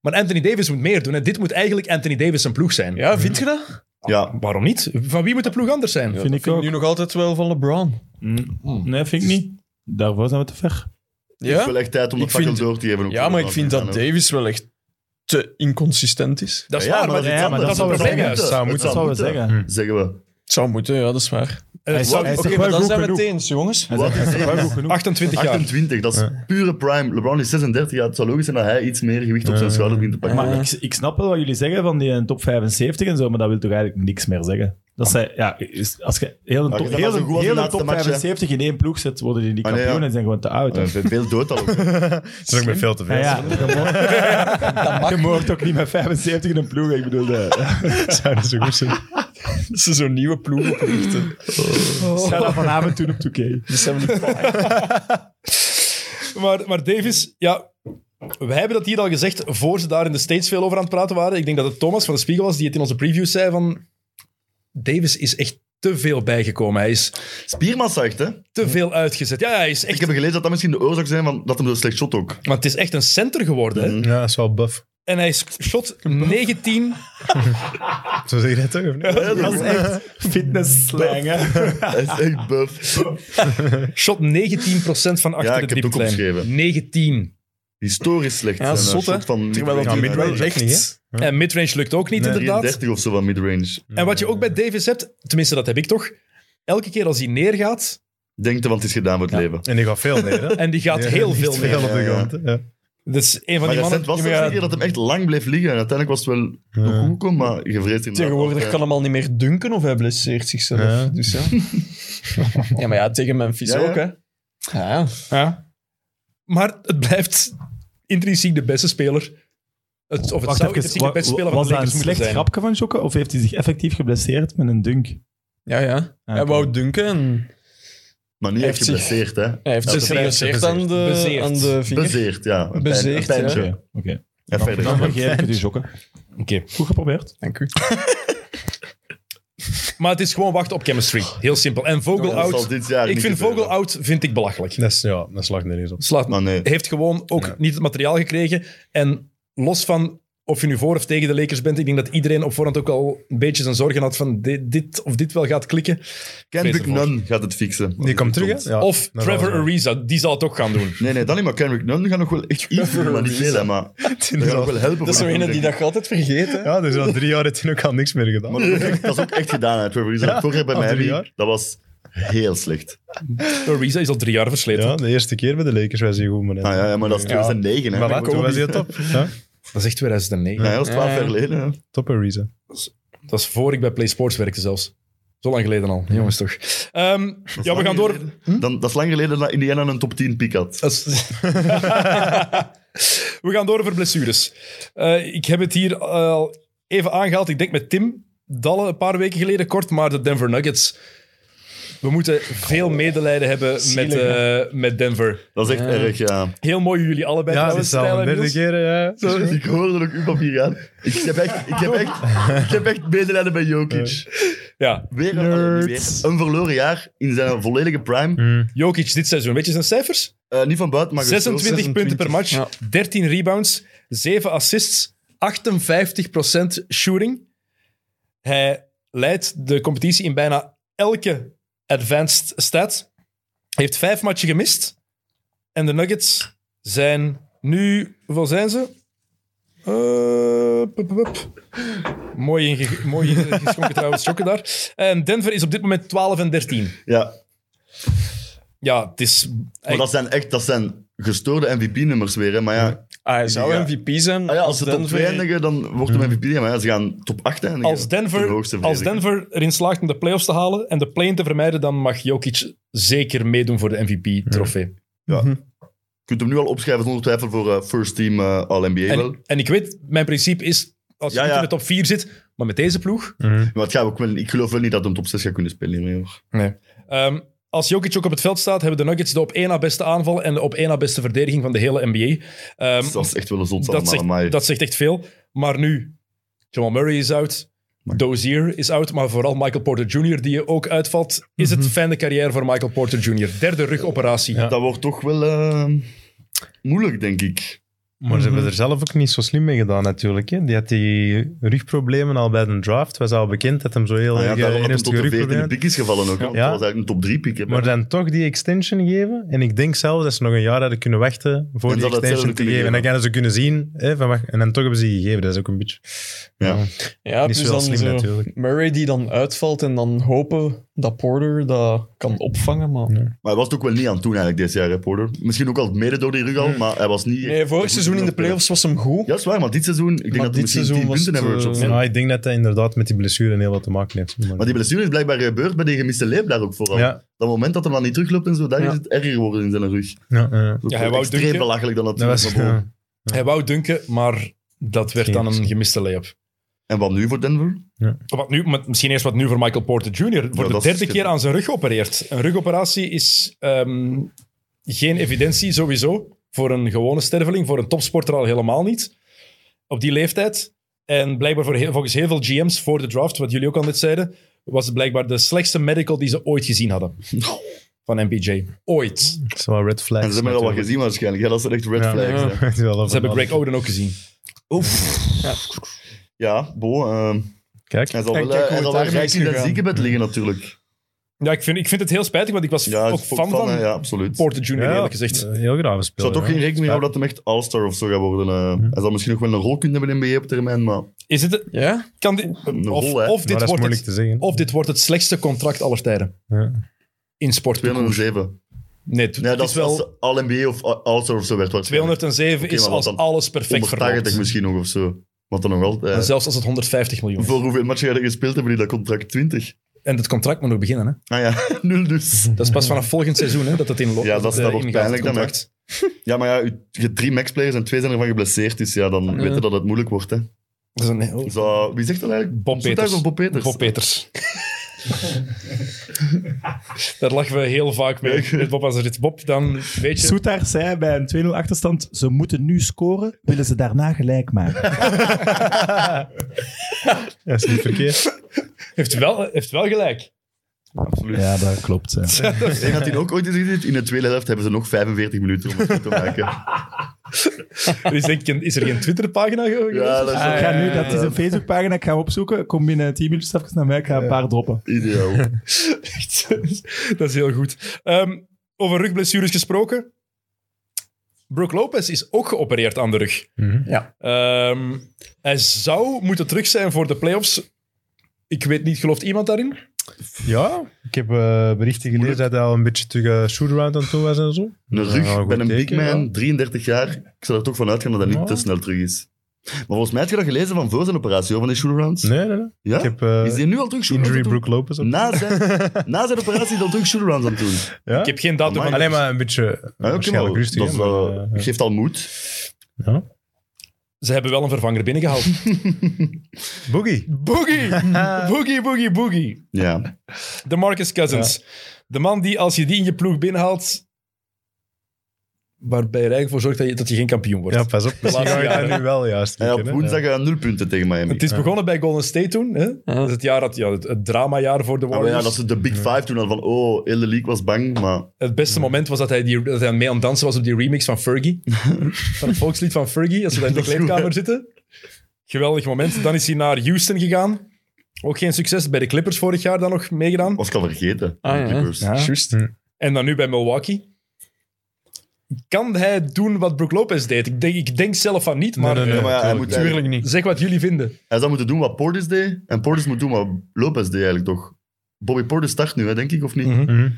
Maar Anthony Davis moet meer doen. En dit moet eigenlijk Anthony Davis zijn ploeg zijn. Hmm. Ja, vind je dat? Ja, Waarom niet? Van wie moet de ploeg anders zijn? vind ik Vind ook. ik nu nog altijd wel van LeBron. Nee, vind ik niet. Daarvoor zijn we te ver. het is wel Ja, echt tijd om de Ik fakkel vind- door te geven. ook ja voor maar ik de vind dat Fransen, hè. Davis wel echt te inconsistent is. Dat is Ja, waar, maar maar, dat is iets Ja, maar anders. dat zou het probleem moeten. juist. Zou moeten. Dat zou we moeten, zeggen. Zeggen we. Het zou moeten, ja, dat is waar. Hij is, zou- hij is Oké, toch maar wel dan goed zijn we genoeg. het eens, jongens. Hij is- hij is toch wel goed genoeg. 28 jaar. 28, dat is pure prime. LeBron is 36, ja, het zou logisch zijn dat hij iets meer gewicht op zijn schouder begint te pakken. Maar ik, ik snap wel wat jullie zeggen van die eh, top 75 en zo, maar dat wil toch eigenlijk niks meer zeggen. Dat zij, ja, is- als je heel een Maar top, je bent heel wel zo een, goed als de heel een laatste top match, hè. 75 in één ploeg zet, worden die niet Ah, nee, kampioen ja. en zijn gewoon te oud. hè. Eh, veel- veel dood al. ook. Dat is ook met veel te veel. Ja, ja, je mocht- je mocht ook niet met 75 in een ploeg, ik bedoel... eh, Zou dat zo goed zijn? Dat ze zo'n nieuwe ploeg oprichten. Ik ga dat vanavond doen op 2K. Die 75. Maar, maar Davis, ja, we hebben dat hier al gezegd voor ze daar in de States veel over aan het praten waren. Ik denk dat het Thomas van de Spiegel was die het in onze preview zei van... Davis is echt te veel bijgekomen. Hij is Spierman zegt, hè. te veel uitgezet. Ja, hij is Ik echt... heb gelezen dat dat misschien de oorzaak zijn van dat hem zo slecht shot ook. Want het is echt een center geworden. hè. Ja, dat is wel buff. En hij is shot 19. Zo zeg je dat toch, of niet? Dat is echt fitness slang, hè. Hij is echt buff. Shot 19 van achter Ja, ik de heb het ook drieplijn. opgeschreven. 19. Historisch slecht. Ja, Zijn, eh, zot, hè. shot van Terwijl dat Ja, die midrange. midrange wel ook niet, hè? echt... En midrange lukt ook niet, inderdaad. 33 of zo van midrange. En wat je ook bij Davis hebt, tenminste dat heb ik toch, elke keer als hij neergaat, Denk er, want het is gedaan met het leven. En die gaat veel neer, hè? en die gaat Ja, heel die veel is neer. op de grond, hè? Ja. Dat is een van Maar die mannen... recent was het een keer dat hem echt lang bleef liggen. En uiteindelijk was het wel nog goed gekomen, maar je vreest inderdaad. Tegenwoordig dat, eh, kan hem al niet meer dunken of hij blesseert zichzelf. Ja. Dus ja. ja, maar ja, tegen Memphis Ja, ja. ook, hè. Ja, ja. Maar het blijft intrinsiek de beste speler. Het, of het Wacht zou even, intrinsiek de beste speler wa- van was de dat een Lakers moeten slecht zijn. grapje van Jokke, of heeft hij zich effectief geblesseerd met een dunk? ja, ja. Hij oké. wou dunken en Maar niet echt Heeft zich- geblesseerd, hè. hij heeft Ja, zich bezeerd, geblesseerd bezeerd. aan de, Bezeerd. aan de vinger. Bezeerd, ja. Een pijn- Bezeerd, een pijntje. Oké, oké. En verder. Dan vergeef ik het u, Jokke. Oké. Goed geprobeerd. Dank u. Maar het is gewoon wachten op chemistry. Heel simpel. En Vogel Dat out. zal dit jaar Ik niet vind gebeuren. Vogel out vind ik belachelijk. Dat is, ja, dat slaat nergens op. Slaat Maar nee. Heeft gewoon ook niet het materiaal gekregen. En los van of je nu voor of tegen de Lakers bent, ik denk dat iedereen op voorhand ook al een beetje zijn zorgen had van dit, dit of dit wel gaat klikken. Kendrick Vrees ervoor. Nunn gaat het fixen. Die komt terug, hè? Ja, of dat was Trevor wel. Ariza, die zal het ook gaan doen. Nee, nee, dan niet. Maar Kendrick Nunn gaat nog wel echt iets doen, maar niet veel, hè. Maar die gaat nog wel helpen. Dat is zo ene die dat je altijd vergeet, hè. Ja, dus al drie jaar heeft hij ook al niks meer gedaan. Maar dat is ook echt, dat is ook echt gedaan, hè, Trevor. Ariza. Ja, Vorig jaar bij al drie mij, jaar. dat was heel slecht. Ariza is al drie jaar versleten. Ja, de eerste keer bij de Lakers was hij goed, maar... Ah, ja, ja, maar dat is 2009, hè. Maar Ja, voilà, toen was hij top. Ja, Dat is echt 2009. dat is 12 Ja. jaar geleden, hè. top Ariza. Dat is voor ik bij Play Sports werkte zelfs. Zo lang geleden al. Jongens toch. Ehm, ja, we gaan door. Dan, dat is lang geleden dat Indiana een top 10 pick had. Dat is- we gaan door over blessures. Eh, ik heb het hier al even aangehaald. Ik denk met Tim Dalle een paar weken geleden kort, maar de Denver Nuggets. We moeten Oh, veel medelijden hebben met, eh, met Denver. Dat is echt erg, ja. Dus Heel mooi jullie allebei Ja, dat trouwens. is al Stijl een en derde Niels. keer, ja. Ik hoorde ook uw papier aan. Ik heb echt, ik heb echt, ik heb echt medelijden bij Jokic. Ja, Weer, weer een verloren jaar in zijn volledige prime. Hm. Jokic dit seizoen. Weet je zijn cijfers? Eh, niet van buiten, maar 26, gespeeld. punten per match, Ja. 13 rebounds, 7 assists, 58% shooting. Hij leidt de competitie in bijna elke advanced stat. Heeft vijf matchen gemist. En de Nuggets zijn nu... Hoeveel zijn ze? Eh, pup, pup, pup. Mooi, inge- mooi ingeschonken trouwens, schokken daar. En Denver is op dit moment 12 en 13. Ja, Ja, het is... maar dat zijn echt dat zijn gestoorde MVP-nummers weer. Hè. Maar ja, Ah, hij zou Ja. MVP zijn. ah ja, als ze top Denver- 2 eindigen, dan wordt hem MVP. Maar ja, ze gaan top 8 eindigen. Hm. Als De Denver, hoogste als verdediger. Denver erin slaagt om de playoffs te halen en de play te vermijden, dan mag Jokic zeker meedoen voor de MVP-trofee. Je kunt hem nu al opschrijven zonder twijfel voor eh, first team eh, All-NBA wel. En, en ik weet, mijn principe is als je Ja, niet ja. in de top 4 zit, maar met deze ploeg. Maar het gaat ook wel, ik geloof wel niet dat hij op top 6 gaat kunnen spelen hiermee, hoor. Ehm, als Jokic ook op het veld staat, hebben de Nuggets de op één na beste aanval en de op één na beste verdediging van de hele NBA. Ehm, Dus dat is echt wel een zot dat, allemaal, maar zegt, dat zegt echt veel. Maar nu, Jamal Murray is out. Dozier is out, maar vooral Michael Porter Jr., die ook uitvalt. Is Mhm. het fijne carrière voor Michael Porter Jr.? Derde rugoperatie. dat wordt toch wel eh, moeilijk, denk ik. Maar ze hebben er zelf ook niet zo slim mee gedaan, natuurlijk. Hè. Die had die rugproblemen al bij de draft. Was al bekend dat hem zo Oh, heel Ah ja, erg, eh, daarom dat hij tot ernstige de rugproblemen 14e had. pick is gevallen ook. hè. Want Ja. Dat was eigenlijk een top 3 pick. hè. Maar dan toch die extension geven. En ik denk zelfs dat ze nog een jaar hadden kunnen wachten voor En die dat het extension zelf te kunnen geven. En dan geven. kunnen ze kunnen zien. Hè, van, wacht, en dan toch hebben ze die gegeven. Dat is ook een beetje... Ja. Ja, Niet dus zo dan slim, zo natuurlijk. Murray die dan uitvalt en dan hopen dat Porter dat kan opvangen, maar... Maar hij was het ook wel niet aan toen eigenlijk deze jaar, hè, Porter. Misschien ook al mede door die rug al, maar hij was niet... Nee, vorig seizoen in de playoffs was hem goed. Ja, is waar, maar dit seizoen... Ik denk Maar dat hij dit misschien seizoen 10 was het, punten average eh, of zo. Ja. Ja, ik denk dat dat inderdaad met die blessure heel wat te maken heeft. Maar die blessure is blijkbaar gebeurd bij die gemiste leefdag ook vooral. Ja. Dat moment dat hij dan niet terugloopt en zo, daar is het erger geworden in zijn rug. Ja, ja. Dat Ja, ja, hij wou extreem dunken. belachelijk dan dat Dat was... was naar boven. ja. Hij wou dunken, maar dat werd Geen dan een optie. gemiste layup. En wat nu voor Denver? Wat nu, maar misschien eerst wat nu voor Michael Porter Jr. Ja, Voor de dat is derde keer aan zijn rug geopereerd. Een rugoperatie is ehm, geen evidentie sowieso. Voor een gewone sterveling, voor een topsporter al helemaal niet. Op die leeftijd. En blijkbaar voor heel- volgens heel veel GM's voor de draft, wat jullie ook al net zeiden, was het blijkbaar de slechtste medical die ze ooit gezien hadden. Van MPJ. Ooit. Ze Het is wel red flags. En ze hebben er al wat gezien waarschijnlijk. Ja, dat zijn echt red Ja. flags. hè. gezien. hebben Greg Oden ook gezien. Ja, Bo, ehm, Kijk. hij zal En wel, kijk hoe eh, hij het zal wel daarmee rijk is in dat gegaan. ziekenbed liggen natuurlijk. Ja, ik vind, ik vind het heel spijtig, want ik was Ja, ook is fan van hè, ja, absoluut. Porter Jr. Ja, eerlijk gezegd. eh, Heel graag Ik zou spelen. toch geen rekening mee houden dat hij echt all-star of zo gaat worden. eh. Hij zal misschien nog wel een rol kunnen hebben in NBA op termijn, maar... Is het, Ja? kan dit, Een of, rol, hè. of dit dat is wordt moeilijk het, te zeggen. Of dit wordt het slechtste contract aller tijden. Ja. In sport. 207. Nee, het- Nee, het dat is is wel... wel All-NBA of All-Star of zo werd. waarschijnlijk. 207 Oké, is maar wat als dan? alles perfect 180 verloopt. misschien nog of zo. Want dan nog altijd. En zelfs als het 150 miljoen is. Voor hoeveel matchen ga je gespeeld hebben in dat contract? 20? En het contract moet nog beginnen. Hè? Ah ja, nul dus. Dat is pas vanaf volgend seizoen hè, dat het in loopt. Ja, dat is- dat eh, wordt ingaat, pijnlijk het dan, hè. contract. Ja, maar ja, je- je hebt drie maxplayers en twee zijn ervan geblesseerd. Dus ja, dan weten dat het moeilijk wordt. Hè. Dat is een- oh, Dus, eh, wie zegt dat eigenlijk? Bob Zoethuis Peters. of Bob Peters? Bob Peters. Daar lachen we heel vaak mee. Met Bob, als er iets Bob, dan weet je... Soetar zei bij een 2-0 achterstand, ze moeten nu scoren, willen ze daarna gelijk maken. Ja, is niet verkeerd. Heeft wel, heeft wel gelijk. Absoluut. Ja, dat klopt. ja. Ik denk dat hij ook ooit is gezien. In de tweede helft hebben ze nog 45 minuten om het goed te maken. Er is, denk ik een- is er geen Twitterpagina geweest? Ja, dat is Ik ga nu, dat is eh, een Facebookpagina, ik ga hem opzoeken. Kom binnen 10 minuten even naar mij, ik ga een paar droppen. Ideaal. Echt, dat is heel goed. Ehm, over rugblessures gesproken. Brook Lopez is ook geopereerd aan de rug. Ja. Ehm, hij zou moeten terug zijn voor de playoffs. Ik weet niet, gelooft iemand daarin? Ja, ik heb eh, berichten gelezen dat hij al een beetje tegen shoot-around aan toe was en zo. Een rug Ja, goed bij een big teken, man, ja. 33 jaar. Ik zou er toch van uitgaan dat dat niet Ja. te snel terug is. Maar volgens mij had je dat gelezen van voor zijn operatie, hoor, van die shootarounds. Nee, nee, nee. Ja? Ik heb eh, is die nu al terug shootarounds injury aan het Brook Lopez op. doen? na zijn, na zijn operatie is hij al terug shootarounds aan het doen. Ja? Ik heb geen datum Amai. van... Alleen maar een beetje eh, Ah, Ja, oké, maar waarschijnlijk rustig. dat is hè, maar, wel- eh, geeft al moed. ja. Ze hebben wel een vervanger binnengehaald. Boogie. boogie! Boogie, boogie, boogie. Ja. De Marcus Cousins. De man die, als je die in je ploeg binnenhaalt... Waarbij je er eigenlijk voor zorgt dat je, dat je geen kampioen wordt. Ja, pas op. Misschien laatste ga ik jaren. dat nu wel juist Hij had likken, hè. woensdag eh, nul punten tegen Miami. Het is begonnen bij Golden State toen. Hè? Dat is het, jaar dat, ja, het, het dramajaar voor de Ah, maar Warriors. ja, dat ze de Big Five toen hadden van, oh, hele league was bang, maar Het beste moment was dat hij, die, dat hij mee aan het dansen was op die remix van Fergie. van het volkslied van Fergie, als we daar in de Dat is goed, kleedkamer zitten. Geweldig moment. Dan is hij naar Houston gegaan. Ook geen succes. Bij de Clippers vorig jaar dan nog meegedaan. was ik al vergeten. Ah, ja. Clippers. Ja. Juist. En dan nu bij Milwaukee. Kan hij doen wat Brook Lopez deed? Ik denk, ik denk zelf van niet, maar eh, Nee, nee, Ja, nee. maar ja, hij, moet, hij, Tuurlijk niet. zeg wat jullie vinden. hij zou moeten doen wat Portis deed, en Portis moet doen wat Lopez deed eigenlijk toch. Bobby Portis start nu, hè, denk ik, of niet? Mhm. Mhm. Ik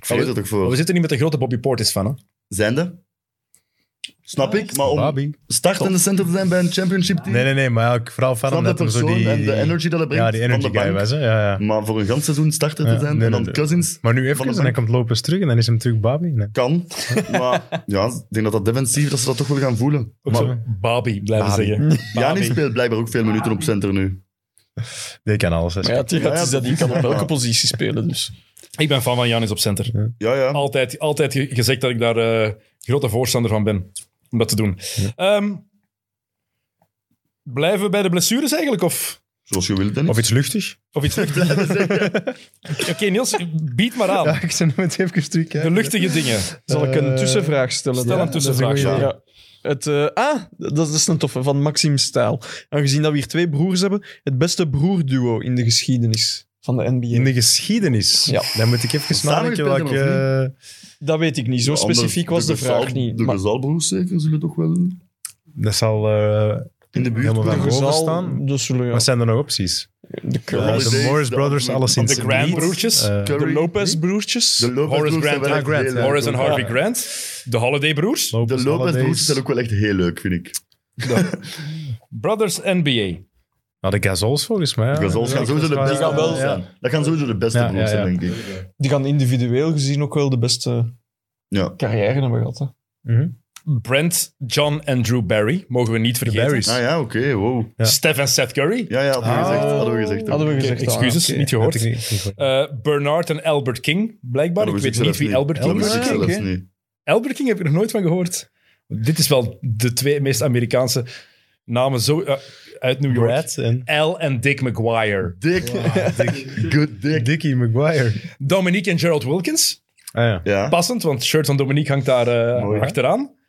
vrees er toch Maar we voor. zitten niet met de grote Bobby Portis van. Hè? Zijnde? Snap ik? Maar om Babi. startende center te zijn bij een championship team... Nee, nee, nee, maar ja, vooral verder Snap de omdat er zo persoon die... en de energy dat hij brengt Ja, die energy van de guy bank. was, hè. Ja, ja. Maar voor een gans seizoen starter Ja, te zijn nee, en nee, dan nee. Cousins... Maar nu Van even, de en dan bank. komt Lopez terug en dan is hem terug Babi. Nee. Kan. Maar ja, ik denk dat dat defensief, dat ze dat toch wel gaan voelen. Ook zo, Babi, blijven zeggen. Jani speelt blijkbaar ook veel minuten op center nu. Die kan alles. hè. Maar ja, het Ja, ja, is dat die kan op welke positie spelen, dus. Ik ben fan van Janis op center. Ja, ja. Altijd, altijd ge- gezegd dat ik daar eh, grote voorstander van ben. Om dat te doen. Ehm, blijven we bij de blessures eigenlijk? Of, Zoals je wilt, Dennis. Of iets luchtig. of iets Oké, Niels, bied maar aan. ik ben met even terug. De luchtige dingen. Zal ik een Eh, tussenvraag stellen? stel een dat is tussenvraag, goeie. ja. Ja. Het, eh, ah, dat is een toffe, van Maxim Staal. Aangezien dat we hier twee broers hebben, het beste broerduo in de geschiedenis van de NBA. In de geschiedenis. Ja. Dan moet ik even nadenken gespeeld welke... Dat weet ik niet, zo specifiek was de, vraag niet. De maar- Gezalbroers zeker zullen toch wel in Dat zal eh, de buurt helemaal blijven. van boven Gezal, staan. dus zullen, ja, Wat zijn er nog opties? de Eh, Curry, Holiday, de Morris de- Brothers, de- alleszins. de Grant broertjes. Eh, Curry. de Lopez-broertjes. De Lopez Horace broers zijn Grant, wel ja, echt Grant, heel ja. leuk. Horace en Harvey Ja. Grant. De Holiday Broers. De Lopez Holidays. broers zijn ook wel echt heel leuk, vind ik. Brothers NBA. Nou, de Gazols volgens mij. ja. Gazals gaan sowieso de dat beste gaan wel- broers zijn. Dat gaan sowieso de beste Ja, broers ja, ja. zijn, denk ik. Die gaan individueel gezien ook wel de beste Ja. carrière hebben gehad. hè. Mhm. Brent, John en Drew Barry. Mogen we niet vergeten. Barrys. Ah ja, oké, wow. Ja. Steph en Seth Curry. Ja, ja, hadden we Ah. gezegd. Hadden we gezegd. Hadden we ook. gezegd. al, Excuses, oké. niet gehoord. Heb ik niet- niet gehoord. Eh, Bernard en Albert King, blijkbaar. Dat ik Oh, wist weet ik niet zelf wie niet. Albert Dat King wist is. ik Ah, zelfs oké. niet. Albert King heb ik er nooit van gehoord. Dit is wel de twee meest Amerikaanse namen zo, eh, uit New York. Brad en Al en Dick McGuire. Dick. Ah, Good dick. Dickie Maguire. Dominique en Gerald Wilkins. Ah ja. Ja. Passend, want het shirt van Dominique hangt daar eh, Mooi, hè? achteraan.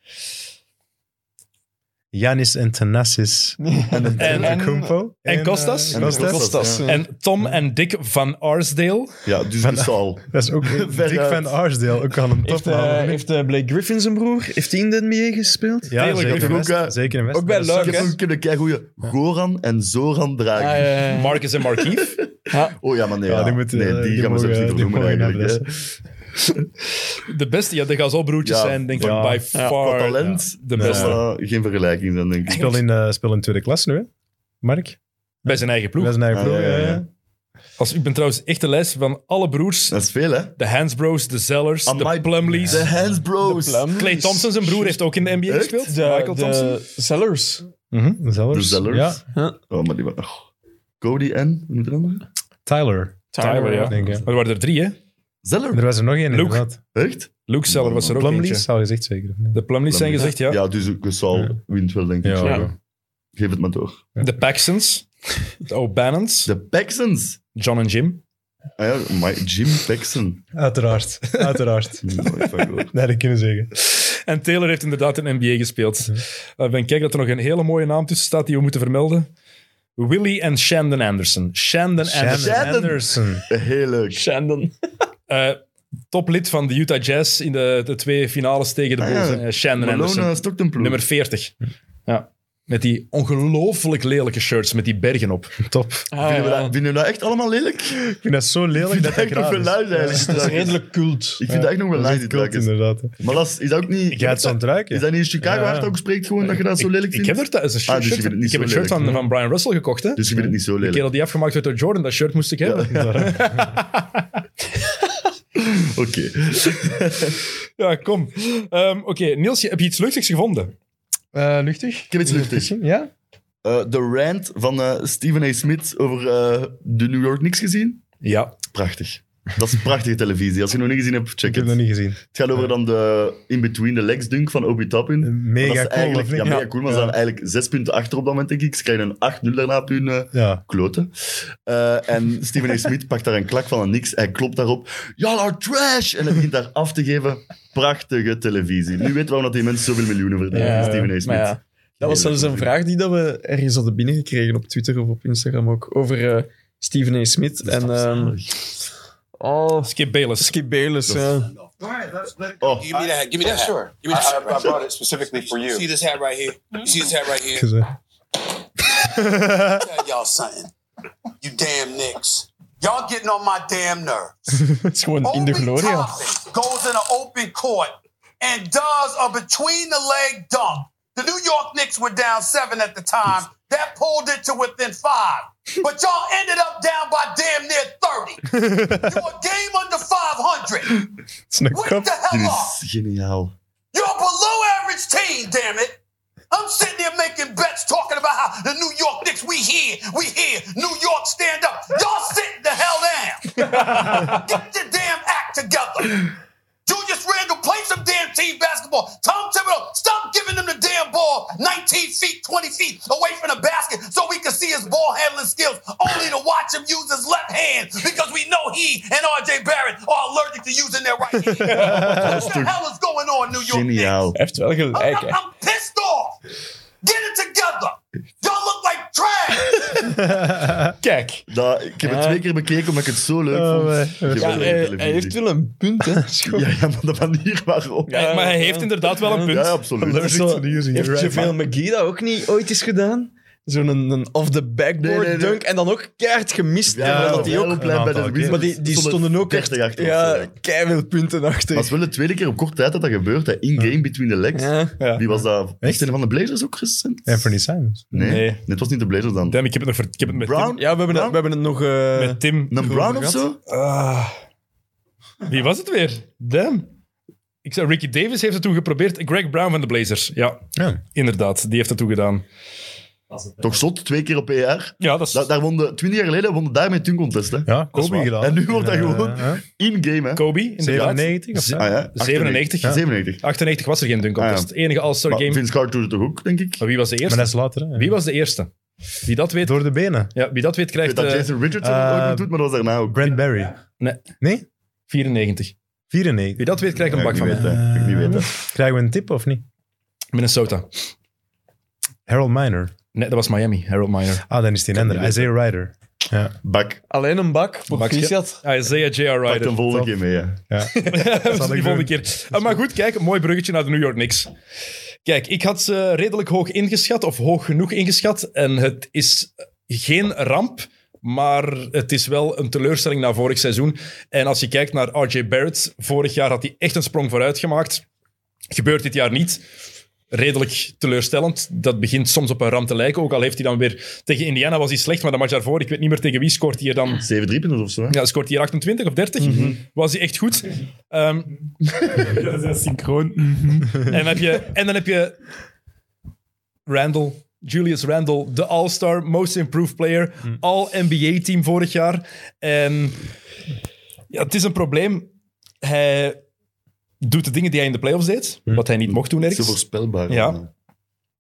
Janis en Thanasis. En, En, en, Kumpo. en Kostas. eh, En Kostas. Kostas, ja. Tom en Dick van Arsdale. ja, dus de Saal. Dat is ook Ver Dick uit. van Arsdale. Ook aan hem Heeft, top eh, heeft eh, Blake Griffin zijn broer, heeft hij in de NBA gespeeld? Ja, Taylor zeker in Griffin ook, West. eh, Zeker in West. ook bij Dat is- Leuk, Ik heb hè? ook kunnen kijken Goran en Zoran dragen. Ah, ja, ja, ja. Marcus en Markief. Oh ja, maar nee, Ja, ja. die moeten, nee, eh, die, die gaan we zelfs mogen- niet die vernoemen mogen eigenlijk. hebben, hè. De beste, ja, de Gazalbroertjes Ja. zijn denk ik Ja. by Ja. far eh, Qua talent, de Dat is beste. wel geen vergelijking dan, denk ik. Speel in, eh, speel in tweede klas nu, hè? Mark? Bij zijn eigen ploeg. Dat is een eigen Ah, ploeg. eh, ja, ja, ja, ja. ja. Als, ik ben trouwens echt de lijst van alle broers. Dat is veel, hè? De Hans Bros, de Zellers, de Amai, Plumleys. De Hands Bros. Plum. Clay Thompson, zijn broer, heeft ook in de NBA Echt? gespeeld. De, Michael Thompson. de Sellers. Mhm, De Zellers. Zellers. Ja, Oh, maar die waren... oh. Cody en... Hoe moet dat nou? Tyler. Tyler, ja. Denk, ik, ja. Maar er waren er drie, hè? Zeller. Er was er nog één, Luke. inderdaad. Echt? Luke Zeller was er ook eentje. Plumlees, zou je gezegd zeker. of niet? De Plumleys zijn gezegd, ja. Ja, dus ook de Saal wint wel, denk ik. Ja. Ja. Geef het maar door. De Paxons, de O'Bannons, De Paxons. John en Jim. Ah ja, my Jim Paxson. Hmm, Uiteraard. Uiteraard. Nooit van gehoord. Nee, dat kunnen we zeggen. En Taylor heeft inderdaad in de NBA gespeeld. Eh, Ik ben kijk dat er nog een hele mooie naam tussen staat die we moeten vermelden. Willie en Shandon Anderson. Shandon Anderson. Shannon. Anderson. Heel leuk. Shandon. Eh, toplid van de Utah Jazz in de, de twee finales tegen de Ah, Bulls. ja. eh, Shandon Malone Anderson. eh, Stockton ploeg. Nummer 40. Ja. Met die ongelooflijk lelijke shirts met die bergen op. Top. Ah, Vinden, we ja. dat, vinden we dat echt allemaal lelijk? Ik vind dat zo Ik lelijk vind dat dat dat echt nog graag wel is. luid eigenlijk. Dat is redelijk cult. Ik vind dat echt nog wel Dat is luid. echt die cult, truitjes. inderdaad. Maar Las, is dat ook niet... Ik ga het zo aan het ruiken. Is dat niet in Chicago Ja. hard ook spreekt gewoon dat je dat zo lelijk Ik vindt? heb er thuis een shirt, Ah, dus je vindt het niet ik heb zo een shirt van, lelijk. van Brian Russell gekocht. Hè? Dus je vindt het niet zo de lelijk. kerel die afgemaakt werd door Jordan, dat shirt moest ik hebben. Ja, Oké. kom. Ehm, Oké, Niels, je- heb je iets luchtigs gevonden? Eh, luchtig? Ik heb iets luchtigs. Ja? Eh, de rant van eh, Stephen A. Smith over eh, de New York Knicks gezien? Ja. Prachtig. Dat is prachtige televisie. Als je het nog niet gezien hebt, check Ik heb het. dat niet gezien. Het gaat over dan de in-between the legs dunk van Obi Toppin. Maar dat Mega is cool, of eigenlijk, niet? ja, mega cool, maar ze staan eigenlijk zes punten achter op dat moment, denk ik. Ze krijgen een 8-0 daarna op hun eh, Ja. kloten. Eh, en Stephen A. Smith pakt daar een klak van een niks. Hij klopt daarop. Y'all are trash! En hij begint daar af te geven. Prachtige televisie. Nu weten we waarom dat die mensen zoveel miljoenen verdienen. Ja, Stephen A. Smith. maar ja. Dat was zelfs een vraag die dat we ergens hadden binnengekregen op Twitter of op Instagram ook. Over eh, Stephen A. Smith en... ehm oh, Skip Bayless. Skip Bayless. ja. Oh, Give me that. Give me that. sure. Give me that. I, I brought it specifically for you. See this hat right here. You see this hat right here. eh, Tell y'all something. You damn nicks. Y'all getting on my damn nerves. Oh Het is gewoon in de Obi gloria. Toppin goes in an open court and does a between the leg dunk. The New York Knicks were down seven at the time. That pulled it to within five. But y'all ended up down by damn near 30. You're a game under 500. is een Wake kop. the Dit hell up. is geniaal. You're a below average team, damn it. I'm sitting there making bets talking about how the New York Knicks, we here, we here. New York, stand up. Y'all sit the hell down. Get your damn act together. Julius Randle, play some damn team basketball. Tom Thibodeau, stop giving him the damn ball 19 feet, 20 feet away from the basket so we can see his ball handling skills, only to watch him use his left hand because we know he and RJ Barrett are allergic to using their right hand. what the hell is going on, New York Knicks? Geniaal. heeft wel Ah, gelijk, I'm, hè. I'm pissed off. Get it together. Y'all look like trash. Kijk. Dat, ik heb het twee keer bekeken omdat ik het zo leuk vond. Geweldige Ja, hij, hij televisie. heeft wel een punt, hè. Schot. ja, ja, maar de manier waarop. Ja, maar hij heeft inderdaad wel een punt. ja absoluut. Zo, to using Heeft your right Javale McGee dat ook niet ooit eens gedaan? Zo'n een, een off-the-backboard Nee, nee, nee. dunk en dan ook keihard gemist. Ja, terwijl dat die ook, heel klein bij de Maar Wizards maar die, die stonden ook echt 30 achter. of zo, ja, ja. keihard punten Maar achter. het is wel de tweede keer op korte tijd dat dat gebeurt. hè. In-game between the legs. Ja. Wie was dat? Echt? Echt? Een van de Blazers ook recent? Anthony Simons. Nee. Nee. nee, het was niet de Blazers dan. Damn, ik heb het, nog ver- ik heb het met Brown? Ja, we hebben, het, we hebben het nog... eh, Tim. Met Tim Ah. Een Brown of zo? Wie was het weer? Damn. Ik zei, Ricky Davis heeft het toen geprobeerd. Greg Brown van de Blazers. Ja, Ja. inderdaad. Die heeft het toen gedaan. Toch zot, twee keer op ER. Ja, dat is... Da daar won de, 20 jaar geleden won de daarmee toen contest. Hè. Ja, Dat is Kobe waar. gedaan. En nu wordt hij Eh, gewoon eh, In-game, hè? Kobe, inderdaad. 97 of zo. Ah, ja. 97, ja. 97. 98 was er geen dunk contest. Ah, Enige All-Star Maar game. Oh, Vince Carter doet het toch ook, denk ik? Maar wie was de Maar eerste? dat is later, hè. Wie was de eerste? Wie dat weet, Door de benen. ja, wie dat weet Ik weet krijgt dat eh, Jason Richardson het eh, ooit nog doet, maar dat was daarna ook. Brent Barry. Nee. Nee? 94. 94. Wie dat weet krijgt een Ja, bak ik van niet mij. weten. Ik niet weten. Eh, Krijgen we een tip of niet? Minnesota. Harold Miner. Nee, dat was Miami. Harold Miner. Ah, dan is die een ander. Isaiah Ryder. Ja. Bak, Alleen een bak, bakje. proficiat. Ah, Isaiah J.R. pak Ryder. de volgende keer mee. hè. dat is zal de ik volgende doen. keer. Eh, maar goed, kijk, mooi bruggetje naar de New York Knicks. Kijk, ik had ze redelijk hoog ingeschat, of hoog genoeg ingeschat. En het is geen ramp, maar het is wel een teleurstelling na vorig seizoen. En als je kijkt naar RJ Barrett, vorig jaar had hij echt een sprong vooruit gemaakt. Gebeurt dit jaar niet. Redelijk teleurstellend. Dat begint soms op een ramp te lijken. Ook al heeft hij dan weer... Tegen Indiana was hij slecht, maar de match daarvoor, ik weet niet meer tegen wie, scoort hij er dan 7 driepunten of zo. hè? ja, scoort hij hier 28 of 30? Mhm. Was hij echt goed? Ehm, Dat is synchroon. en, dan heb je, en dan heb je Randall, Julius Randall, de All-Star, Most Improved Player, All-NBA-team vorig jaar. En ja, het is een probleem. Hij doet de dingen die hij in de playoffs deed, wat hij niet mocht doen Zo ergens. voorspelbaar. Ja. man.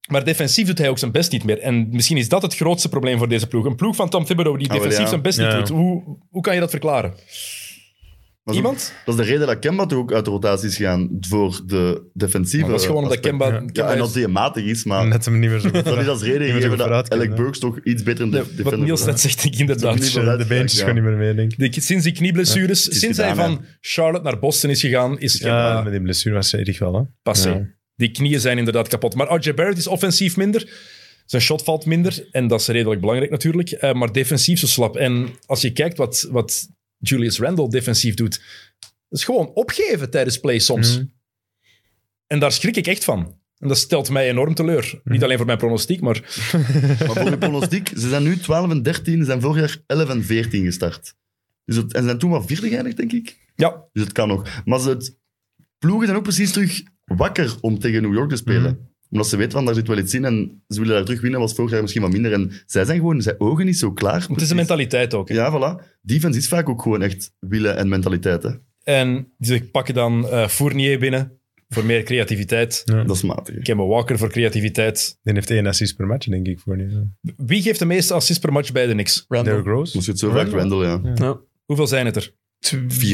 Maar defensief doet hij ook zijn best niet meer. En misschien is dat het grootste probleem voor deze ploeg. Een ploeg van Tom Thibodeau die wel, defensief ja. zijn best niet Ja. doet. Hoe, hoe kan je dat verklaren? Dat is ook- Iemand? Dat is de reden dat Kemba toch ook uit de rotatie is gegaan voor de defensieve. Dat is gewoon omdat aspect. Kemba... Ja. Kemba Mm. Ja, en is- dat die matig is, maar Net hem niet meer zo goed. dat is als reden meer gegeven zo vooruit dat kunnen, Alec hè. Burks toch iets beter in de Ja, defensive wat Niels net zegt, ik inderdaad. niet De beentjes Ja. gaan niet meer mee, denk ik. De- sinds die knieblessures, is sinds hij gedaan, van Charlotte naar Boston is gegaan, is Ja, Kemba met die blessure was hij erg wel, hè. passé. ja. Die knieën zijn inderdaad kapot. Maar RJ Barrett is offensief minder. Zijn shot valt minder. En dat is redelijk belangrijk natuurlijk. Eh, maar defensief zo slap. En als je kijkt wat, wat Julius Randle defensief doet, dat is gewoon opgeven tijdens play soms. Mhm. En daar schrik ik echt van. En dat stelt mij enorm teleur. Mhm. Niet alleen voor mijn pronostiek, maar Maar voor uw pronostiek, ze zijn nu 12 en 13, ze zijn vorig jaar 11 en 14 gestart. Dus het, en ze zijn toen maar vierde geëindigd, denk ik. ja, Dus het kan nog. Maar ze, het, ploegen zijn ook precies terug wakker om tegen New York te spelen. Mhm. Omdat ze weten van daar zit wel iets in en ze willen daar terug winnen, was vorig jaar misschien wat minder. En zij zijn gewoon, zijn ogen niet zo klaar. het is een mentaliteit ook. hè. Ja, voilà. Defense is vaak ook gewoon echt willen en mentaliteit. Hè. En ze pakken dan eh, Fournier binnen voor meer creativiteit. Dat is matig. hè. Kemba Walker voor creativiteit. Die heeft één assist per match, denk ik, voor nu. ja. Wie geeft de meeste assists per match bij de Knicks? Derrick Randall. Rose. Als je het zo vraagt, Randall, ja. 4,5 Ja. Hoeveel zijn het er?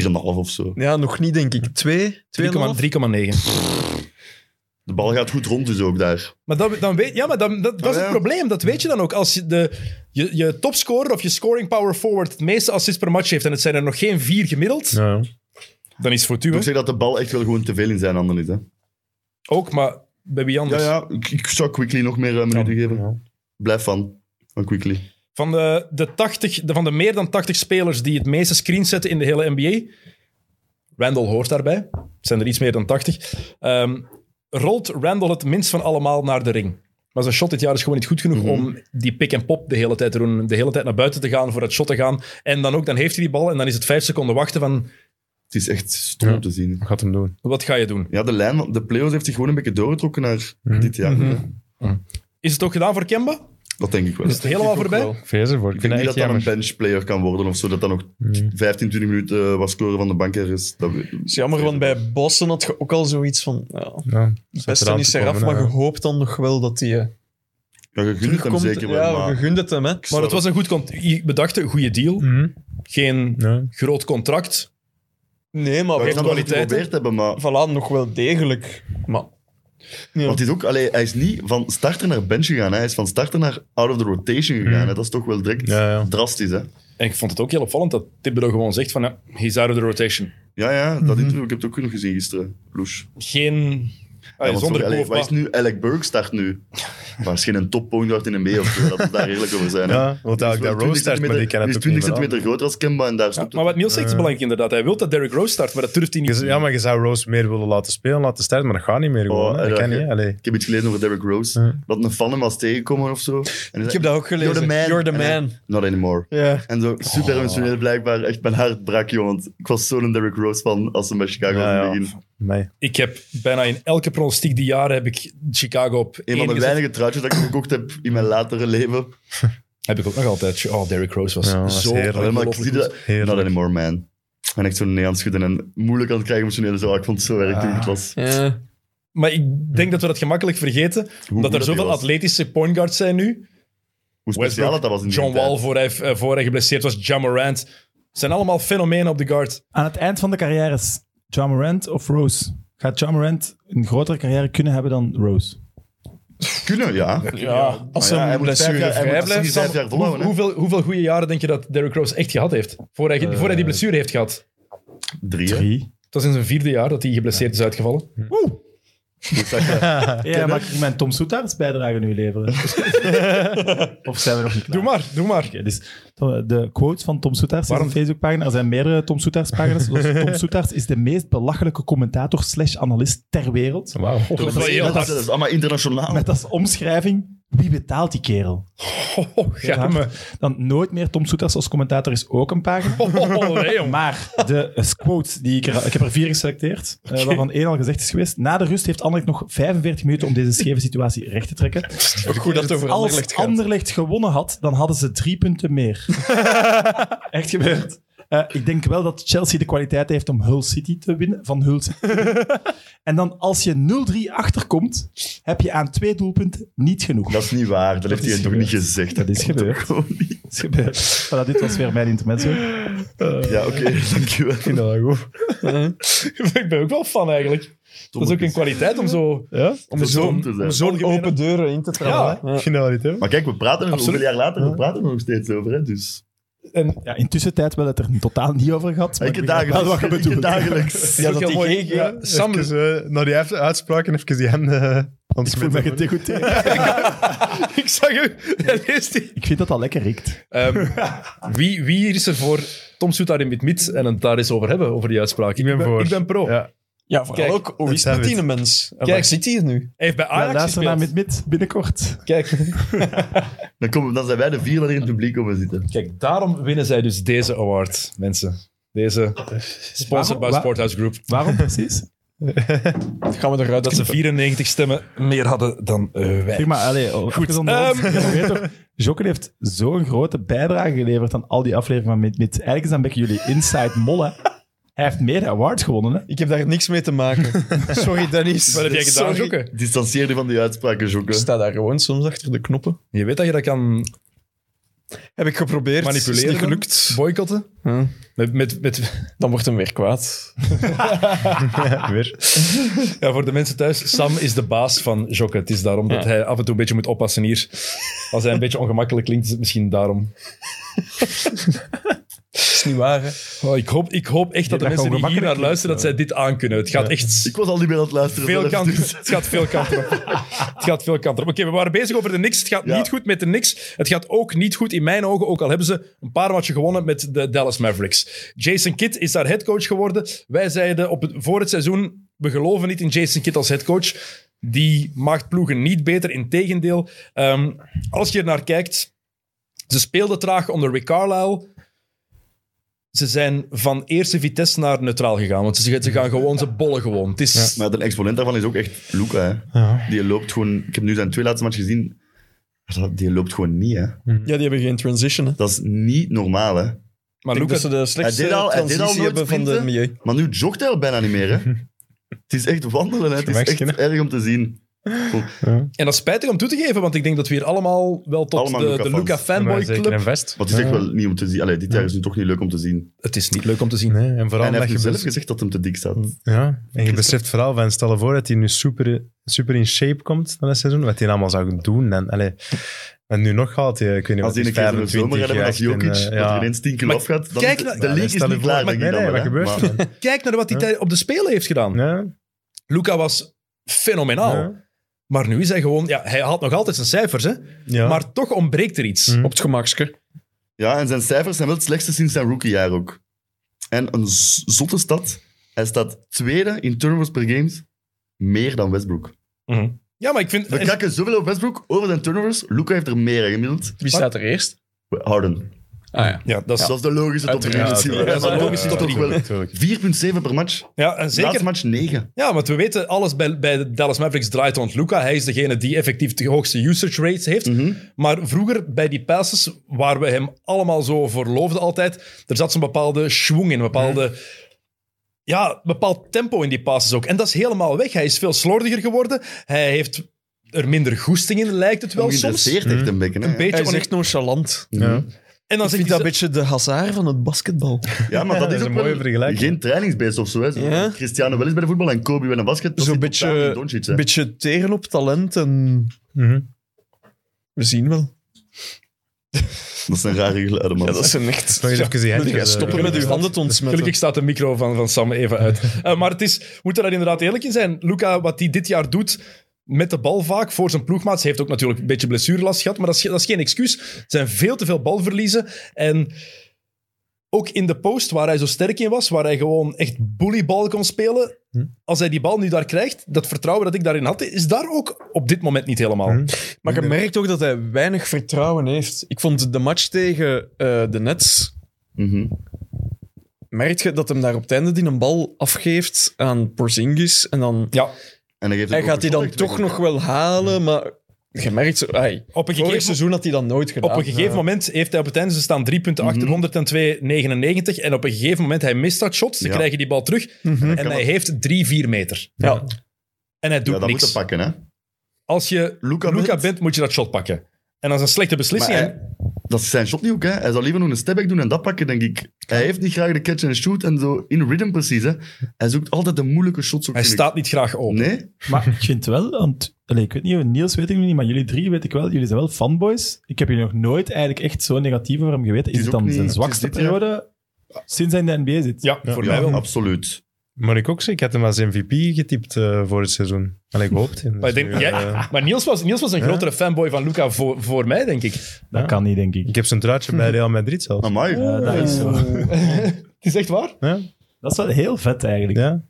2,5. of zo. Ja, nog niet, denk ik. 2, 2,5. 3,9. De bal gaat goed rond, dus ook daar. Maar dat, dan weet, ja, maar dan, dat, dat is Ah, het ja. probleem. Dat weet je dan ook. Als je, de, je, je topscorer of je scoring power forward het meeste assists per match heeft en het zijn er nog geen vier gemiddeld, Ja, ja. dan is Ik Fortuna zeg dat de bal echt wel gewoon te veel in zijn handen is. Hè. ook, maar bij wie Ja, anders? ja. Ik, ik zou Quickly nog meer eh, minuten geven. Blijf van. Van Quickly. Van, de, de 80, de, van de meer dan 80 spelers die het meeste screens zetten in de hele NBA, Randall hoort daarbij. Het zijn er iets meer dan 80. Ehm, rolt Randall het minst van allemaal naar de ring. Maar zijn shot dit jaar is gewoon niet goed genoeg Mhm. om die pick en pop de hele tijd te doen. De hele tijd naar buiten te gaan, voor het shot te gaan. En dan ook, dan heeft hij die bal en dan is het vijf seconden wachten van, Het is echt stom om te zien. Wat gaat hem doen? wat ga je doen? Ja, de lijn, de playoffs heeft zich gewoon een beetje doorgetrokken naar dit jaar. hè. Is het ook gedaan voor Kemba? Dat denk ik wel. Is het helemaal voorbij? Vees ervoor. Ik Dus- Ik denk vind niet dat dat echt dat een jammer. benchplayer kan worden of zo, dat dat nog 15, 20 minuten eh, wat scoren van de bank er is. Dat weet ik. is jammer, want bij Boston had je ook al zoiets van... Ja, Ja, het zat beste eraan niet te eraf, komen, maar ja. je hoopt dan nog wel dat hij eh, Ja, je gunt het hem terugkomt. zeker wel, Mm. ja, maar je gunt het hem, hè. Maar het was een goed contract. Bedacht, goede deal. Mhm. Geen Nee. groot contract. Nee, maar Ja, ik wel- snap dat we het kwaliteiten. geprobeerd hebben, maar... voilà, nog wel degelijk. Maar Want het is ook, allee, hij is niet van starter naar bench gegaan, hè. hij is van starter naar out of the rotation gegaan. Hè. Dat is toch wel direct Mhm. Ja, ja. drastisch, hè. En ik vond het ook heel opvallend dat Thibodeau gewoon zegt van, ja, he's out of the rotation. Ja, ja, Mhm. dat interview, ik heb het ook genoeg gezien gisteren, Loes. Ah, Geen... Ja, Allee, want zonder sorry, Ah, allee, Koopma. wat is nu? Alec Burke start nu. Maar is geen top point guard in een B of zo, laten we daar eerlijk over zijn. hè. Ja, want Die is eigenlijk wel dat Rose start, maar die kan het ook Die is 20 niet meer centimeter groter als Kemba en daar stopt Maar het. wat Niels zegt is belangrijk inderdaad. Hij wil dat Derrick Rose start, maar dat durft hij Je niet. zou- Ja, maar je zou Rose meer willen laten spelen, laten starten, maar dat gaat niet meer gewoon. Oh, hè. dat ja, kan ja. niet. Allee. Ik heb iets gelezen over Derrick Rose. Ja. Dat een fan hem was tegengekomen of zo. En hij ik zei, heb dat ook gelezen. You're the man. You're the En hij- man. Not anymore. Ja. En zo super Oh. emotioneel blijkbaar. Echt mijn hart brak, joh. Want ik was zo'n Derrick Rose van als ze bij Chicago Ja, was in het ja. begin. Nee. Ik heb bijna in elke pronostiek die jaren heb ik Chicago op Een van één de gezet. weinige truitjes dat ik gekocht heb in mijn latere leven. Heb ik ook nog altijd. Oh, Derrick Rose was Ja, dat is zo... heerlijk. Alleen maar ik ongelooflijk zie dat... Not Heerlijk. anymore, man. En echt zo nee aan het schudden en moeilijk aan het krijgen emotioneel. Zo, ik vond het zo erg toen ik het was. Ja. goed. Maar ik denk dat we dat gemakkelijk vergeten, omdat goed er dat zoveel hij was. atletische point guards zijn nu. Hoe speciaal dat, dat was in die John tijd. Wall voor hij, eh, voor hij geblesseerd was, John Morant. Het zijn allemaal fenomenen op de guard. Aan het eind van de carrière is Ja Morant of Rose? Gaat Ja Morant een grotere carrière kunnen hebben dan Rose? Kunnen, ja. Ja, als Maar hij ja, hij een moet vijf jaar- hij blessure moet- Hij dat blijft is vijf jaar dan- volhouden, hoe- hè? hoeveel, hoeveel goede jaren denk je dat Derrick Rose echt gehad heeft? Voor hij, voor Eh. hij die blessure heeft gehad. Drie, hè. Drie. Het was in zijn vierde jaar dat hij geblesseerd is uitgevallen. Ik zag dat. Ja, mag ik mijn Tom Soetaerts bijdrage nu leveren? of zijn we nog niet klaar? Doe maar, doe maar. Oké, dus to- de quotes van Tom Soetaerts is een Facebookpagina. Er zijn meerdere Tom Soetaerts-pagina's. Zoals Tom Soetaerts is de meest belachelijke commentator slash analist ter wereld. Wauw. Dat is wel heel Dat hard. is allemaal internationaal. Met als omschrijving, wie betaalt die kerel? Oh, ja, maar- Dan nooit meer Tom Soetaerts als commentator is ook een pagina. Oh, nee, jongen. Maar de eh, quotes die ik er... Ik heb er vier geselecteerd, eh, waarvan één al gezegd is geweest. Na de rust heeft Anderlecht nog 45 minuten om deze scheve situatie recht te trekken. Goed dat het over Anderlecht Als gaat. Anderlecht gewonnen had, dan hadden ze drie punten meer. Echt gebeurd. Eh, ik denk wel dat Chelsea de kwaliteit heeft om Hull City te winnen. Van Hull City. en dan als je 0-3 achterkomt, heb je aan twee doelpunten niet genoeg. Dat is niet waar. Dat, heeft is hij toch gebeurd. niet gezegd. Dat is komt gebeurd. toch gewoon niet. Dat is gebeurd. Voilà, dit was weer mijn intermezzo. Ja, oké. Dankjewel. ik ben ook wel fan eigenlijk. Dat is ook een kwaliteit om zo... Om zo'n Om te zijn. om zo'n Algemene- open deuren in te Ja. trappen. hè. Ik vind dat wel niet, hè. Maar kijk, we praten er nog Absoluut. hoeveel jaar later, we praten er nog steeds over. Hè? Dus En Ja, intussen tijd wel het er totaal niet over gehad. Maar ik ik het begrijp wel wat dagelijks. Ik je het bedoelt. dagelijks. ja, dat mooi. Ja, Sam, Even eh, naar die eff- uitspraak en even die handen eh, aan het Ik voel me smitten. gedegoûteerd. ik zag u. Daar is die. Ik vind dat dat lekker riekt. Ehm, wie, wie hier is er voor Tom Soet daar in het mid en het daar eens over hebben, over die uitspraak? Ik ben voor. Ik ben pro. Ja. Ja, vooral Kijk, ook, hoe is dat het met zijn die mens? En Kijk. waar zit hij nu? Hij heeft bij Ja, Ajax luister gespeeld. naar met mid binnenkort. Kijk, Dan, komen, dan zijn wij de vier dat er in het publiek komen zitten. kijk, daarom winnen zij dus deze award, mensen. Deze sponsored by Wa- Sporthouse Group. Waarom precies? Dan gaan we eruit Dat ze 94 stemmen meer hadden dan eh, wij. Zeg maar, allee, oh, goed. ehm. weet toch, Jokken heeft zo'n grote bijdrage geleverd aan al die afleveringen van Mid Mid. Eigenlijk is dat een beetje jullie inside mollen. Hij heeft meer awards gewonnen, hè? Ik heb daar niks mee te maken. Sorry, Dennis. Wat heb jij gedaan, Sorry. Jokke? Distanceer je van die uitspraken, Ik Jokke. sta daar gewoon soms achter de knoppen. Je weet dat je dat kan Heb ik geprobeerd. manipuleren. Is niet dan? gelukt. Boycotten. Huh? Met, met, met, Dan wordt hem weer kwaad. Weer. ja, voor de mensen thuis, Sam is de baas van Jokke. Het is daarom dat Ja. hij af en toe een beetje moet oppassen hier. Als hij een beetje ongemakkelijk klinkt, is het misschien daarom. Is niet waar. Hè. Oh, ik, hoop, ik hoop echt dat de dat mensen die gewoon hier naar gemakkelijk luisteren, dat zij dit aankunnen. Het gaat echt Ik was al niet meer aan het luisteren. veel zelf, kanten, dus- het gaat veel kanten op. Het gaat veel kanten op. Oké, we waren bezig over de niks. Het gaat Ja. niet goed met de niks. Het gaat ook niet goed in mijn ogen, ook al hebben ze een paar matchen gewonnen met de Dallas Mavericks. Jason Kidd is daar headcoach geworden. Wij zeiden op het, voor het seizoen, we geloven niet in Jason Kidd als headcoach. Die maakt ploegen niet beter, integendeel. Ehm als je er naar kijkt, ze speelden traag onder Rick Carlisle. Ze zijn van eerste vitesse naar neutraal gegaan. Want ze, ze gaan gewoon, ze bollen gewoon. Het is, Maar een exponent daarvan is ook echt Luca. Hè. Ja. Die loopt gewoon... Ik heb nu zijn twee laatste matchen gezien. Dat- Die loopt gewoon niet, hè. Ja, die hebben geen transition. Hè. Dat is niet normaal, hè. maar Ik denk Luca, dat ze de Hij slechtste deed al- hij deed al transitie nooit hebben van de sprinten. NBA. Maar nu jogt hij al bijna niet meer, hè. Het is echt wandelen, hè. Het is echt Gemakskinnen. erg om te zien. En dat is spijtig om toe te geven, want ik denk dat we hier allemaal wel tot Allemaal de, Luca de fans. Luca Maar fanboy zeker club. een vest. Maar het is echt Ja. wel niet om te zien. Allee, dit jaar is nu toch niet leuk om te zien. Het is niet leuk om te zien. Nee, en vooral en hij dat je heeft nu zelf bes- gezegd dat hem te dik staat. Ja, en je beseft vooral van, stel je voor dat hij nu super, super in shape komt van het seizoen, wat hij allemaal zou doen. En, allee, en nu nog gaat hij, ik weet niet Als wat, die een is keer zo'n zomer 25 hebben als echt en, Jokic, eh, dat ja. er ineens tien kilo Maar afgaat, dan kijk is- naar- de league is Stel je niet voor- klaar, maar- denk ik nee, dan nee, wel, wat hè. gebeurt Maar- er dan? Kijk naar wat hij Ja. tij- op de Spelen heeft gedaan. Ja, Luca was Oh. fenomenaal. ja. Maar nu is hij gewoon... Ja, hij haalt nog altijd zijn cijfers, hè. Ja. Maar toch ontbreekt er iets. Hm. Op het gemakske. Ja, en zijn cijfers zijn wel het slechtste sinds zijn rookiejaar ook. En een z- zotte stad. Hij staat tweede in turnovers per games. Meer dan Westbrook. Ja, maar ik vind... We en- kakken zoveel op Westbrook over zijn turnovers. Luca heeft er meer hè, gemiddeld. Wie staat er eerst? Harden. Ah ja. ja, dat is, Dat is de logische top drie. Uiteraard, misschien wel. uiteraard. Maar Ja, logisch is dat ook wel. 4,7 per match. ja, en zeker. Laatste match 9. Ja, want we weten, alles bij, bij de Dallas Mavericks draait rond Luca. Hij is degene die effectief de hoogste usage rates heeft. Maar vroeger, bij die passes, waar we hem allemaal zo voor loofden altijd, er zat zo'n bepaalde schwung in, een bepaalde... Ja, een bepaald tempo in die passes ook. En dat is helemaal weg. Hij is veel slordiger geworden. Hij heeft er minder goesting in, lijkt het wel soms. Een Ongeïnteresseerd echt een bekken. hè. beetje Hij is onin- echt nonchalant. Mhm. En dan Ik zegt vind dat hij... een beetje de hazard van het basketbal. Ja, maar dat dat is is ook een mooie wel vergelijking. geen trainingsbeest of zo. Hè. Zo, Ja. Cristiano wel eens bij de voetbal en Kobe bij een basket. Dat Zo'n zit beetje- totaal in Doncic, hè. Een beetje teren op talent en Mhm. we zien wel. Dat zijn rare geluiden, man. Ja, dat zijn echt... Nog eens even Moet die handjes, jij eh, stoppen met uw handen te ontsmetten? Gelukkig staat de micro van, van Sam even uit. Eh, maar het is, we moeten daar inderdaad eerlijk in zijn. Luca, wat hij dit jaar doet met de bal vaak voor zijn ploegmaats, heeft ook natuurlijk een beetje blessurelast gehad, maar dat is, ge- dat is geen excuus. Er zijn veel te veel balverliezen. En ook in de post, waar hij zo sterk in was, waar hij gewoon echt bullybal kon spelen, als hij die bal nu daar krijgt, dat vertrouwen dat ik daarin had, is daar ook op dit moment niet helemaal. Hm. Maar je merkt ook dat hij weinig vertrouwen heeft. Ik vond de match tegen eh, de Nets... Mhm. Merk je dat hem daar op het einde die een bal afgeeft aan Porzingis en dan... Ja, En dan geeft Hij ook gaat die een dan shot toch weg. nog wel halen, maar... Je merkt zo... Ai, op een vorig gegeven seizoen had hij dat nooit gedaan. Op een eh. gegeven moment heeft hij op het einde, ze staan drie punten Mhm. achter, 102,99. En op een gegeven moment, hij mist dat shot, ze Ja. Mhm. krijgen die bal terug. En hij heeft drie, vier meter. Ja. En hij doet Ja, dat moet niks. je pakken, hè. Als je Luca, Luca bent- bent, moet je dat shot pakken. En dat is een slechte beslissing. Maar hè? hij- dat is zijn shot niet ook, hè. Hij zou liever nog een stepback doen en dat pakken, denk ik. Hij heeft niet graag de catch en shoot en zo in rhythm precies, hè. Hij zoekt altijd de moeilijke shots. ook, hij vind ik. staat niet graag open. Nee? Maar ik vind wel, want allee, ik weet niet, Niels weet ik nog niet, maar jullie drie weet ik wel, jullie zijn wel fanboys. Ik heb jullie nog nooit eigenlijk echt zo negatief over hem geweten. Is Het het is dan ook niet- zijn het is zwakste dit jaar- periode sinds hij in de NBA zit? Ja, voor Ja, mij wel. absoluut. Maar ik ook, zeg, ik had hem als MVP getypt eh, voor het seizoen. En ik hoopte hem. Maar, ik Dus denk, nu, jij- eh, maar Niels, was, Niels was een grotere fanboy van Luca voor, voor mij, denk ik. Dat Ja. kan niet, denk ik. ik heb zijn truitje bij Real Madrid zelfs. Amai. Eh, dat, is zo. Het is echt waar. Ja? dat is wel heel vet eigenlijk. Ja?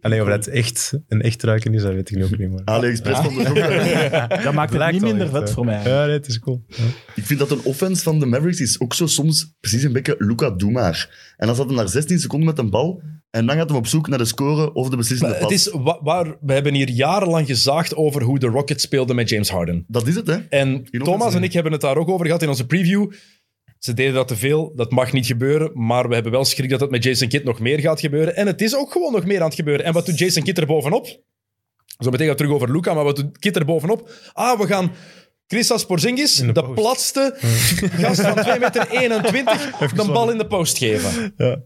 Alleen of dat echt een echt truitje is, dat weet ik nu ook niet meer. AliExpress van de zomer. Dat maakt het Blijkt niet wel minder echt, vet hè. voor mij. Ja, nee, het is cool. Ik vind dat een offense van de Mavericks is ook zo soms precies een beetje Luca, doe maar. En dan zat hij naar 16 seconden met een bal en dan gaat hij op zoek naar de score of de beslissende Maar pas. het is wa- waar, we hebben hier jarenlang gezaagd over hoe de Rockets speelden met James Harden. Dat is het, hè. En Hier Thomas nog en ik hebben het daar ook over gehad in onze preview. Ze deden dat te veel, dat mag niet gebeuren. Maar we hebben wel schrik dat dat met Jason Kidd nog meer gaat gebeuren. En het is ook gewoon nog meer aan het gebeuren. En wat doet Jason Kidd er bovenop? Zo meteen gaan we terug over Luca, maar wat doet Kidd er bovenop? Ah, we gaan Christas Porzingis, de, de post. platste gast van 2,21 meter, 21, de bal in de post geven. Dat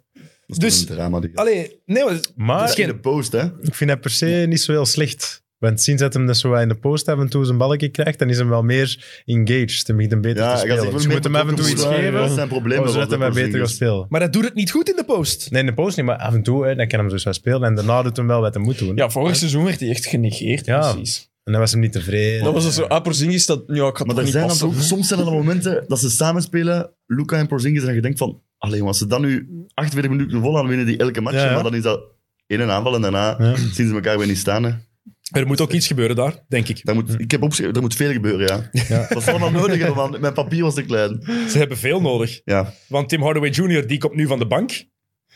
is Dus- een drama. Die... Allee, nee, maar Maar Het is in de post, hè. ik vind dat per se niet zo heel slecht. Want sinds dat hem dat zo wat in de post af en toe zijn balkje krijgt, dan is hem wel meer engaged. Dan begint hem beter Ja, te ik had spelen. echt wel Dus je meer moet hem af en toe betrokken iets moeten geven, Oh, worden. Dat zijn problemen wat zodat de hij maar beter posting gaat is. spelen. Maar dat doet het niet goed in de post. Nee, in de post niet, maar af en toe, hè, dan kan hem dus wel spelen. En daarna doet hem wel wat hij moet doen. Ja, vorig seizoen werd hij echt genegeerd, Ja. precies. En dan was hem niet tevreden. Dat was dus zo, ah, Porzingis, dat... Ja, ik had Maar toch er niet zijn dan passen. toch, soms zijn er dan momenten dat ze samen spelen, Luca en Porzingis, en je denkt van, alleen als ze dan nu 48 minuten vol aan winnen die elke match, Ja, ja. maar dan is dat in een aanval en daarna Ja. zien ze elkaar weer niet staan. Hè. Er moet ook iets gebeuren daar, denk ik. Daar moet, ik heb opgeschreven, er moet veel gebeuren, ja. Dat is allemaal nodig, hè, want mijn papier was te klein. Ze hebben veel nodig. Ja, Want Tim Hardaway Jr. die komt nu van de bank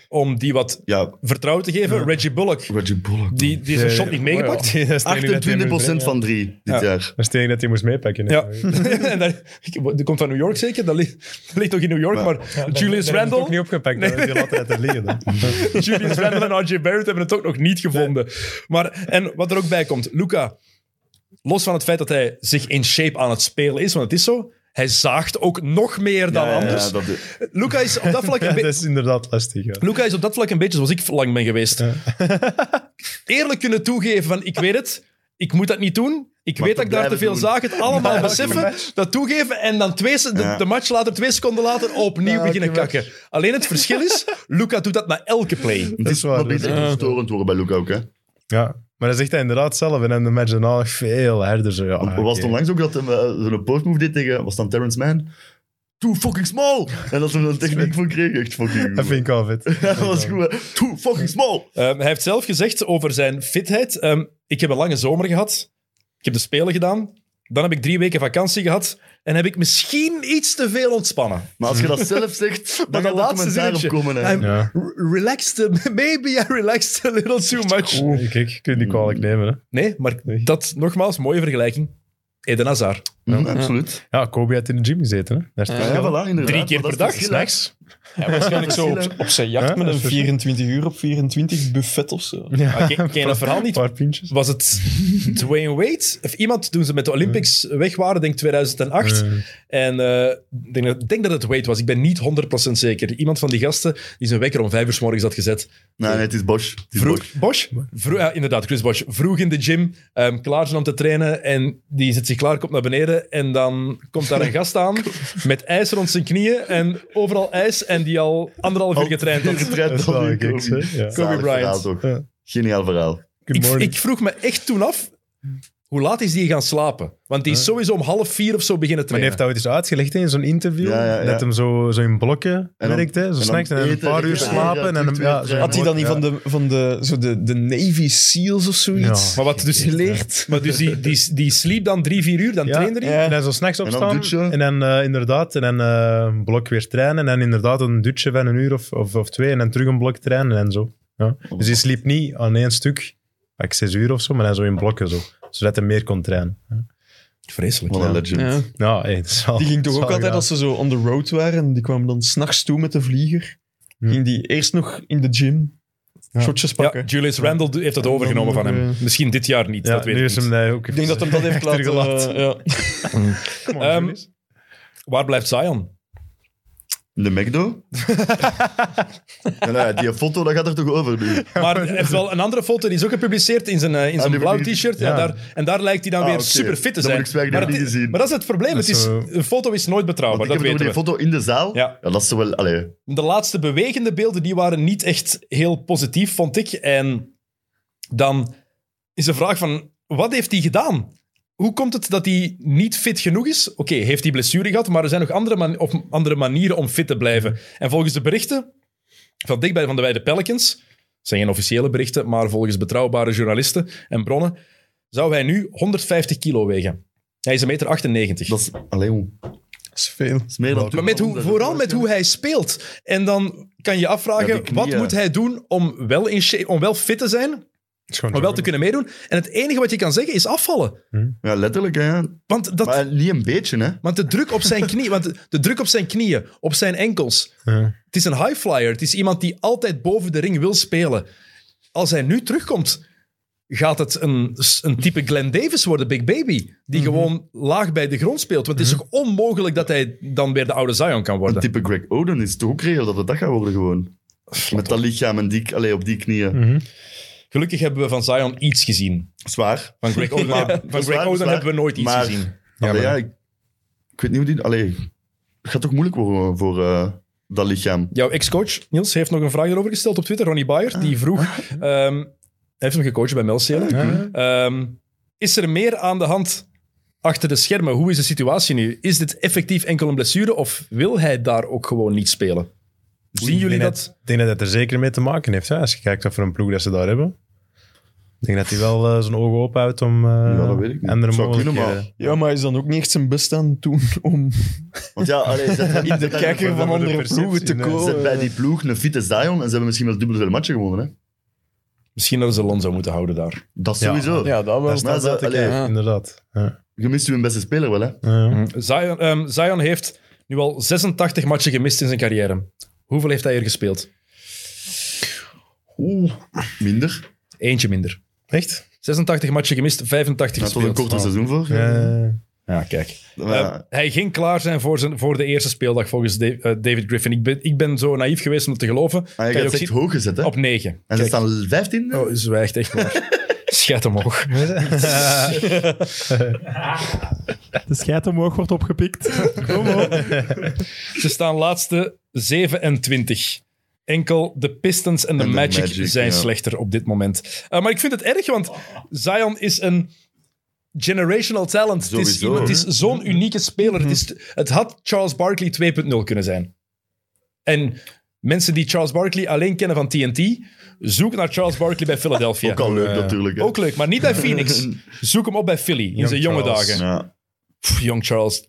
om die wat ja vertrouwen te geven. Reggie Bullock, Reggie Bullock. die, die zijn Ja, shot Eh, oh, ja. niet meegepakt. Dat is het enige dat hij 28% moest brengen. van drie dit Ja. jaar. Dat is het enige dat hij moest meepakken. hè. Ja, en daar, ik- die komt van New York zeker. Dat ligt, dat ligt toch in New York, Ja. maar Ja, dan- Julius dan hebben ze het ook niet Randle, opgepakt. Dan hebben ze die altijd liggen. Julius Randle en RJ Barrett hebben het ook nog niet gevonden. Maar, en wat er ook bij komt, Luca, los van het feit dat hij zich in shape aan het spelen is, want het is zo, hij zaagt ook nog meer dan Ja, ja, ja, anders. dat- Luca is op dat vlak Ja, een dat beetje... is inderdaad lastig. ja. Luca is op dat vlak een beetje zoals ik lang ben geweest. Eerlijk kunnen toegeven van, ik weet het, ik moet dat niet doen. Ik Maar weet te dat ik daar te veel blijven doen. zaag. Het allemaal beseffen, dat toegeven en dan twee, se- de, Ja. de match later, twee seconden later, opnieuw beginnen kakken. Alleen het verschil is, Luca doet dat na elke play. Het is is waar, wat dat is beter echt- storend worden bij Luca ook, hè. Ja, maar dat zegt hij inderdaad zelf. En dan de match daarna nog veel harder. Zo, ja, Want er was Ah, oké. het onlangs ook dat hij eh, zo'n postmove deed tegen, was dan Terrence Mann? Too fucking small! En dat ze er een techniek voor kregen, echt fucking Dat goed. vind ik al vet. Ja, dat was goed. hè. Too fucking small! Ehm, hij heeft zelf gezegd over zijn fitheid, ehm, ik heb een lange zomer gehad, ik heb de Spelen gedaan, dan heb ik drie weken vakantie gehad en heb ik misschien iets te veel ontspannen. Maar als je dat zelf zegt, Maar dan dat gaat er laatste commentaar zinnetje. op komen. Hè. I'm Ja. r- relaxed, a- maybe I relaxed a little too much. Oeh, Kijk, kun je die kwalijk nemen. Hè. Nee, maar dat, nogmaals, mooie vergelijking. Eden Hazard. Mm, absoluut. Ja, Kobe had in de gym gezeten. Hè. Daar is het Ja, verschil. voilà, inderdaad. Drie keer Maar per dat dag, is dus verschil, hè. s'nachts. Ja, waarschijnlijk zo op, op zijn jacht Ja, met dat een dus- is 24 uur op 24 buffet of zo. Ja, ken- ken je dat verhaal niet? Een paar pintjes. Was het Dwayne Wade? Of iemand toen ze met de Olympics weg waren, denk 2008. En eh, ik denk, dat- ik denk dat het Wade was. Ik ben niet 100% zeker. Iemand van die gasten die zijn wekker om vijf uur s morgens had gezet. Nee, nee, het is Bosch. Het is Vroeg, Bosch. Bosch? Vroeg, ja, inderdaad, Chris Bosch. Vroeg in de gym, ehm, klaar zijn om te trainen. En die zet zich klaar, komt naar beneden. En dan komt daar een gast aan met ijs rond zijn knieën. En overal ijs. En die al anderhalf Oh. uur getraind had. Getraind Dat is door wel die een kiks, hè. Kobe. Ja. Zalig Kobe Bryant. verhaal toch. Ja. Geniaal verhaal. Good Ik, morning. ik vroeg me echt toen af, hoe laat is die gaan slapen? Want die is sowieso om half vier of zo beginnen Maar trainen. die heeft dat ooit eens uitgelegd hè, in zo'n interview. Ja, ja, ja. Dat hem zo, zo in blokken En dan- werkte. Zo dan s'nachts en een eten, paar uur eten, slapen. eten, en hem- eten, ja, eten, zo in Had hij dan niet blokken, van de, van de, zo de, de Navy SEAls of zoiets Ja. Maar wat dus geleerd? Maar dus die, die, die sliep dan drie, vier uur, dan Ja. trainde hij. En dan zo s'nachts dan opstaan. douchen. En dan eh, inderdaad, en dan eh, een blok weer trainen. En inderdaad een dutje van een uur of, of, of twee. En dan terug een blok trainen en zo. Ja. Dus hij sliep niet aan één stuk, like zes uur of zo, maar dan zo in blokken zo. Zodat hij meer kon trainen. Vreselijk. Wat ja. een legend. Ja. Ja, hey, dat is wel- Die ging toch dat ook is altijd wel graag. als ze zo on the road waren. en Die kwamen dan s'nachts toe met de vlieger. Ja. Ging die eerst nog in de gym shotjes Ja, pakken. Julius Randle do- heeft dat overgenomen van hem. eh, Misschien dit jaar niet, Ja, dat weet nu ik is niet. hem daar ook Ik denk dat hem dat heeft laten... Achtergelaten. eh, ja. Ehm, Waar blijft Zion? De McDo? ja, nou ja, die foto, dat gaat er toch over nu? Maar hij heeft wel een andere foto, die is ook gepubliceerd in zijn, eh, in zijn Ah, die blauw heb ik niet- t-shirt. Ja. Ja. daar, en daar lijkt hij dan Ah, weer oké. super fit te Dan zijn. moet ik zwijgen, maar, dat heb het ik is- niet gezien. maar dat is het probleem. Het Dat is, is zo- een foto is nooit betrouwbaar, Want ik dat heb het weten over die we. foto in de zaal. Ja. Ja. dat is zo wel... Allee, De laatste bewegende beelden die waren niet echt heel positief, vond ik. En dan is de vraag van, wat heeft hij gedaan? Hoe komt het dat hij niet fit genoeg is? Oké, heeft hij blessure gehad, maar er zijn nog andere, man- of andere manieren om fit te blijven. En volgens de berichten van dichtbij van de Weide Pelicans, het zijn geen officiële berichten, maar volgens betrouwbare journalisten en bronnen, zou hij nu 150 kilo wegen. Hij is een meter 98. dat is... Allee, jong. Dat is veel. Dat is meer dan... Maar met hoe, vooral met hoe hij speelt. En dan kan je afvragen, Ja, die knieën. wat moet hij doen om wel, in shape- om wel fit te zijn, om wel te kunnen meedoen? En het enige wat je kan zeggen is afvallen. Ja, letterlijk, hè. Want, dat, Maar niet een beetje, hè. want de druk op zijn knie, want de, de druk op zijn knieën, op zijn enkels. Ja. Het is een high flyer. Het is iemand die altijd boven de ring wil spelen. Als hij nu terugkomt, gaat het een, een type Glenn Davis worden, Big Baby. Die gewoon laag bij de grond speelt. Want het is toch onmogelijk dat hij dan weer de oude Zion kan Een worden. type Greg Oden is toch ook reëel dat het dat gaat worden gewoon. Met dat lichaam en die, allee, op die knieën. Gelukkig hebben we van Zion iets gezien. Zwaar. Van Greg Oden, Maar- van Greg zwaar, Oden zwaar. hebben we nooit iets Maar- gezien. Allee, maar- ja, ik, ik weet niet hoe die... Allee, het gaat toch moeilijk worden voor eh, dat lichaam. Jouw ex-coach, Niels, heeft nog een vraag erover gesteld op Twitter. Ronnie Bayer, die vroeg... ehm, hij heeft hem gecoacht bij Melcelen. Ehm, is er meer aan de hand achter de schermen? Hoe is de situatie nu? Is dit effectief enkel een blessure of wil hij daar ook gewoon niet spelen? Zien jullie Ik denk dat? Ik denk dat het er zeker mee te maken heeft. Hè? Als je kijkt wat voor een ploeg dat ze daar hebben. Ik denk dat hij wel eh, zijn ogen ophoudt om eh Ja, dat weet ik niet. andere Zou kunnen, mogelijkheden. maar... Ja, maar hij is dan ook niet echt zijn best aan het doen om Want ja, allee, zet hem- in de zet hem- kijker van voor de andere perceptie, ploegen te nee. komen. Zet bij die ploeg een fitte Zion en ze hebben misschien wel dubbel veel matchen gewonnen. Hè? Misschien dat ze Lonzo moeten houden daar. Dat Ja. sowieso. Ja, dat wel. Daar staat ze- dat te allee, kijken, ja. inderdaad. Ja. Je mist je beste speler wel, hè? Ja. Mhm. Zion, ehm, Zion heeft nu al 86 matchen gemist in zijn carrière. Hoeveel heeft hij er gespeeld? Oeh, minder. Eentje minder. Echt? 86 matchen gemist, 85 Dat was een gespeeld. Ah. korter seizoen voor. Eh, Ja, kijk. Maar- Eh, hij ging klaar zijn voor, zijn voor de eerste speeldag volgens Da- eh, David Griffin. Ik ben, ik ben zo naïef geweest om het te geloven. Ah, je Kan gaat je het ook echt zien- hoog gezet, hè? Op 9. en ze staan 15. Oh, zwijgt echt maar. Schat omhoog. De scheid omhoog wordt opgepikt. Kom op. Ze staan laatste 27. Enkel de Pistons en de En de Magic, Magic, zijn ja. slechter op dit moment. Eh, maar ik vind het erg, want Zion is een generational talent. Het is, Sowieso, iemand, het is hè? Mhm. zo'n unieke speler. Het, is, het had Charles Barkley 2.0 kunnen zijn. En mensen die Charles Barkley alleen kennen van TNT, zoek naar Charles Barkley bij Philadelphia. Ook al leuk, natuurlijk. hè. Eh, Ook leuk, maar niet bij Phoenix. Zoek hem op bij Philly in zijn jonge Charles. dagen. Ja. Pff, Young Charles.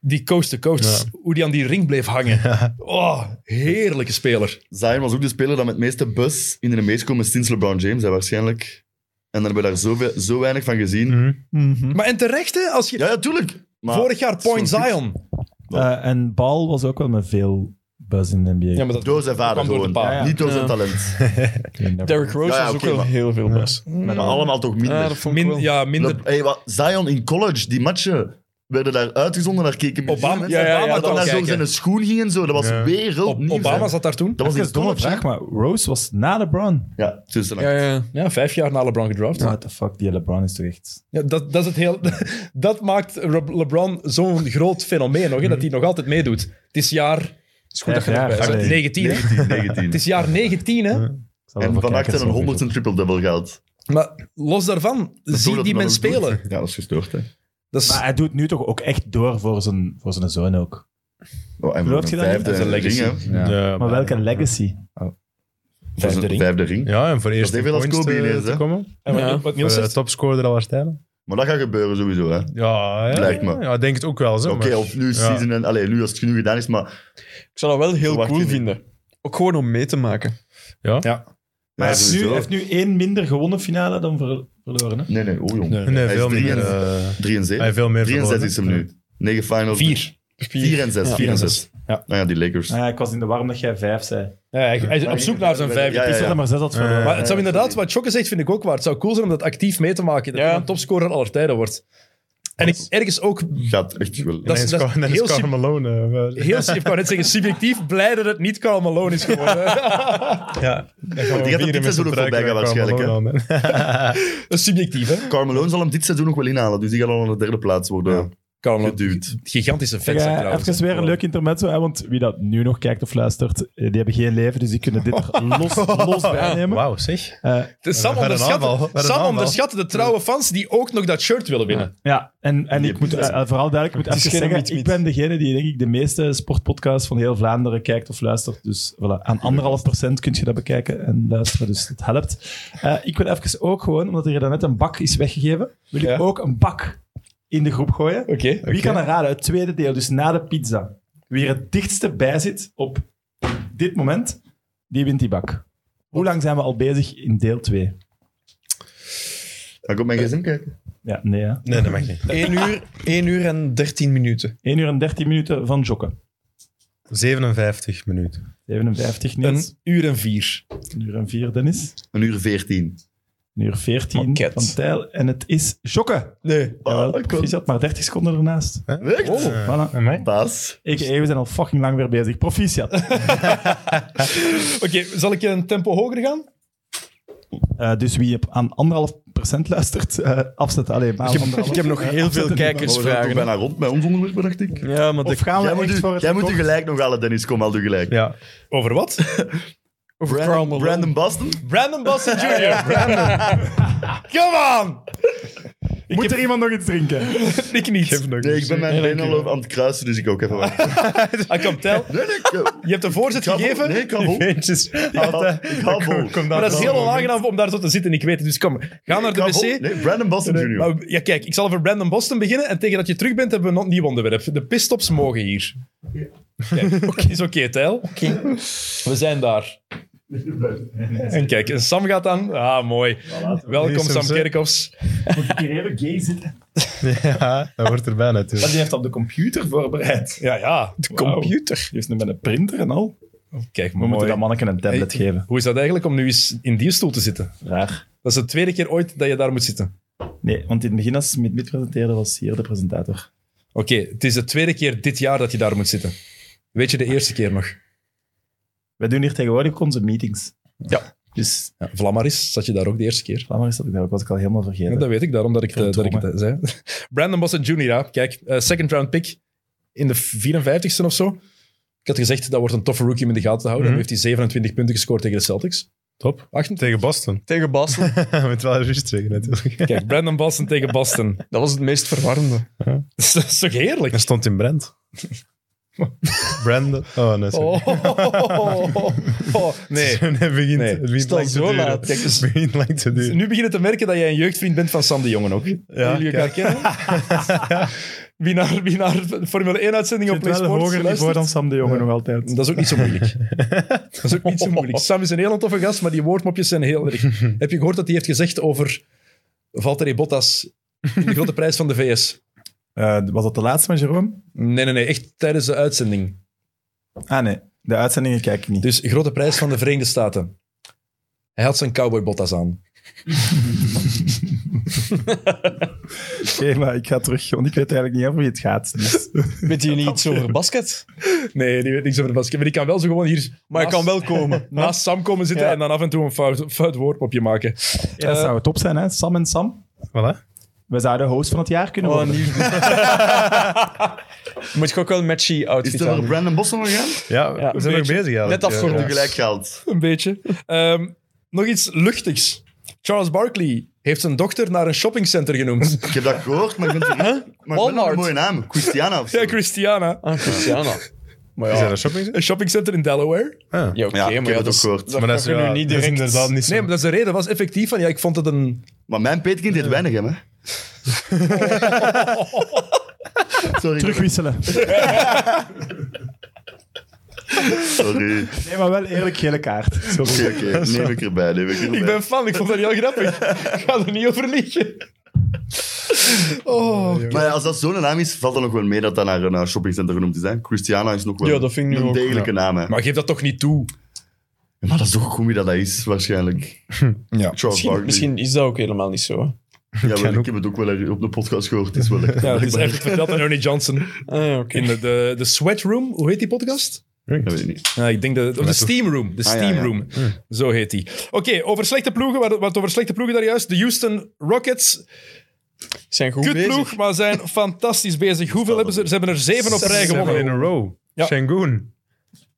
Die coast to coast. Hoe die aan die ring bleef hangen. Oh, heerlijke speler. Zion was ook de speler dat met het meeste bus in de meest komen sinds LeBron James, hè, waarschijnlijk. En daar hebben we daar zo, ve- zo weinig van gezien. Mhm. Maar en terecht, hè, als je... Ja, ja, tuurlijk. Maar Mm. vorig jaar Point zo'n Zion. Eh, en Bal was ook wel met veel buzz in de NBA. Ja, maar dat Door zijn vader kwam door de gewoon. pa. Ja, ja. Niet door zijn Ja. talent. Ik weet niet of- Derrick Rose Ja, ja, was ook oké, wel maar- heel veel best. Maar allemaal toch minder. Ja, dat vond ik Min, wel. ja, minder... Le- hey, wat, Zion in college, die matchen werden daar uitgezonden, daar keken miljoenen Obama- mensen ja, ja, ja, naar. dat dat dan naar kijken. zo zijn schoen ging en zo, dat was Ja. weer heel Ob- nieuws. Obama hè. zat daar toen. Dat was Even een domme vraag, vraag. maar Rose was na LeBron. Ja, tussen Ja, ja. Ja, vijf jaar na LeBron gedraft. Ja. What the fuck, die LeBron is toch echt... dat, dat, is het heel, dat maakt Re- LeBron zo'n groot fenomeen nog, hè, dat hij nog altijd meedoet. Het is Hm. jaar Het is goed dat je Vijf erbij jaar. bent. 19, hè. 19, Het 19. is jaar 19, hè. Ik zal wel En voor van achter kijkers een nog 100 een triple-double geld. Maar los daarvan, zie die men spelen. Ja, dat is gestoord, hè. Dat is, Maar hij doet nu toch ook echt door voor zijn, voor zijn zoon ook. Oh, en Geloof je dat niet? vijfde Dat is een ring, legacy. hè. Ja. Maar welke legacy? Voor Vijfde zijn ring. Vijfde ring. Ja, en voor eerst evenveel als Kobe ineens, te hè? komen. En wat- Ja. wat Voor Niels de zegt, topscorer al waarschijnlijk. Maar dat gaat gebeuren sowieso, hè. Ja, ja, Lijkt me. Ja, ik denk het ook wel. zo, Oké, maar- of nu Ja. season en... Allee, nu als het genoeg gedaan is, maar... Ik zou dat wel heel Verwacht je cool niet. vinden. Ook gewoon om mee te maken. Maar Ja, hij, heeft nu, sowieso. hij heeft nu één minder gewonnen finale dan ver- verloren. Hè? Nee, nee, oh jong. Nee, Hij veel is meer. 3 en- eh, 3 en Hij 7. heeft veel meer 3 en 6 verloren. is hem nu. 9 finals. vier. 4 en 6. 4 en 6. Ja. Nou ja, die Lakers. Ah, ja, ik was in de warm dat jij vijf zei. Ja, hij, hij is op zoek naar zijn vijfde. Ja, ja, Ik zei ja. dat maar zes had verloren. Maar het Eh, zou inderdaad, wat Chokke zegt, vind ik ook waar. Het zou cool zijn om dat actief mee te maken. Dat Ja. hij een topscorer aller tijden wordt. En ik, ergens ook... Gaat echt Dat is, wel... En dan dat is is Car- dan is heel, Karl sub- Malone. eh, wel- heel sub- ik wou net zeggen, subjectief blij dat het niet Karl Malone is geworden. Ja, Die gaat hem dit seizoen ook voorbij gaan waarschijnlijk. hè. Dat is subjectief, hè? Carmelo zal hem dit seizoen nog wel inhalen, dus die gaat al aan de derde plaats worden Karl Malone, geduwd. gigantische Zeg, vet zijn eh, trouwens. even weer een leuk intermezzo, hè, want wie dat nu nog kijkt of luistert, eh, die hebben geen leven, dus die kunnen dit er los, Oh. los bij nemen. Wauw, zeg. Eh, De Sam, Wat een aanval, onderschat, wat een Sam aanval. onderschat de trouwe fans die ook nog dat shirt willen winnen. ja, en, en Die ik moet eh, eh, vooral duidelijk ik moet Het is even geen zeggen, miet-miet. ik ben degene die denk ik de meeste sportpodcasts van heel Vlaanderen kijkt of luistert. Dus voilà, aan anderhalf procent kun je dat bekijken en luisteren, dus dat helpt. Eh, ik wil even ook gewoon, omdat er daarnet een bak is weggegeven, wil Ja. ik ook een bak in de groep gooien. Oké. Wie kan er raden? Het tweede deel, dus na de pizza. Wie er het dichtste bij zit op dit moment, die wint die bak. Hoe lang zijn we al bezig in deel 2? Ga ik op mijn gsm kijken? Ja, nee hè. Nee, dat mag niet. 1 uur, 1 uur en 13 minuten. 1 uur en 13 minuten van jokken. 57 minuten. 57 Niels, Een uur en vier. 1 uur en 4 Dennis, Een uur veertien. 1 uur 14 Manket. van Tijl. En het is jokken. Nee. Oh, Jawel, ik Eh, precies, je had maar 30 seconden ernaast. Echt? Oh, voilà. En mij? Baas. Ik, eh, we zijn al fucking lang weer bezig. Proficiat. Oké, zal ik een tempo hoger gaan? Eh, dus wie op aan anderhalf procent luistert, eh, afzetten. Allee, maar Ik heb nog heel Maar veel Oh, we zijn toch kijkersvragen. bijna rond met ons onderwerp, dacht ik. Ja, maar Of de gaan we Jij moet, echt u, voor het jij moet u record? gelijk nog halen, Dennis. Kom, al u gelijk. Ja. Over wat? over Karl Brandon, Malone. Brandon Boston? Brandon Boston Jr. Come on! Moet er iemand nog iets drinken? Ik niet. Nee, ik ben mijn benen al aan het kruisen, dus ik ook even wachten. I can tell. Nee, nee, ik, eh, Je hebt een voorzet ik ga vol. gegeven. Nee, ik ga vol. Eentjes. Ik ga vol. Maar dat is heel onaangenaam om daar zo te zitten, ik weet het. Dus kom, ga naar de Ik ga vol. wc. Eh, Nee, Brandon Boston Jr. Maar, ja, kijk, ik zal over Brandon Boston beginnen. En tegen dat je terug bent, hebben we nog een nieuw onderwerp. De pitstops mogen hier. Kijk, is oké, Tijl. We zijn daar. En kijk, en Sam gaat aan. Ah, mooi. Welkom, Sam, Sam hè. Kerkhoffs. Moet ik hier even gay zitten? Ja, dat wordt erbij Maar natuurlijk. die heeft op de computer voorbereid. Ja, ja. Computer? Die is nu met een printer en al. We Kijk, moeten mooi. dat manneken een tablet geven. Hoe is dat eigenlijk om nu eens in die stoel te zitten? Raar. Dat is de tweede keer ooit dat je daar moet zitten. Nee, want in het begin als Smit Mit presenteerde, was hier de presentator. Oké, het is de tweede keer dit jaar dat je daar moet zitten. Weet je de eerste keer nog? Wij doen hier tegenwoordig ook onze meetings. Ja. Dus Ja, Vlammaris zat je daar ook de eerste keer. laat maar eens dat ik dat ook was ik al helemaal Ja, vergeten. dat weet ik, daarom dat ik, eh, dat ik Verdomme. het zei. Brandon Boston Jr., ja. kijk, eh, second round pick in de 54ste of zo. Ik had gezegd, dat wordt een toffe rookie om in de gaten te houden. Mhm. Dan heeft hij 27 punten gescoord tegen de Celtics. Top. 28. Tegen Boston. Tegen Boston. Moet wel rust zeggen natuurlijk. Kijk, Brandon Boston tegen Boston. Dat was het meest verwarrende. dat is toch heerlijk? Dat stond in Brand. Brandon. Oh, nee, sorry. Oh, oh, Nee. Nee, het begint, Nee. het begint Stel lang te zo duren. laat. Kijk, Het begint lang te duren. Nu begin je te merken dat jij een jeugdvriend bent van Sam de Jongen ook. Ja, jullie elkaar kennen. wie, naar, wie naar Formule 1-uitzending op Ik vind het PlaySports wel een hoger niveau luistert. dan Sam de Jonge nog altijd. Dat is ook niet zo moeilijk. dat is ook niet zo moeilijk. Sam is een heel toffe gast, maar die woordmopjes zijn heel erg. Heb je gehoord dat hij heeft gezegd over Valtteri Bottas in de grote prijs van de VS? Eh, was dat de laatste met Jerome? Nee, nee, nee. Echt tijdens de uitzending. Ah nee, de uitzendingen kijk ik niet. Dus grote prijs van de Verenigde Staten. Hij had zijn cowboybottas aan. Oké, Dus, eh, maar ik ga terug, want ik weet eigenlijk niet over wie het gaat. Dus. Weet je niet iets over basket? Nee, die weet niks over de basket. Maar die kan wel zo gewoon hier Maar ik naast- kan wel komen. naast Sam komen zitten Ja. en dan af en toe een fout, fout woordmopje maken. Ja, dat zou top zijn, hè? Sam en Sam. Voilà. We zouden host van het jaar kunnen Oh, worden. nieuw. Moet je ook wel een matchy Is outfit het over aan. Brandon Boston gegaan? Ja, Ja, we zijn een nog beetje. bezig eigenlijk. Net afgerond. Ja. Heb je gelijk gehaald? Een beetje. Ehm, nog iets luchtigs. Charles Barkley heeft zijn dochter naar een shoppingcenter genoemd. Ik heb dat gehoord, maar ik vind het niet. Maar ik vind het Walmart. een mooie naam. Christiana of zo. Ja, Christiana. Ah, Cristiano. Maar Is ja, dat een shopping? Een shoppingcenter in Delaware. Ah. ja oké, Ja, ik heb maar ja, het ook dat is, gehoord. dat Maar dat mag is, je ja, nu niet dat is direct... inderdaad niet zo. Nee, maar dat is de reden. was effectief van, ja, ik vond het een... Maar mijn peetkind deed weinig, hè. maar. Sorry. Terugwisselen. Sorry. Nee, maar wel eerlijk gele kaart. Sorry. Oké, oké. Neem ik erbij, neem ik erbij. Ik ben fan, ik vond dat heel grappig. Ik ga er niet over liegen. Oh, Maar ja, als dat zo'n naam is, valt dan nog wel mee dat dat naar een eh, shoppingcenter genoemd is. Hè? Christiana is nog wel Ja, dat vind ik nu een ook, degelijke naam. Hè? Maar, maar geef dat toch niet toe. dat is toch goed wie dat, dat is, waarschijnlijk. Ja. Charles Barkley. Misschien, misschien is dat ook helemaal niet zo. hè. Ja, wel, ik heb het ook wel er- op de podcast gehoord. Het is wel lekker. Ja, het is echt verteld aan Ernie Johnson. Ah, ja, oké. In de, de, de Sweat Room, hoe heet die podcast? Dat weet ik niet. Ja, Ah, ik denk de, of de Steam Room. De ja, Steam ja. Room, zo heet die. Oké, over slechte ploegen, wat, wat over slechte ploegen daar juist. De Houston Rockets Zijn goed bezig. Kutploeg, maar zijn fantastisch bezig. Hoeveel hebben ze? Ze hebben er zeven op rij Seven in gewonnen. a row. Ja. Shangoon.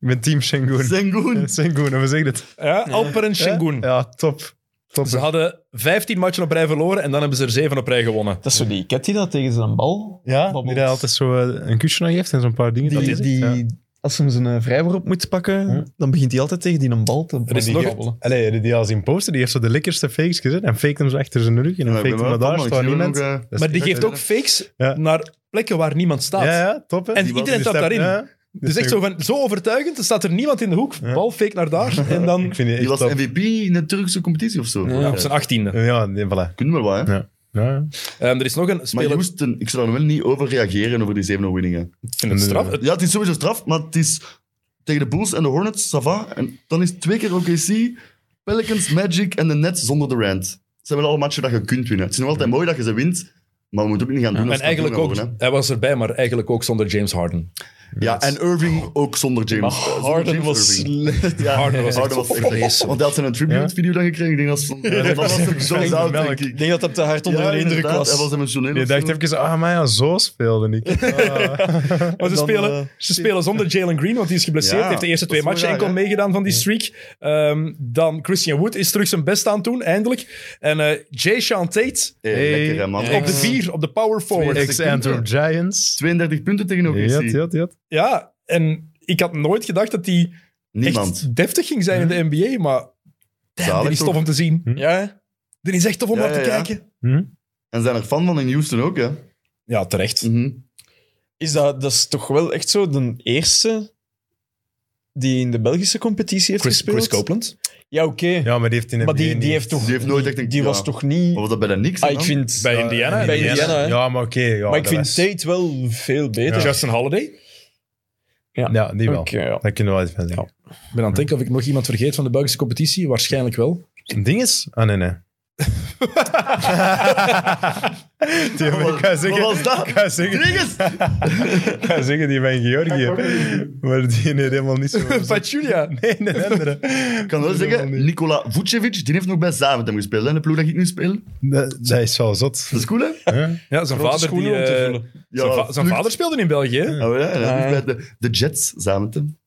Ik ben team Shangoon. Sengun. Shangoon, hoe zeg je dat? Ja, Alper en Shingun. Ja, top. top. Ze hadden 15 matchen op rij verloren en dan hebben ze er zeven op rij gewonnen. Dat is zo die ket die dat tegen zijn bal Ja, die babbelt. daar altijd zo eh, een kusje aan geeft en zo'n paar dingen. dat Die, is het. Ja. die, als hem zijn eh, vrijworp moet pakken, dan begint hij altijd tegen die een bal te Er is nog- babbelen. Allee, die- die als imposter, die heeft zo de lekkerste fakes gezet en faked hem zo achter zijn rug en dan Ja, ik faked ben hem wel naar daar, fan, staat ik zie niemand. ook, eh, Dat is Maar die echt- geeft ook fakes Ja. naar plekken waar niemand staat. Ja, ja, top hè. En Die iedereen bal- staat die daarin. stap- ja. Dus echt zo, van, zo overtuigend, er staat er niemand in de hoek. Bal fake naar daar en dan... Ik vind Die die echt was top. MVP in de Turkse competitie of zo. Ja, op zijn achttiende. Ja, nee, voilà. Kunnen we wel, hè? Ja. Ja. Ehm, er is nog een Maar speler... Houston, ik zou daar wel niet over reageren over die zeven overwinningen. Ik vind het straf. Het- Ja, het is sowieso straf, maar het is tegen de Bulls en de Hornets, ça va. En dan is het twee keer OKC, Pelicans, Magic en de Nets zonder de Rand. Het zijn wel alle matchen dat je kunt winnen. Het is nog altijd mooi dat je ze wint, maar we moeten ook niet gaan doen als En eigenlijk ook... kampioen worden, Hij was erbij, maar eigenlijk ook zonder James Harden. hè. Ja, en Irving ook zonder James. Zonder Harden James was Irving. slecht. Ja, Harden was, Harden vreselijk. Want hij had een tribute-video dan gekregen. Ik denk dat ze- dat was hem zo zout, melk. denk ik. Ik denk dat dat te hard onder Ja, de indruk inderdaad, was. Hij was emotioneel. Je of dacht zo. even, ah, maar ja, zo speelde ik. Maar dan, ze, spelen, eh, ze spelen zonder Jalen Green, want die is geblesseerd. Ja, heeft de eerste dat is twee matchen wel raar, enkel hè? meegedaan van die streak. Ehm, dan Christian Wood is terug zijn best aan het doen, eindelijk. En eh Jay Sean Tate Hey, lekker, hè, man. op de vier, op de power forward. Ex-Antwerp Giants. 32 punten tegen OKC. Ja, ja, ja. Ja, en ik had nooit gedacht dat die Niemand. echt deftig ging zijn in de NBA, maar damn, Zalig dit is tof toch? om te zien. Ja, Dit is echt tof om Ja, naar te ja, ja. kijken. En zijn er fan van in Houston ook, hè? Ja, terecht. Mhm. is dat, dat is toch wel echt zo de eerste die in de Belgische competitie heeft Chris, gespeeld? Chris Copeland. Ja, oké. Ja, maar die heeft in de maar die, NBA die niet. heeft toch... Die heeft nooit echt een- Die ja. Oh, was toch niet... Maar was dat bij de Knicks? Ah, dan? ik vind... Bij Indiana. bij Indiana, hè. Ja, maar oké. ja, maar ik dat vind was- Tate wel veel beter. Justin Holiday. Ja, die wel. Oké, ja. Dat kunnen we wel even zeggen. Ik ben aan het denken of ik nog iemand vergeet van de Belgische competitie. Waarschijnlijk wel. Een ding is... Ah, nee, nee. die, Wat- ik ga zeggen, wat was dat? Ik ga zeggen, Dinges! ik ga zeggen die van Georgië. Maar die neemt helemaal niet zo... Pachulia. Nee, een andere. Ik kan wel zeggen, Nikola Vucevic, die heeft nog bij Zaventem gespeeld, hè? De ploeg dat ik nu speel. Dat, dat is wel zot. Dat is cool, hè? Ja, zijn Grote vader, die, schoenen om te eh, vullen. zijn, va- zijn vlucht. vader speelde in België. hè? Oh, ja, ja, Ah, dus ja. bij de, de Jets, Zaventem.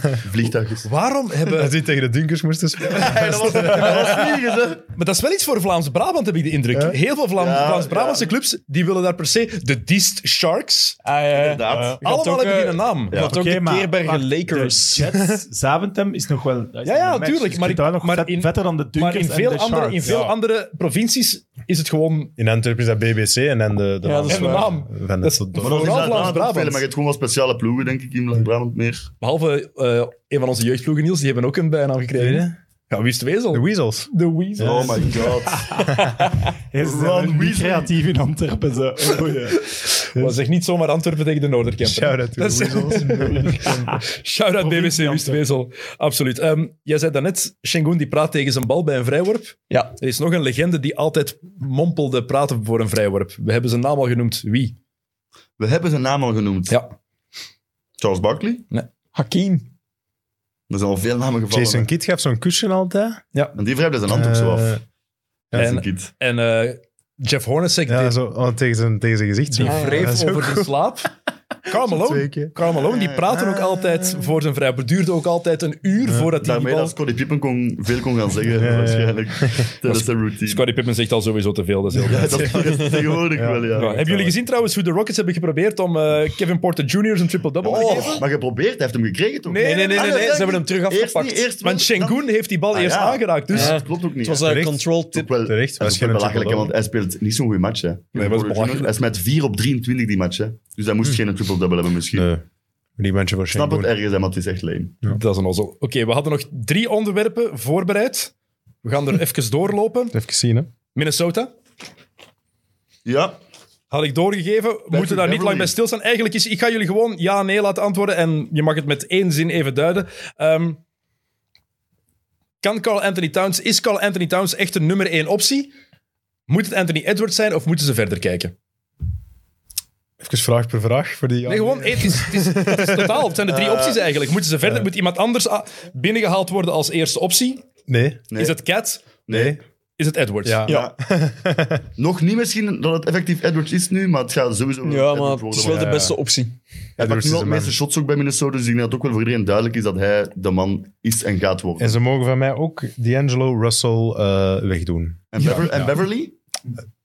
Vliegtuigjes. Waarom hebben... Als die tegen de Dunkers moesten spelen. Ja, dat was, dat was vliegers, hè? Maar dat is wel iets voor Vlaams-Brabant, heb ik de indruk. Ja? Heel veel Vlaam- Ja, Vlaams-Brabantse clubs die willen daar per se de Dist Sharks. Ah, ja, ja. Inderdaad. Je had Allemaal ook, hebben die eh, een naam. Je had ook Oké, de maar- Keerbergen maar Lakers. De Jets, Zaventem is nog wel... Ja, ja, tuurlijk, maar ik- Maar, nog maar vet- in- vetter dan de Dunkers Maar in veel, en de andere, Sharks. in veel Ja. andere provincies is het gewoon... In Antwerpen is dat BBC en dan de, de Ja, dat is En de waar. naam. Van Dat is- het Maar dat is tot Vooral inderdaad Vlaams-Brabant. aan het opvelen, Maar je hebt gewoon wel speciale ploegen, denk ik, in Vlaams-Brabant meer. Behalve eh, een van onze jeugdploegen, Niels, die hebben ook een bijnaam gekregen. hè? Ja, wie is de wezel? De Weasels. De Weasel. Oh my god. Hey, ze zijn Ron wel niet Weasley. creatief in Antwerpen. Ze. Oh, ja. Maar zeg niet zomaar Antwerpen tegen de Noorderkempen. Shout-out to Dat de is- Weasels. Shout-out BBC Wist Wezel. Absoluut. Ehm, jij zei daarnet, Shengun die praat tegen zijn bal bij een vrijworp. Ja. Er is nog een legende die altijd mompelde praten voor een vrijworp. We hebben zijn naam al genoemd. Wie? We hebben zijn naam al genoemd. Ja. Charles Barkley. Hakim. Er zijn al veel namen gevallen. Jason Kidd gaf zo'n kussen altijd. En die wrijft zijn hand ook zo af. Eh, Jason en- Kidd. En eh, Jeff Hornacek, Ja, die, zo, oh, tegen, zijn, tegen zijn gezicht. die zo. wreef Dat is ook over de slaap. Karl twee Malone, keer. Karl Malone, die Ah, praatte ook altijd voor zijn vrijworp. Duurde ook altijd een uur voordat hij die Daarmee bal... dat Scottie Pippen kon, veel kon gaan zeggen, Ja, ja. waarschijnlijk. Tijdens de routine. Scottie Pippen zegt al sowieso te veel. Dat is heel Ja, dat is tegenwoordig wel, ja. Ja, hebben jullie gezien trouwens hoe de Rockets hebben geprobeerd om eh, Kevin Porter Jr. zijn triple-double te geven? Oh, maar geprobeerd, hij heeft hem gekregen toch? Nee, nee, nee, Ah, nee, dat nee, denk ze hebben ik. hem terug Eerst afgepakt. niet, eerst Want wel, dan- Shengun heeft die bal Ah, eerst ja. aangeraakt. Dus Ja, dat klopt ook niet. Het was eh, hè. een Terecht. Eh, control Ook tip. wel, Terecht, dat is ook wel waarschijnlijk belachelijk, hè, wel. want hij speelt niet zo'n goede match. Hè. dat is belachelijk. Hij is met 4 op 23 die match. Hè. Dus hij moest geen triple-double hebben misschien. Nee. Die mensen voor Ik snap het Shangoon. ergens, hè, maar het is echt lame. dat is een ozzel. Oké, we hadden nog drie onderwerpen voorbereid. We gaan er even doorlopen. Even zien, hè. Minnesota Ja, had ik doorgegeven. We moeten daar niet lang bij stilstaan. Eigenlijk is, ik ga jullie gewoon ja, nee laten antwoorden. En je mag het met één zin even duiden. Ehm, kan Carl Anthony Towns, is Carl Anthony Towns echt de nummer één optie? Moet het Anthony Edwards zijn of moeten ze verder kijken? Even vraag per vraag voor die... Nee, gewoon, hey, het, is, het, is, het is totaal. Het zijn de drie opties eigenlijk. Moeten ze verder? Moet iemand anders a- binnengehaald worden als eerste optie? Nee. Nee. Is het Cat? nee. Is het Edwards? Ja. Ja. Nog niet misschien dat het effectief Edwards is nu, maar het gaat sowieso wel Ja, Edwards maar het worden, is wel want de beste optie. Hij pakt Edwards nu is al de de man. meeste shots ook bij Minnesota, dus ik denk dat het ook wel voor iedereen duidelijk is dat hij de man is en gaat worden. En ze mogen van mij ook D'Angelo Russell eh, wegdoen. En, Bever- en Beverly?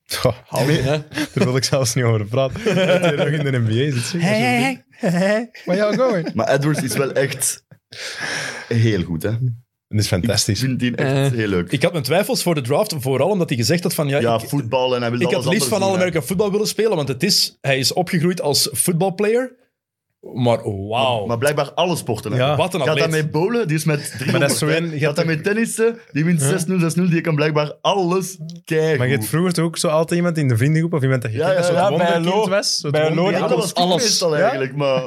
Goh, Houden, hè. daar wil ik zelfs niet over praten. Dat hij nog in de NBA zit. zeg. Where y'all going? Maar Edwards is wel echt heel goed, hè. Dat is Ik fantastisch. vind die echt heel leuk. Ik had mijn twijfels voor de draft, vooral omdat hij gezegd had van... Ja, Ja, ik, voetbal en hij wil ik alles had liefst van anders alle doen, hè. American voetbal willen spelen, want het is, hij is opgegroeid als voetbalplayer. Maar wauw. Maar blijkbaar alle sporten. hè. Ja. Wat een Gaat hij atleet. met bowlen, die is met 300. Maar dat is zo hè. in- je Gaat hebt hij ook- met tennissen, die wint 6-0, 6-0. Die kan blijkbaar alles kijken. Maar je hebt vroeger toch ook zo altijd iemand in de vriendengroep of iemand dat je Ja, kent dat ja, zo'n ja, bij wonderkind Lo- was? Zo'n bij wonder- Lo- ja, dat alles, was alles. alles. meestal eigenlijk, maar...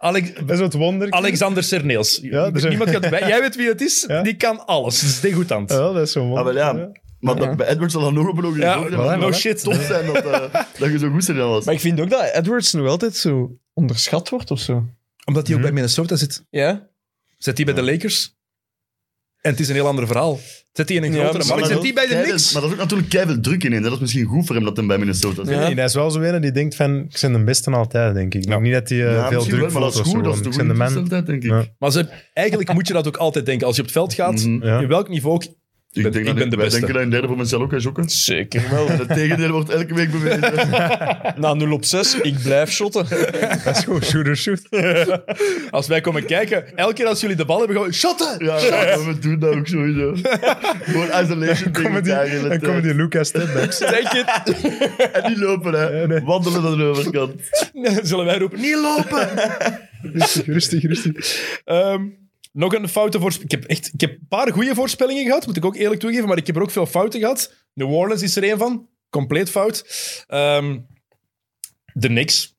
Alex, Dat is het wonder. Alexander Serneels. Ja, er zijn- Niemand gaat bij. Jij weet wie het is, Ja. die kan alles. Dat is degoutant. Ja, dat is zo'n Ah, wonder. wel ja. Maar dat, bij Edwards zal dat nog op een ogenblik Ja, ook zijn, voilà, maar het no moet shit. Tof zijn dat, eh, dat je zo goed bent in alles. Maar ik vind ook dat Edwards nog altijd zo onderschat wordt of zo. Omdat hij ook bij Mhm. Minnesota zit. Ja? Zet hij bij de Lakers? En het is een heel ander verhaal. Zet hij in een grotere Maar markt? dat Zet hij bij de ook keiveel- Knicks? Maar dat is ook natuurlijk keihard druk in. En dat is misschien goed voor hem dat hij bij Minnesota zit. Ja. Nee, dat is wel zo een die denkt van, ik ben de beste altijd, denk ik. Niet dat hij eh, Ja, veel misschien druk wel, maar voelt dat is of zo. goed. Dat is gewoon. de Ik ben de goede man. altijd, denk ik. Ja. Maar ze, eigenlijk moet je dat ook altijd denken. Als je op het veld gaat, Mhm. Ja. in welk niveau ook, Ik, ben- denk ik dat ben de wij beste. denken dat een derde voor mezelf ook is ook. En Zeker wel. het tegendeel wordt elke week bewezen. Na 0 op 6, ik blijf shotten. Dat is gewoon shooter shoot. als wij komen kijken, elke keer als jullie de bal hebben, gewoon shotten! Ja, ja, we doen dat ook sowieso. Gewoon isolation tegen Comedy, elkaar in de en tijd. comedy Lucas stepbacks. Denk het? En die lopen, hè. nee. Wandelen aan de overkant. Zullen wij roepen, niet lopen! Rustig, rustig, rustig. Ehm, nog een foute voorspelling. Ik heb, echt, ik heb een paar goede voorspellingen gehad, moet ik ook eerlijk toegeven, maar ik heb er ook veel fouten gehad. New Orleans is er één van, compleet fout. Ehm, de Knicks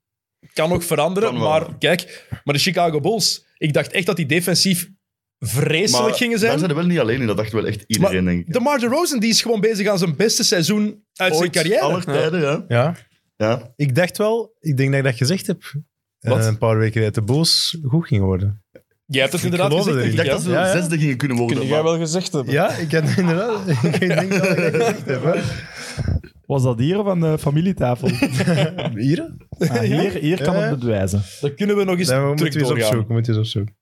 kan nog veranderen, Kan wel. maar kijk, maar de Chicago Bulls, ik dacht echt dat die defensief vreselijk gingen Daar zijn. zijn we wel niet alleen in. Dat dacht wel echt iedereen, denk ik. De Marge Rosen die is gewoon bezig aan zijn beste seizoen uit zijn Ooit, carrière. Aller tijden, ja. Ja, ja. ik dacht wel, ik denk dat ik dat gezegd heb. Wat? Eh, een paar weken uit de boos goed ging worden. Jij hebt het Ik inderdaad geloof gezegd. erin. denk Ik ik, dacht hè? dat ze Ja, ja. zesde gingen kunnen worden. Kun jij maar- wel gezegd hebben. Ja, ik heb inderdaad. Ik denk dat ik dat gezegd heb. hè. Was dat hier of aan de familietafel? Hier? Ah, hier, hier kan Ja. het bewijzen. Dat kunnen we nog eens Dan moeten terug we eens doorgaan. opzoeken. Moeten we eens opzoeken.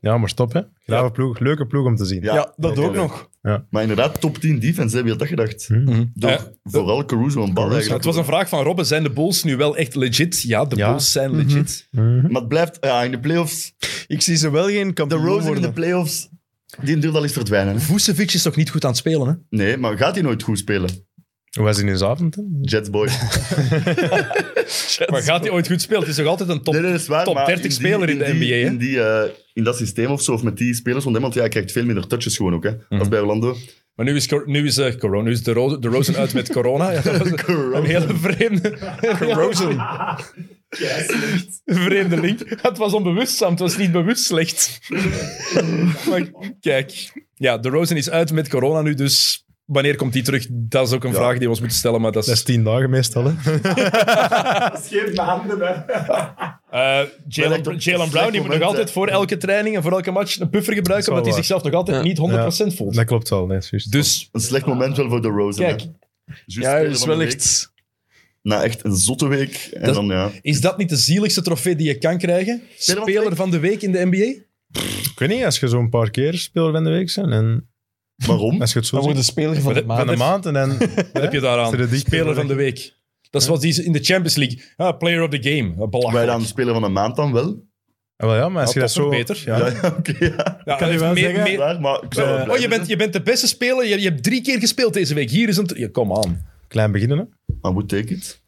Ja, maar stop, hè. Grave ploeg. Leuke ploeg om te zien. Ja, Ja, dat oké. ook nog. Maar inderdaad, top 10 defense, hè. wie had dat gedacht? Door Eh, vooral Caruso en bal Ja, het eigenlijk. was een vraag van Robben, zijn de Bulls nu wel echt legit? Ja, de Ja. Bulls zijn legit. Mhm. Maar het blijft, ja, in de playoffs, Ik zie ze wel geen de kampioen Rose in de worden. playoffs, die durft al eens verdwijnen. hè. Vucevic is toch niet goed aan het spelen, hè? Nee, maar gaat hij nooit goed spelen? Hoe was hij in Zaventem? Jets boy. Maar gaat hij ooit goed spelen? Het is toch altijd een top... nee, nee, dat is waar. top maar 30 in die- speler in de die- NBA, hè? In, die, eh, in dat systeem of zo, of met die spelers van hem, want ja, hij krijgt veel minder touches gewoon ook, hè, Mhm. als bij Orlando. Maar nu is, cor- nu is eh, corona, nu is de, Ro- de Rosen uit met corona. Ja, dat was een- een hele vreemde... Rosen. vreemde link. Het was onbewust, Sam. Het was niet bewust slecht. maar kijk. Ja, de Rosen is uit met corona nu, dus... Wanneer komt die terug? Dat is ook een vraag die we ons moeten stellen, maar dat Dat is... is tien dagen meestal, hè. Eh, Maar Jalen dat- Jalen Brown die moet nog moment, altijd hè. voor elke training en voor elke match een puffer gebruiken, wel omdat hij waar. zichzelf nog altijd Ja. niet 100% voelt. Dat klopt wel, nee, is juist. Dus Een slecht moment wel voor de Rose. Kijk. hè. Juist Ja, speler dat is van de wel week. echt... Na echt een zotte week. En Dat- dan, ja. is dat niet de zieligste trofee die je kan krijgen? Speler van de Speler week? van de week in de NBA? Ik weet niet, als je zo'n paar keer speler van de week bent en Waarom? als je het zo Dan ziet, wordt de speler van de Maar van maand. de maand en dan... Wat heb je Is er daaraan? een dichter Speler van dan de week. Dat is wat die in de Champions League. Ah, player of the game. Ah, Wij Belachelijk. dan speler van de maand dan wel? Ah, wel ja, maar als je Ja, dat toch zo... nog beter. Ja. Ja, oké. ja. Ja, Kan je wel meer- zeggen- meer- Waar, maar ik zou wel blij Oh, je bent, je bent de beste speler. Je, je hebt drie keer gespeeld deze week. Hier is een... Ja, kom aan. Klein beginnen, hè. zijn. Maar moet take it?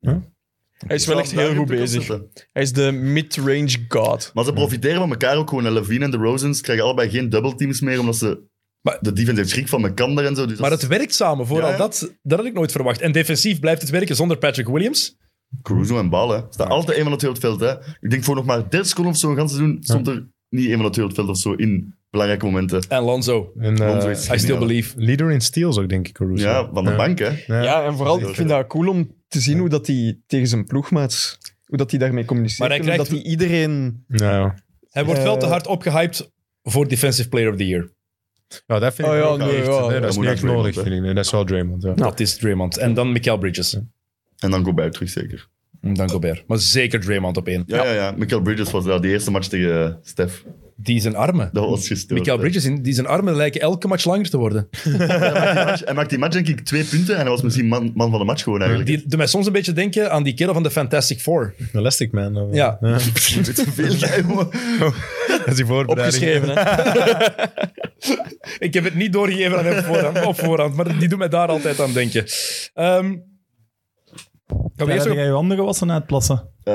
Hij is wel echt Zou heel daar goed druk op bezig. zetten. Hij is de mid-range god. Maar ze profiteren van elkaar ook gewoon. En Levine en de Rosens krijgen allebei geen dubbelteams meer, omdat ze... Maar- de defense heeft schrik van Mekander en zo. Dus Maar dat het werkt samen. Vooral Ja, ja. dat, dat had ik nooit verwacht. En defensief blijft het werken zonder Patrick Williams. Caruso en Bal, hè. Staat altijd een van de twee op het veld, hè. Ik denk voor nog maar 30 seconden of zo, een ganse seizoen, stond er niet een van de twee op het veld of zo in belangrijke momenten. En Lonzo. En, eh, Lonzo is I still geniaal. believe. leader in steals ook, denk ik, Caruso. Ja, van de bank, hè. Ja. Ja, en vooral, ik vind dat cool om te zien hoe dat hij tegen zijn ploegmaats, hoe dat hij daarmee communiceert. Maar hij en hoe krijgt- dat hij iedereen... Ja, ja. Hij wordt Eh, wel te hard opgehyped voor Defensive Player of the Year. Ja, dat vind ik Oh, ja, ook wel nee, echt. ja, nee, ja. dat is Moet niet naar echt Draymond, nodig, hè. vind ik. Nee, dat is wel Draymond, ja. Dat is Draymond. En dan Mikael Bridges. En dan Gobert terug, zeker. En dan Gobert. Maar zeker Draymond op één. Ja, ja, ja. Michael Bridges was daar die eerste match tegen eh, Stef. Die zijn armen. Dat was gestoord. Mikael hè. Bridges, in- die zijn armen lijken elke match langer te worden. Hij maakte die match, denk ik, twee punten en hij was misschien man, man van de match gewoon eigenlijk. Die doet mij soms een beetje denken aan die kerel van de Fantastic Four. Een Elastic Man. of- Ja. Veel, hè, jongen. Dat is die voorbereiding. Opgeschreven, hè. Ik heb het niet doorgegeven aan hem voorhand, op voorhand, maar die doet mij daar altijd aan denken. Ehm gaan we Daar eerst heb nog- jij je handen gewassen na het plassen. Eh,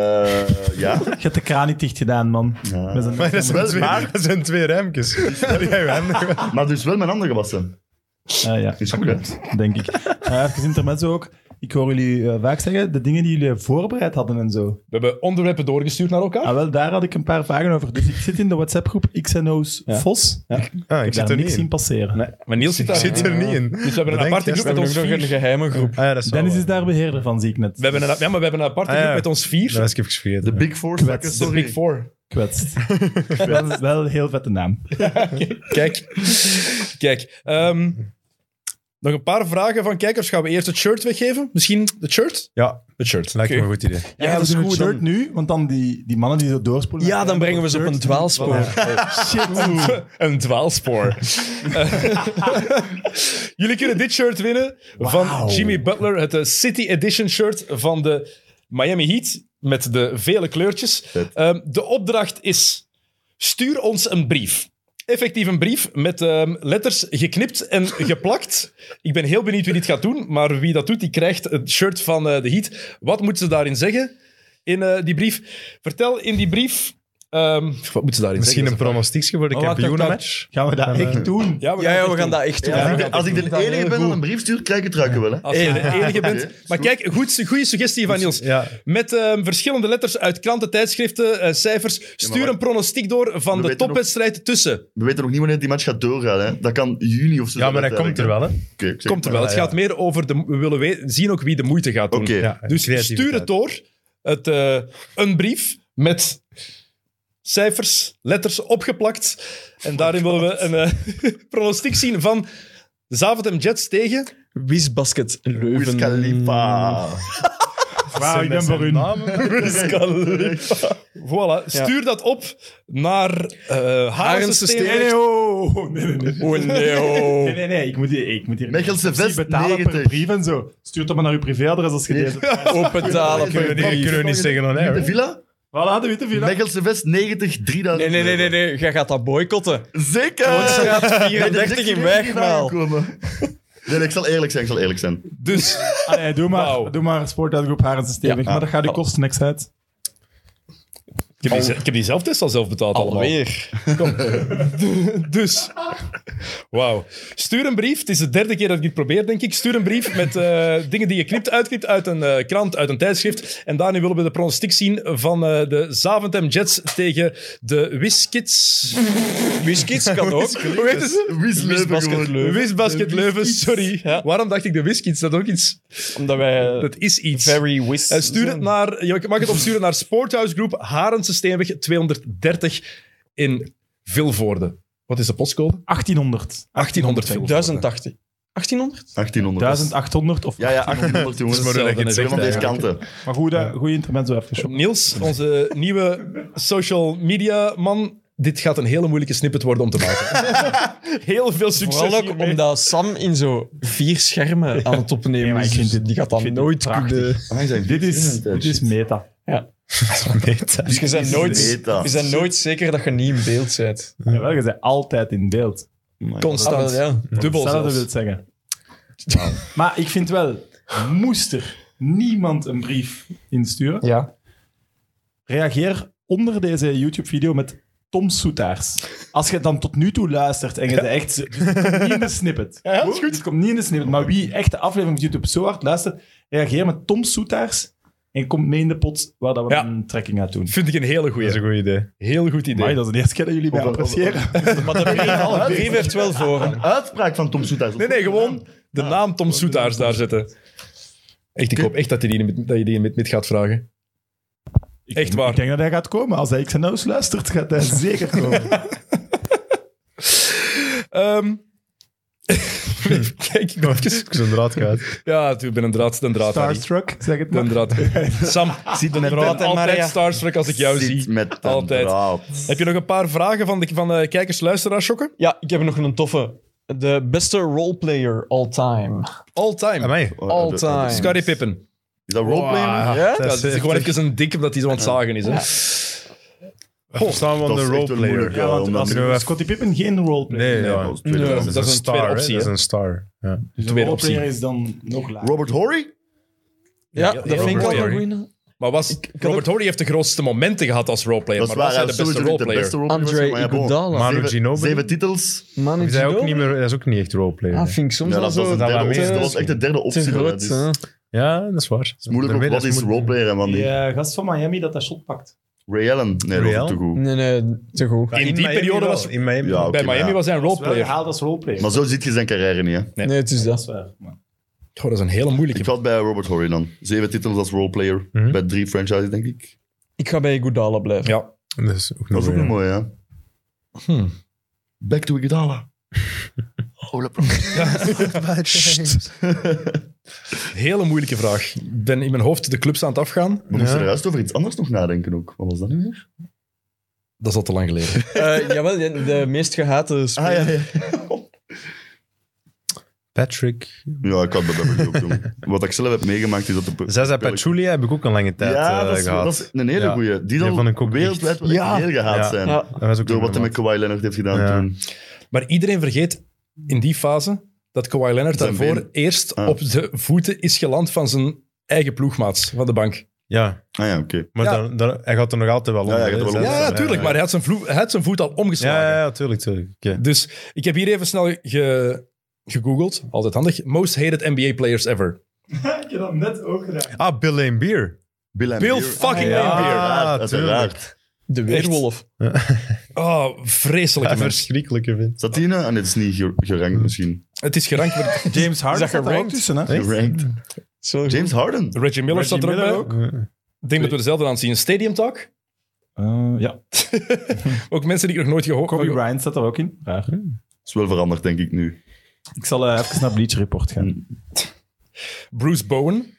ja. Je hebt de kraan niet dicht gedaan, man. Ja. Met een- Maar dat zijn Wel twee, waar. dat zijn twee ruimkes. Dat jij wel handig. Maar dus wel mijn handen gewassen. Ah, ja, Is goed, hè? denk ik. Uh, even intermezzo ook. Ik hoor jullie eh, vaak zeggen, de dingen die jullie voorbereid hadden en zo. We hebben onderwerpen doorgestuurd naar elkaar. Ah, wel, daar had ik een paar vragen over. Dus ik zit in de WhatsApp-groep XNO's Ja. Vos. Ik Ah, ik heb zit daar er niet niks zien in. passeren. Maar Niels zit Ik daar. zit er niet in. Dus we hebben een Bedenk, aparte ja, groep met we ons Nog een vier. geheime groep. Ah, ja, dat is wel Dennis waar. is daar beheerder van, zie ik net. eh, We hebben een, ja, maar we hebben een aparte Ah, groep ja. met ons vier. Dat was ik even vergeten. De Big Four stakken, De sorry. Big Four. Kwetst. dat is wel een heel vette naam. Kijk. Kijk. ehm, nog een paar vragen van kijkers. Gaan we eerst het shirt weggeven? Misschien het shirt? Ja, Het shirt. lijkt me Oké. een goed idee. Ja, dat is goed. shirt nu, want dan die, die mannen die zo doorspoelen... Ja, dan brengen we ze op een dwaalspoor. Oh, een dwaalspoor. Eh, Jullie kunnen dit shirt winnen van Jimmy Butler. Het eh, City Edition shirt van de Miami Heat. Met de vele kleurtjes. Vet. Ehm, de opdracht is: stuur ons een brief. Effectief een brief met ehm, letters geknipt en geplakt. Ik ben heel benieuwd wie dit gaat doen, maar wie dat doet, die krijgt het shirt van eh, de Heat. Wat moeten ze daarin zeggen in eh, die brief? Vertel in die brief. ehm, wat moeten ze daarin Misschien zeggen? een pronostiekje voor de Oh, wacht, wacht, kampioenenmatch. Gaan we dat echt doen? Ja, we Hm. Ja, gaan het ja, we echt gaan doen. dat echt doen. Als ik de- Ja, Als ik de enige ben dat een brief stuurt, krijg ik het ruiken wel. Hè. Als je de enige Oké, bent. is Maar goed. kijk, goed, goede suggestie van Niels. Ja, Met ehm, verschillende letters uit kranten, tijdschriften, eh, cijfers. Stuur wacht. een pronostiek door van We de weten topwedstrijd tussen. We weten nog niet wanneer die match gaat doorgaan. Hè. Dat kan juni of zo. ja maar zijn dat komt er wel, hè. Oké, ik zeg Komt er wel. Ja, Het ja. gaat meer over de. We willen we- zien ook wie de moeite gaat doen. Oké. Ja, Dus stuur creativiteit. het door. Het, eh, een brief met cijfers, letters opgeplakt. En daarin willen we een eh, pronostiek zien van Zaventem Jets tegen. Wiesbasket Wiz Leuven. Khalifa. eh, Wauw, ik ben voor hun. Voilà. Stuur dat op naar eh Harense Harense Stenen. Stenen. oh, nee, nee, nee. Oh nee, oh. Nee, nee, nee, ik moet hier, ik moet hier Mechelse Ik moet vest, betalen per 90. brief en zo. Stuur het maar naar uw privéadres als je Nee. deze... Open taal op Kunnen we niet- kunnen we niet zeggen on air, De hè. villa? Voilà, de witte villa. Mechelse Vest, 90, 3000. Nee, nee, nee, nee, nee. Jij gaat dat boycotten. Zeker! Straat Bij de 34 in 36 Wijgmaal. aangekomen. Nee, ik zal eerlijk zijn, ik zal eerlijk zijn. Dus Ah, nee, doe maar, Wauw. doe maar sportuitgroep Harense Stevig. maar dat gaat u kosten niks uit. Ik heb, die, ik heb die zelftest al zelf betaald allemaal. Alweer. Dus, wauw. Stuur een brief. Het is de derde keer dat ik dit probeer, denk ik. Stuur een brief met eh, dingen die je knipt, uitknipt uit een eh, krant, uit een tijdschrift. En daarin willen we de pronostiek zien van eh, de Zaventem Jets tegen de Wiskits. Wiskits kan ook. Hoe heet het? Wiz Leuven Wiesbasket gewoon. Leuven. Wisbasket Leuven, sorry. Ja. Waarom dacht ik de Wiskits? Dat, ook iets, Omdat wij eh, dat is iets. very wis Eh, stuur het naar, je mag het opsturen naar Sporthouse Group Harense Steenweg 230 in Vilvoorde. Wat is de postcode? 1800. 1800 zijn. 1080. 1800? 1800. 1800 of... Ja, ja, 1800 jongens. Dat is maar hoe dat je het Zeg zegt, van deze eigenlijk. kanten. Maar goed, hè, goeie internet zo even. John. Niels, onze nieuwe social media man. Dit gaat een hele moeilijke snippet worden om te maken. Heel veel succes Vooral ook hiermee. omdat Sam in zo vier schermen aan het opnemen Ja, maar ik is. vind Dus dit- die gaat ik dan vind dit nooit prachtig. kunnen... Ah, zijn Dit is, vies. dit is meta. Dus je bent nooit, meta. je bent nooit zeker dat je niet in beeld bent. Jawel, je bent altijd in beeld. Constant. Ah, wel, ja. Dubbel Hetzelfde zelfs. wil het zeggen. Maar ik vind wel, moest er niemand een brief insturen, Ja. reageer onder deze YouTube-video met Tom Soetaars. Als je dan tot nu toe luistert en je bent echt... Dus het komt niet in de snippet. Ja, is goed. Het komt niet in de snippet. Maar wie echt de aflevering op YouTube zo hard luistert, reageer met Tom Soetaars en komt mee in de pot waar dat we Ja. een trekking uit doen. Vind ik een hele Dat is een goeie. goed idee. Heel goed Amai, idee. dat is de eerste keer dat jullie Of- mij of- appreciëren. Maar de brief, de brief heeft wel voor. Een uitspraak van Tom Soetaars. Nee, nee, gewoon de naam Tom Soetaars daar zetten. Echt, ik hoop echt dat je die, met- dat je die met, met gaat vragen. Ik Echt denk- waar. Ik denk dat hij gaat komen. Als hij XNO's luistert, gaat hij zeker komen. Ehm, Kijk, ik ben even- Ik zo'n draad kwijt. Ja, ik ben een draad, een draad. Harry. Starstruck, zeg het Ik ben maar. een draad. Sam, Zit met ik ben en Maria. altijd starstruck als ik jou Zit zie. met een Altijd. draad. Heb je nog een paar vragen van de, van de kijkers, luisteraars, Sjokke? Ja, ik heb nog een toffe. De beste roleplayer all time. All time. Amai. Oh, All dat- dat- time. Scottie Pippen. Is dat eh, roleplay? Ja? Ah, Ja, Dat het is gewoon even een dik omdat hij zo aan het zagen is. Hè? Oh, Staan we Dat is on the echt wel roleplayer. moeilijk, ja, Ja, want omdat- als Kunnen we even- Scottie Pippen geen Nee, roleplayer. ja. dat was 2000. Dat Dat is is een tweede een star, hè. optie, Dat is hè. een star. Ja. Dus een Tweede roleplayer is dan nog lager. Robert Horry? Ja, ja, dat vind ik wel Robert een Horry. goeie. Maar was, Robert Horry heeft de grootste momenten gehad als roleplayer. Dat is Maar was waar, hij hij was de beste sowieso niet de beste roleplayer? roleplayer. Andre maar ja, bon. Iguodala. Manu Zeven- Ginobili. Zeven titels. Manu Is hij ook Ginobili. niet meer, dat is ook niet echt roleplayer. Ah, vind ik soms Ja, wel dat was, zo een dat derde wel optie. meer. dat was echt de derde te optie. groot. dus- hè. Ja, dat is waar. is moeilijk ook. Daarmee, Wat dat is roleplayer en wat Die niet? eh, gast van Miami dat dat shot pakt. Ray Allen? Nee, dat Ray is ook te Allen? goed. Nee, nee, te goed. Ja, In die Miami periode wel. was- In Miami. Ja, oké, Bij maar Miami ja. was hij een Dat is wel roleplayer. gehaald als roleplayer. Maar zo ziet je zijn carrière niet, hè. Nee. Nee, het is dat dat. is waar. Maar... Goh, dat is een hele moeilijke. Ik had bij Robert Horry dan. Zeven titels als roleplayer. Mhm. Bij drie franchises, denk ik. Ik ga bij Goudala blijven. Ja. Dat is ook Dat nog is ook een nog mooi, hè. Hmm. Back to Iguodala. Hele moeilijke vraag. Ik ben in mijn hoofd de clubs aan het afgaan. We moesten Ja. er juist over iets anders nog nadenken ook. Wat was dat nu weer? Dat is al te lang geleden. Eh, jawel, de, de meest gehate speler. Ah, ja, ja. Patrick. Ja, ik had bij Beverly ook doen. Wat ik zelf heb meegemaakt is dat de... Zaza Pachulia heb ik ook een lange tijd ja, eh, dat, is, gehad. dat is een hele Ja. goeie. Die Die zal vond ik ook wereldwijd echt- wel Ja. heel gehaald Ja. zijn. Ja. Dat was ook Door een wat hij met maat. Kawhi Leonard heeft gedaan Ja. toen. Maar iedereen vergeet in die fase dat Kawhi Leonard Zijn daarvoor been. eerst Ah. op de voeten is geland van zijn eigen ploegmaats van de bank. Ja, Ah ja, oké. maar Ja. Dan, dan, hij gaat er nog altijd wel Ja, onder. hij gaat er wel hè, onder. Zaza. Ja, ja, tuurlijk. ja. Maar hij had, zijn vloe- hij had zijn voet al omgeslagen. Ja, ja, ja, tuurlijk, tuurlijk. Oké. Dus ik heb hier even snel ge- gegoogeld. Altijd handig. Most hated NBA players ever. Ik heb dat net ook gedaan. Ah, Bill Laimbeer. Bill, Bill Beer. fucking Ah, Laimbeer. uiteraard, Ah, tuurlijk. Uiteraard. De weerwolf. Oh, vreselijke Ja, mens. verschrikkelijke vind. Zat die nou? Ah, nee, het is niet ge- gerankt misschien. Het is gerankt. maar James Harden Is dat staat er ook gerankt? tussen, hè? Gerankt. Zo goed. James Harden. Reggie Miller staat er ook bij. Ik denk dat we dezelfde aan zien. Stadium Talk. Eh, ja. Ook mensen die ik nog nooit gehoord Kobe heb. Bryant staat er ook in. Raar. is wel veranderd, denk ik nu. Ik zal eh, even naar Bleach Report gaan. Bruce Bowen.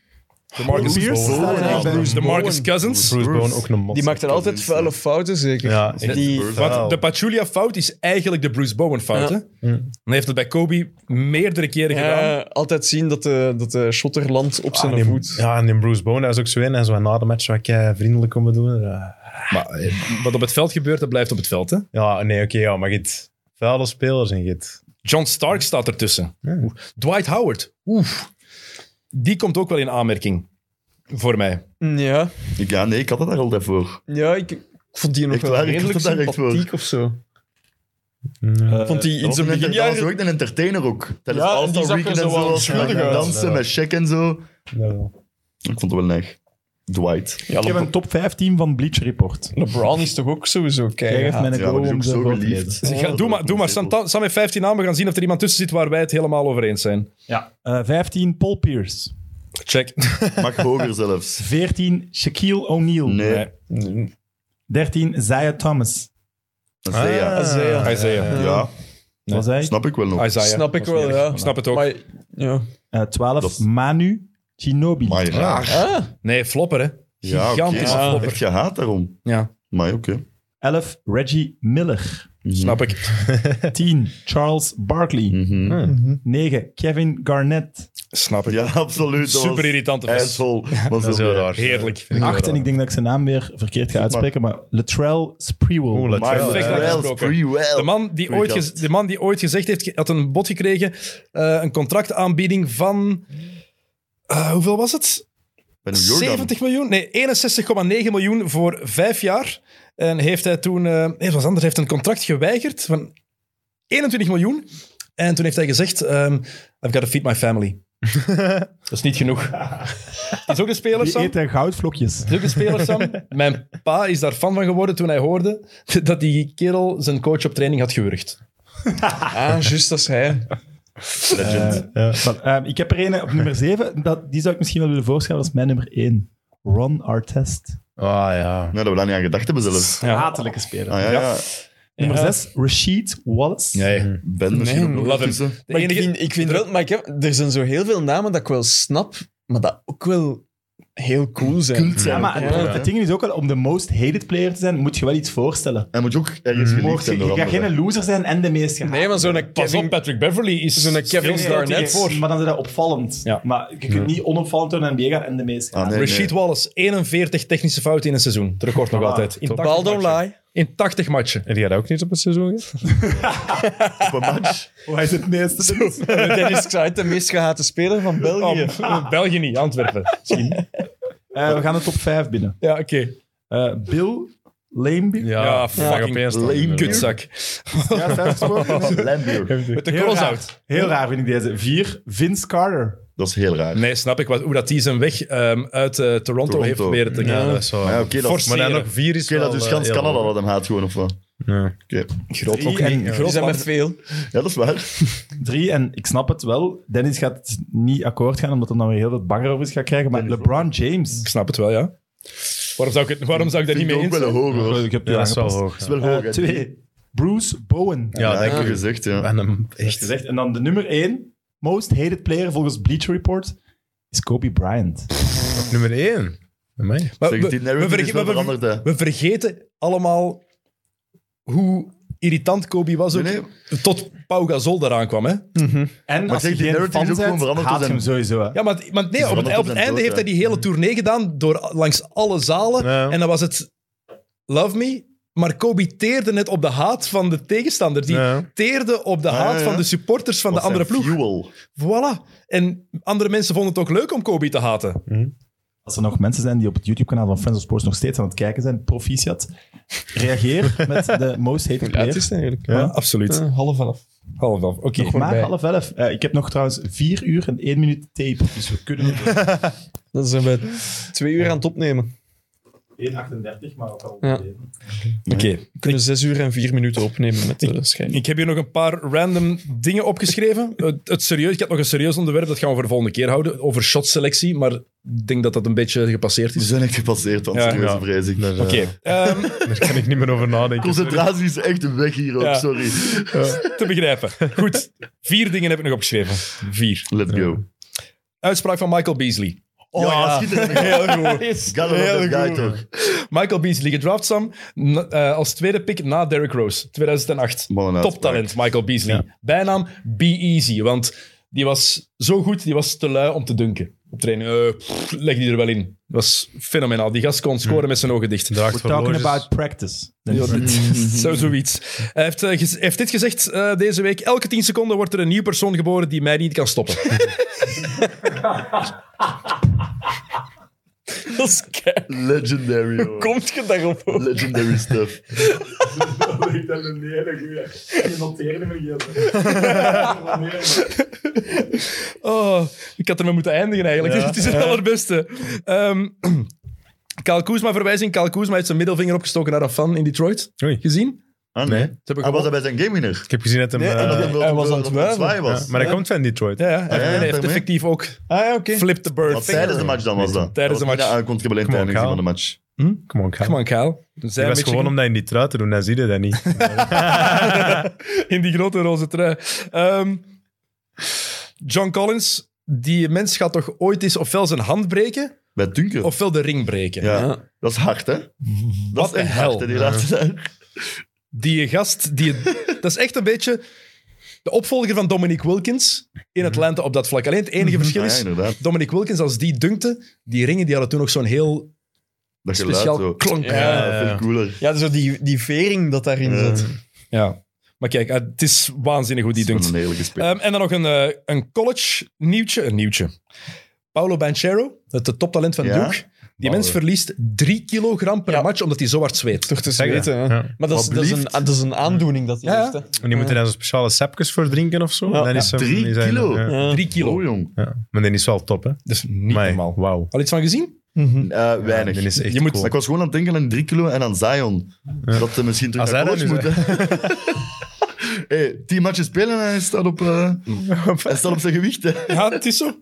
De Marcus, Bruce Cousins. Bowen. Bowen. Ja, Bruce De Marcus Bowen. Cousins. Bruce Bowen Bruce. ook een mot. Die maakt er altijd vuile fouten, zeker. Ja, Of echt. die, Spurs. Wauw. Want de Pachulia-fout is eigenlijk de Bruce Bowen-fout. Ja. hè? En hij heeft het bij Kobe meerdere keren gedaan. eh, altijd zien dat de, dat de shotter landt op zijn en die- voet. Ah, Ja, en die Bruce Bowen, hij is ook zo in. Hij is zo na de match wat kei vriendelijk komen doen. Ja, Maar eh, wat op het veld gebeurt, dat blijft op het veld. Hè? Ja, nee, oké, ja, maar git. Vuile spelers en git. John Stark staat ertussen. Ja. Oeh. Dwight Howard. Oef. Die komt ook wel in aanmerking. Voor mij. Ja, Ik, ja, nee, ik had het daar altijd voor. ja ik, ik vond die nog Echt wel waar, ik redelijk had het daar echt voor. sympathiek of zo. Eh, Ik vond die in Dat was een zijn enter- dat was beginjaren... ook een entertainer ook. Tijdens Ja, en die All-Star zag er Weekend zo en wel zo. schuldig en uit. dansen Ja. met check en zo. Jawel. Ik vond het wel neig. Dwight. Ja, ik heb een Le- top 5 team van Bleach Report. LeBron is toch ook sowieso Kijk even keihard. mijn Ja, go maar die om is ze ook zo voor te geliefd. lezen. Ga- doe maar, doe maar. Sam, Sam heeft 15 namen. We gaan zien of er iemand tussen zit waar wij het helemaal over eens zijn. Ja. Eh, 15, Paul Pierce. Check. Mag hoger zelfs. 14, Shaquille O'Neal. Nee. Nee. Nee. 13, Zaya Thomas. Zea. Ah, Isaiah. Isaiah. ja, Dat was hij. snap ik wel nog. Isaiah. Snap ik wel, ja. Snap het ook. Maar, ja. Eh, 12, Dat- Manu Ginobili. Maar raar. Ah, Nee, flopper, hè. Ja, oké. Ah, Gigantische Ja. flopper. Echt gehaat daarom. Ja, Maar oké. 11, Reggie Miller. snap ik. 10, Charles Barkley. Mhm. 9, Kevin Garnett. Snap ik. Ja, absoluut. dat was Super irritante vest. Asshole. Was Dat is heel raar. Heerlijk. Vind ik 8, wel en ik denk dat ik zijn naam weer verkeerd ga uitspreken, maar Latrell Sprewell. Oeh, Maar Latrell, perfect ja. dat- Free uitgesproken. free well. De man, die Goeie ooit gast. gez- de man die ooit gezegd heeft, had een bod gekregen, eh, een contractaanbieding van, eh, hoeveel was het? Bij New York dan. 70 miljoen? Nee, 61,9 miljoen voor vijf jaar. En heeft hij toen, eh, nee, het was anders, heeft een contract geweigerd van 21 miljoen. En toen heeft hij gezegd, ehm, I've got to feed my family. dat is niet genoeg. is ook een speler, Die Sam. eten goudvlokjes. Zulke spelers, Sam. Mijn pa is daar fan van geworden toen hij hoorde dat die kerel zijn coach op training had gewurgd. ah, juist als hij. Maar, ehm, ik heb er een op nummer 7. Dat, die zou ik misschien wel willen voorstellen als mijn nummer 1. Ron Artest. Ah, ja. Nee, dat we daar niet aan gedacht hebben zelfs. Hatelijke speler. Ah ja, ja. Nummer 6, Rashid Wallace. Nee. Ben misschien ook nog love him. tussen. De Maar ik enige- vind, ik vind wel... Maar ik heb, er zijn zo heel veel namen dat ik wel snap, maar dat ook wel heel cool zijn. Kult zijn Ja, ook maar wel, het- hè. het ding is ook wel, om de most hated player te zijn, moet je wel iets voorstellen. Hij moet je ook Mm. ergens Je, geliefd mocht- zijn je door gaat anderen. geen loser zijn en de meest gehate. Nee, maar zo'n Pas op, Kevin... Patrick Beverly is Zo'n Kevin veel groter Garnett. dan voor. Maar dan is dat opvallend. Ja. Maar je kunt niet onopvallend door de NBA gaan en de meest Ah, gehate. nee, nee. Rashid Wallace, 41 technische fouten in een seizoen. Het record nog Ah, altijd. In 80 Ball don't matchen. lie. In 80 matchen. Heb jij dat ook niet op het seizoen gehad? Op een match. Oh, hij is het meeste. Dennis Kuyt, de meest gehate speler van België. Oh, België niet, Antwerpen. Misschien. Eh, we gaan de top 5 binnen. Ja, oké. Eh, Bill Laimbeer. Ja, fucking lame Kutzak. Ja, vijf gesproken. Lambier. Met de Heel cross raar. Heel raar vind ik deze. Vier, Vince Carter. Dat is heel raar. Nee, snap ik. Wat, hoe dat die zijn weg ehm, uit eh, Toronto, Toronto. heeft proberen te gaan. Ja, eh, dat is wel- Maar ja, oké, dat, Forceren. Maar dan nog vier is oké, dat wel, is eh, gans heel Canada hoog. dat hem haat gewoon, of wat? Ja. Oké. groot Drie ook en eh, en- groot Die zijn land. met veel. Ja, dat is waar. Drie, en ik snap het wel. Dennis gaat niet akkoord gaan, omdat hij dan weer heel wat banger over is gaat krijgen. Maar LeBron Ik James. snap het wel, ja. Waarom zou ik, het, waarom zou ik daar niet Vind mee ik in ook wel een hoge, hoor. Ik Ja, heb die dat is wel aangepast. hoog. Dat is Ja, wel Eh, Ah, hoog, hè. twee, Bruce Bowen. Ja, Ja, denk ik ik. heb gezegd, ja. En hem echt. Gezegd. En dan de nummer één, most hated player volgens Bleacher Report, is Kobe Bryant. Nummer 1. Amai. Maar Zeg, we- die we narrative verge- is wel we- we- veranderd, hè. We vergeten allemaal hoe irritant Kobe was ook, Nee, tot Pau Gasol eraan kwam. Hè? En als zeg, je die geen narrative fan is ook gewoon bent, veranderd haat door je hem sowieso. hè. Ja, maar, maar nee, op het, veranderd op het zijn einde dood, heeft hij hè. die hele tournee gedaan door langs alle zalen. Ja. En dan was het Love Me. Maar Kobe teerde net op de haat van de tegenstander. Die Ja. teerde op de Ja, haat ja. van de supporters van was de andere zijn ploeg. fuel. Voilà. En andere mensen vonden het ook leuk om Kobe te haten. Als er nog mensen zijn die op het YouTube-kanaal van Friends of Sports nog steeds aan het kijken zijn, proficiat, reageer met de most hated Ja, het player. is eigenlijk. Ja. absoluut. Eh, half elf. Half elf. Oké. Nog maar bij. half elf. Eh, ik heb nog trouwens vier uur en één minuut tape, dus we kunnen Dan zijn we twee uur aan het opnemen. 1,38, maar ook al. Ja. Oké. We kunnen zes uur en vier minuten opnemen met de schijn. Ik heb hier nog een paar random dingen opgeschreven. Het, het serieus, ik had nog een serieus onderwerp, dat gaan we voor de volgende keer houden, over shotselectie. Maar ik denk dat dat een beetje gepasseerd Die is. zijn echt gepasseerd, want Ja. serieuze Ja. vrees ik. Daar, eh, Oké, ehm, daar kan ik niet meer over nadenken. Concentratie is echt weg hier ook, Ja. sorry. Eh, te begrijpen. Goed, vier dingen heb ik nog opgeschreven. Vier. Let's go. Uitspraak van Michael Beasley. Oh, ja, schitterend. Heel goed. Got Heel guy, goed. toch. Michael Beasley gedraft, Sam, na- eh, als tweede pick na Derrick Rose, 2008. Wat een uitspraak. Toptalent, Michael Beasley. Bijnaam Be Easy, want die was zo goed, die was te lui om te dunken. Op training, eh, pff, leg die er wel in. Dat was fenomenaal. Die gast kon scoren met zijn ogen dicht. Draagt We're talking horloges. about practice. Ja, dit- zo zoiets. Hij heeft, eh, gez- heeft dit gezegd eh, deze week. Elke 10 seconden wordt er een nieuw persoon geboren die mij niet kan stoppen. Dat is kei- Legendary, hoor. Komt je daarop? ook? Legendary stuff. Oh, ik had ermee moeten eindigen eigenlijk. Het is het allerbeste. Ehm Kyle Kuzma verwijzing. Kyle Kuzma heeft zijn middelvinger opgestoken naar een fan in Detroit. Oei. Gezien? Ah, Nee. nee. Ze hebben Hij was gewonnen. hij bij zijn gamewinner. Ik heb gezien dat hem... eh, hij was aan het wuiven. zwaaien ja, was. maar hij komt van Detroit. Ja, ja. Hij heeft- Ah, ja, nee, hij heeft daarmee. effectief ook Ah, ja, oké. Flip the Bird. Wat tijdens de match dan was dat? Tijdens de match. Ja, hij kon geen Come on, tijdens Kyle. van de match. Come on, Kyle. Come on, Kyle. Zijn Het was Michigan. gewoon om dat in die trui te doen, dan zie je dat niet. in die grote roze trui. Ehm, John Collins, die mens gaat toch ooit eens ofwel zijn hand breken, Bij Dunker. ofwel de ring breken. ja. Ja. dat is hard, hè? Dat Wat is de echt hel. hard, hè, die laatste tijd. Die gast, die, dat is echt een beetje de opvolger van Dominique Wilkins in Atlanta op dat vlak. Alleen het enige verschil Mhm. Ja, is, inderdaad. Dominique Wilkins, als die dunkte, die ringen die hadden toen nog zo'n heel Dat geluid speciaal zo. klonk. Ja. Ja, dat vind ik cooler. Ja, zo die, die vering dat daarin Ja. zit. Ja. Maar kijk, eh, het is waanzinnig hoe die Dat is dunkt. wel een heerlijke speel. Ehm, en dan nog een, eh, een college nieuwtje. Een nieuwtje. Paolo Banchero, het het toptalent van Ja? Duke. Die mens verliest 3 kilogram per match omdat hij zo hard zweet. Toch te Zeg dat. zweten, hè. Ja. Maar dat is, Wat dat, is een, blieft. dat is een aandoening dat hij Ja, heeft. Hè. En die moeten daar zo'n speciale sapjes voor drinken of zo. Ja. Dan is hem- Drie die zijn- kilo. ja. Ja. 3 kilo. Oh, jong. Ja. Maar die is wel top, hè? Dat is niet Amai, normaal. Wauw. Al iets van gezien? Mhm. Eh, Ja, weinig. die is echt Je moet- cool. Maar ik was gewoon aan het denken aan 3 kilo en aan Zion. Dat hij misschien terug Als naar hij college dat moet. hè. hey, tien matches spelen en hij staat op, eh, hij staat op zijn gewicht. hè. Ja, het is zo.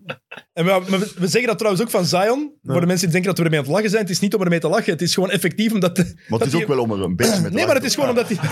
En we, maar we- we zeggen dat trouwens ook van Zion. Voor de mensen die denken dat we ermee aan het lachen zijn. Het is niet om ermee te lachen. Het is gewoon effectief omdat... de- dat Maar het is die- ook wel om er een beetje mee te Nee, maar het is gewoon omdat hij...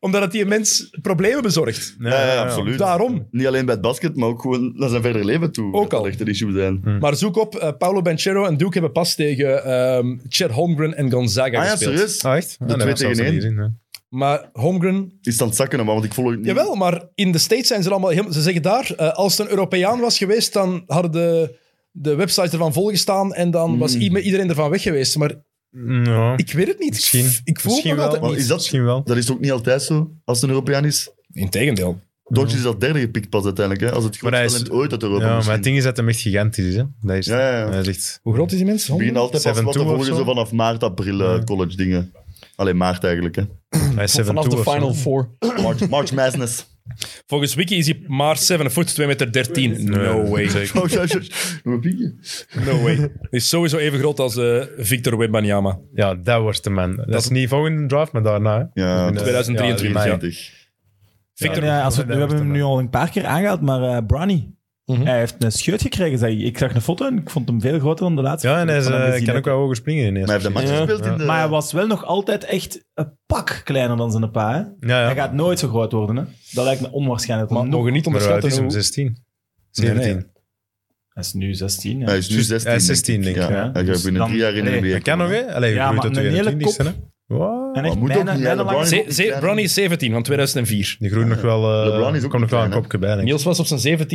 omdat het die mens problemen bezorgt. Ja, Ja, ja, ja. absoluut. Daarom. Niet alleen bij het basket, maar ook gewoon naar zijn verder leven toe. Ook dat dat al. echt een issue zijn. Maar zoek op, eh, Paolo Banchero en Duke hebben pas tegen ehm Chad Holmgren en Gonzaga Ah ja, gespeeld. serieus? Ah, echt? De twee tegen één. Maar Holmgren Is het aan het zakken, maar, want ik volg het niet. Jawel, maar in de States zijn ze er allemaal helemaal... Ze zeggen daar, eh, als het een Europeaan was geweest, dan hadden de, de websites ervan volgestaan en dan was Hmm. i- iedereen ervan weg geweest. Maar Mm, Ja. ik weet het niet. Misschien. Ik voel Misschien me wel. altijd Want niet. is dat, Misschien wel. dat is ook niet altijd zo, als het een Europeaan is. Integendeel. Doncic is dat derde gepikt pas uiteindelijk, hè? als het Maar hij grootste is- talent ooit uit Europa Ja, maar misschien. het ding is dat hem echt gigantisch is. Hè. Dat is Ja, ja, ja. Hij is echt... Hoe groot is die mens? We beginnen altijd pas 7-2 wat te of volgen zo. zo vanaf maart, april eh, college dingen. Alleen maart eigenlijk. Hè. Hij is 7 Vanaf de Final Four. March, March Madness. Volgens Wiki is hij maar 7 foot, 2 meter 13. No way. Oh, ja, ja, ja. Nog een piekje. No way. Is sowieso even groot als eh, Victor Wembanyama. Ja, dat wordt de man. Dat, is niet volgende draft, maar daarna. hè. Ja, In, eh, 2023, ja, in mei. 20. Victor, Ja, als we, we dat hebben wordt hem hem nu al een paar keer aangehaald, maar eh Bronny. Hij heeft een scheut gekregen. Zei, hij. ik zag een foto en ik vond hem veel groter dan de laatste. Ja, en hij is, foto die ik eh, van kan ook hem gezien wel hoger springen ineens. Maar hij heeft de match gespeeld in de... heb. Maar hij was wel nog altijd echt een pak kleiner dan zijn pa. Hè? Ja, ja. Hij gaat nooit zo groot worden. Hè? Dat lijkt me onwaarschijnlijk. maar Maar nog... mogen niet Maar het onderschatten is hem hoe- 16. Nee, nee. 17. Hij is nu 16. Hij Ja, is nu 16. Hij is 16, denk ik, Ja. ja. Hij Dus gaat binnen dan- drie jaar in de Nee, NBA. Dat kan nog, komen. hè? Allee, Ja, ja, maar groeit tot een hele 21 ste hè? Wow. En echt Maar moet bijna, ook niet, hè, bijna LeBron. lang- Ze- ze- Bronny is 17 van 2004. Die groeit nog wel... eh, LeBron is ook komt nog wel een klein, hè? kopje bij, denk ik. Niels was op zijn 17e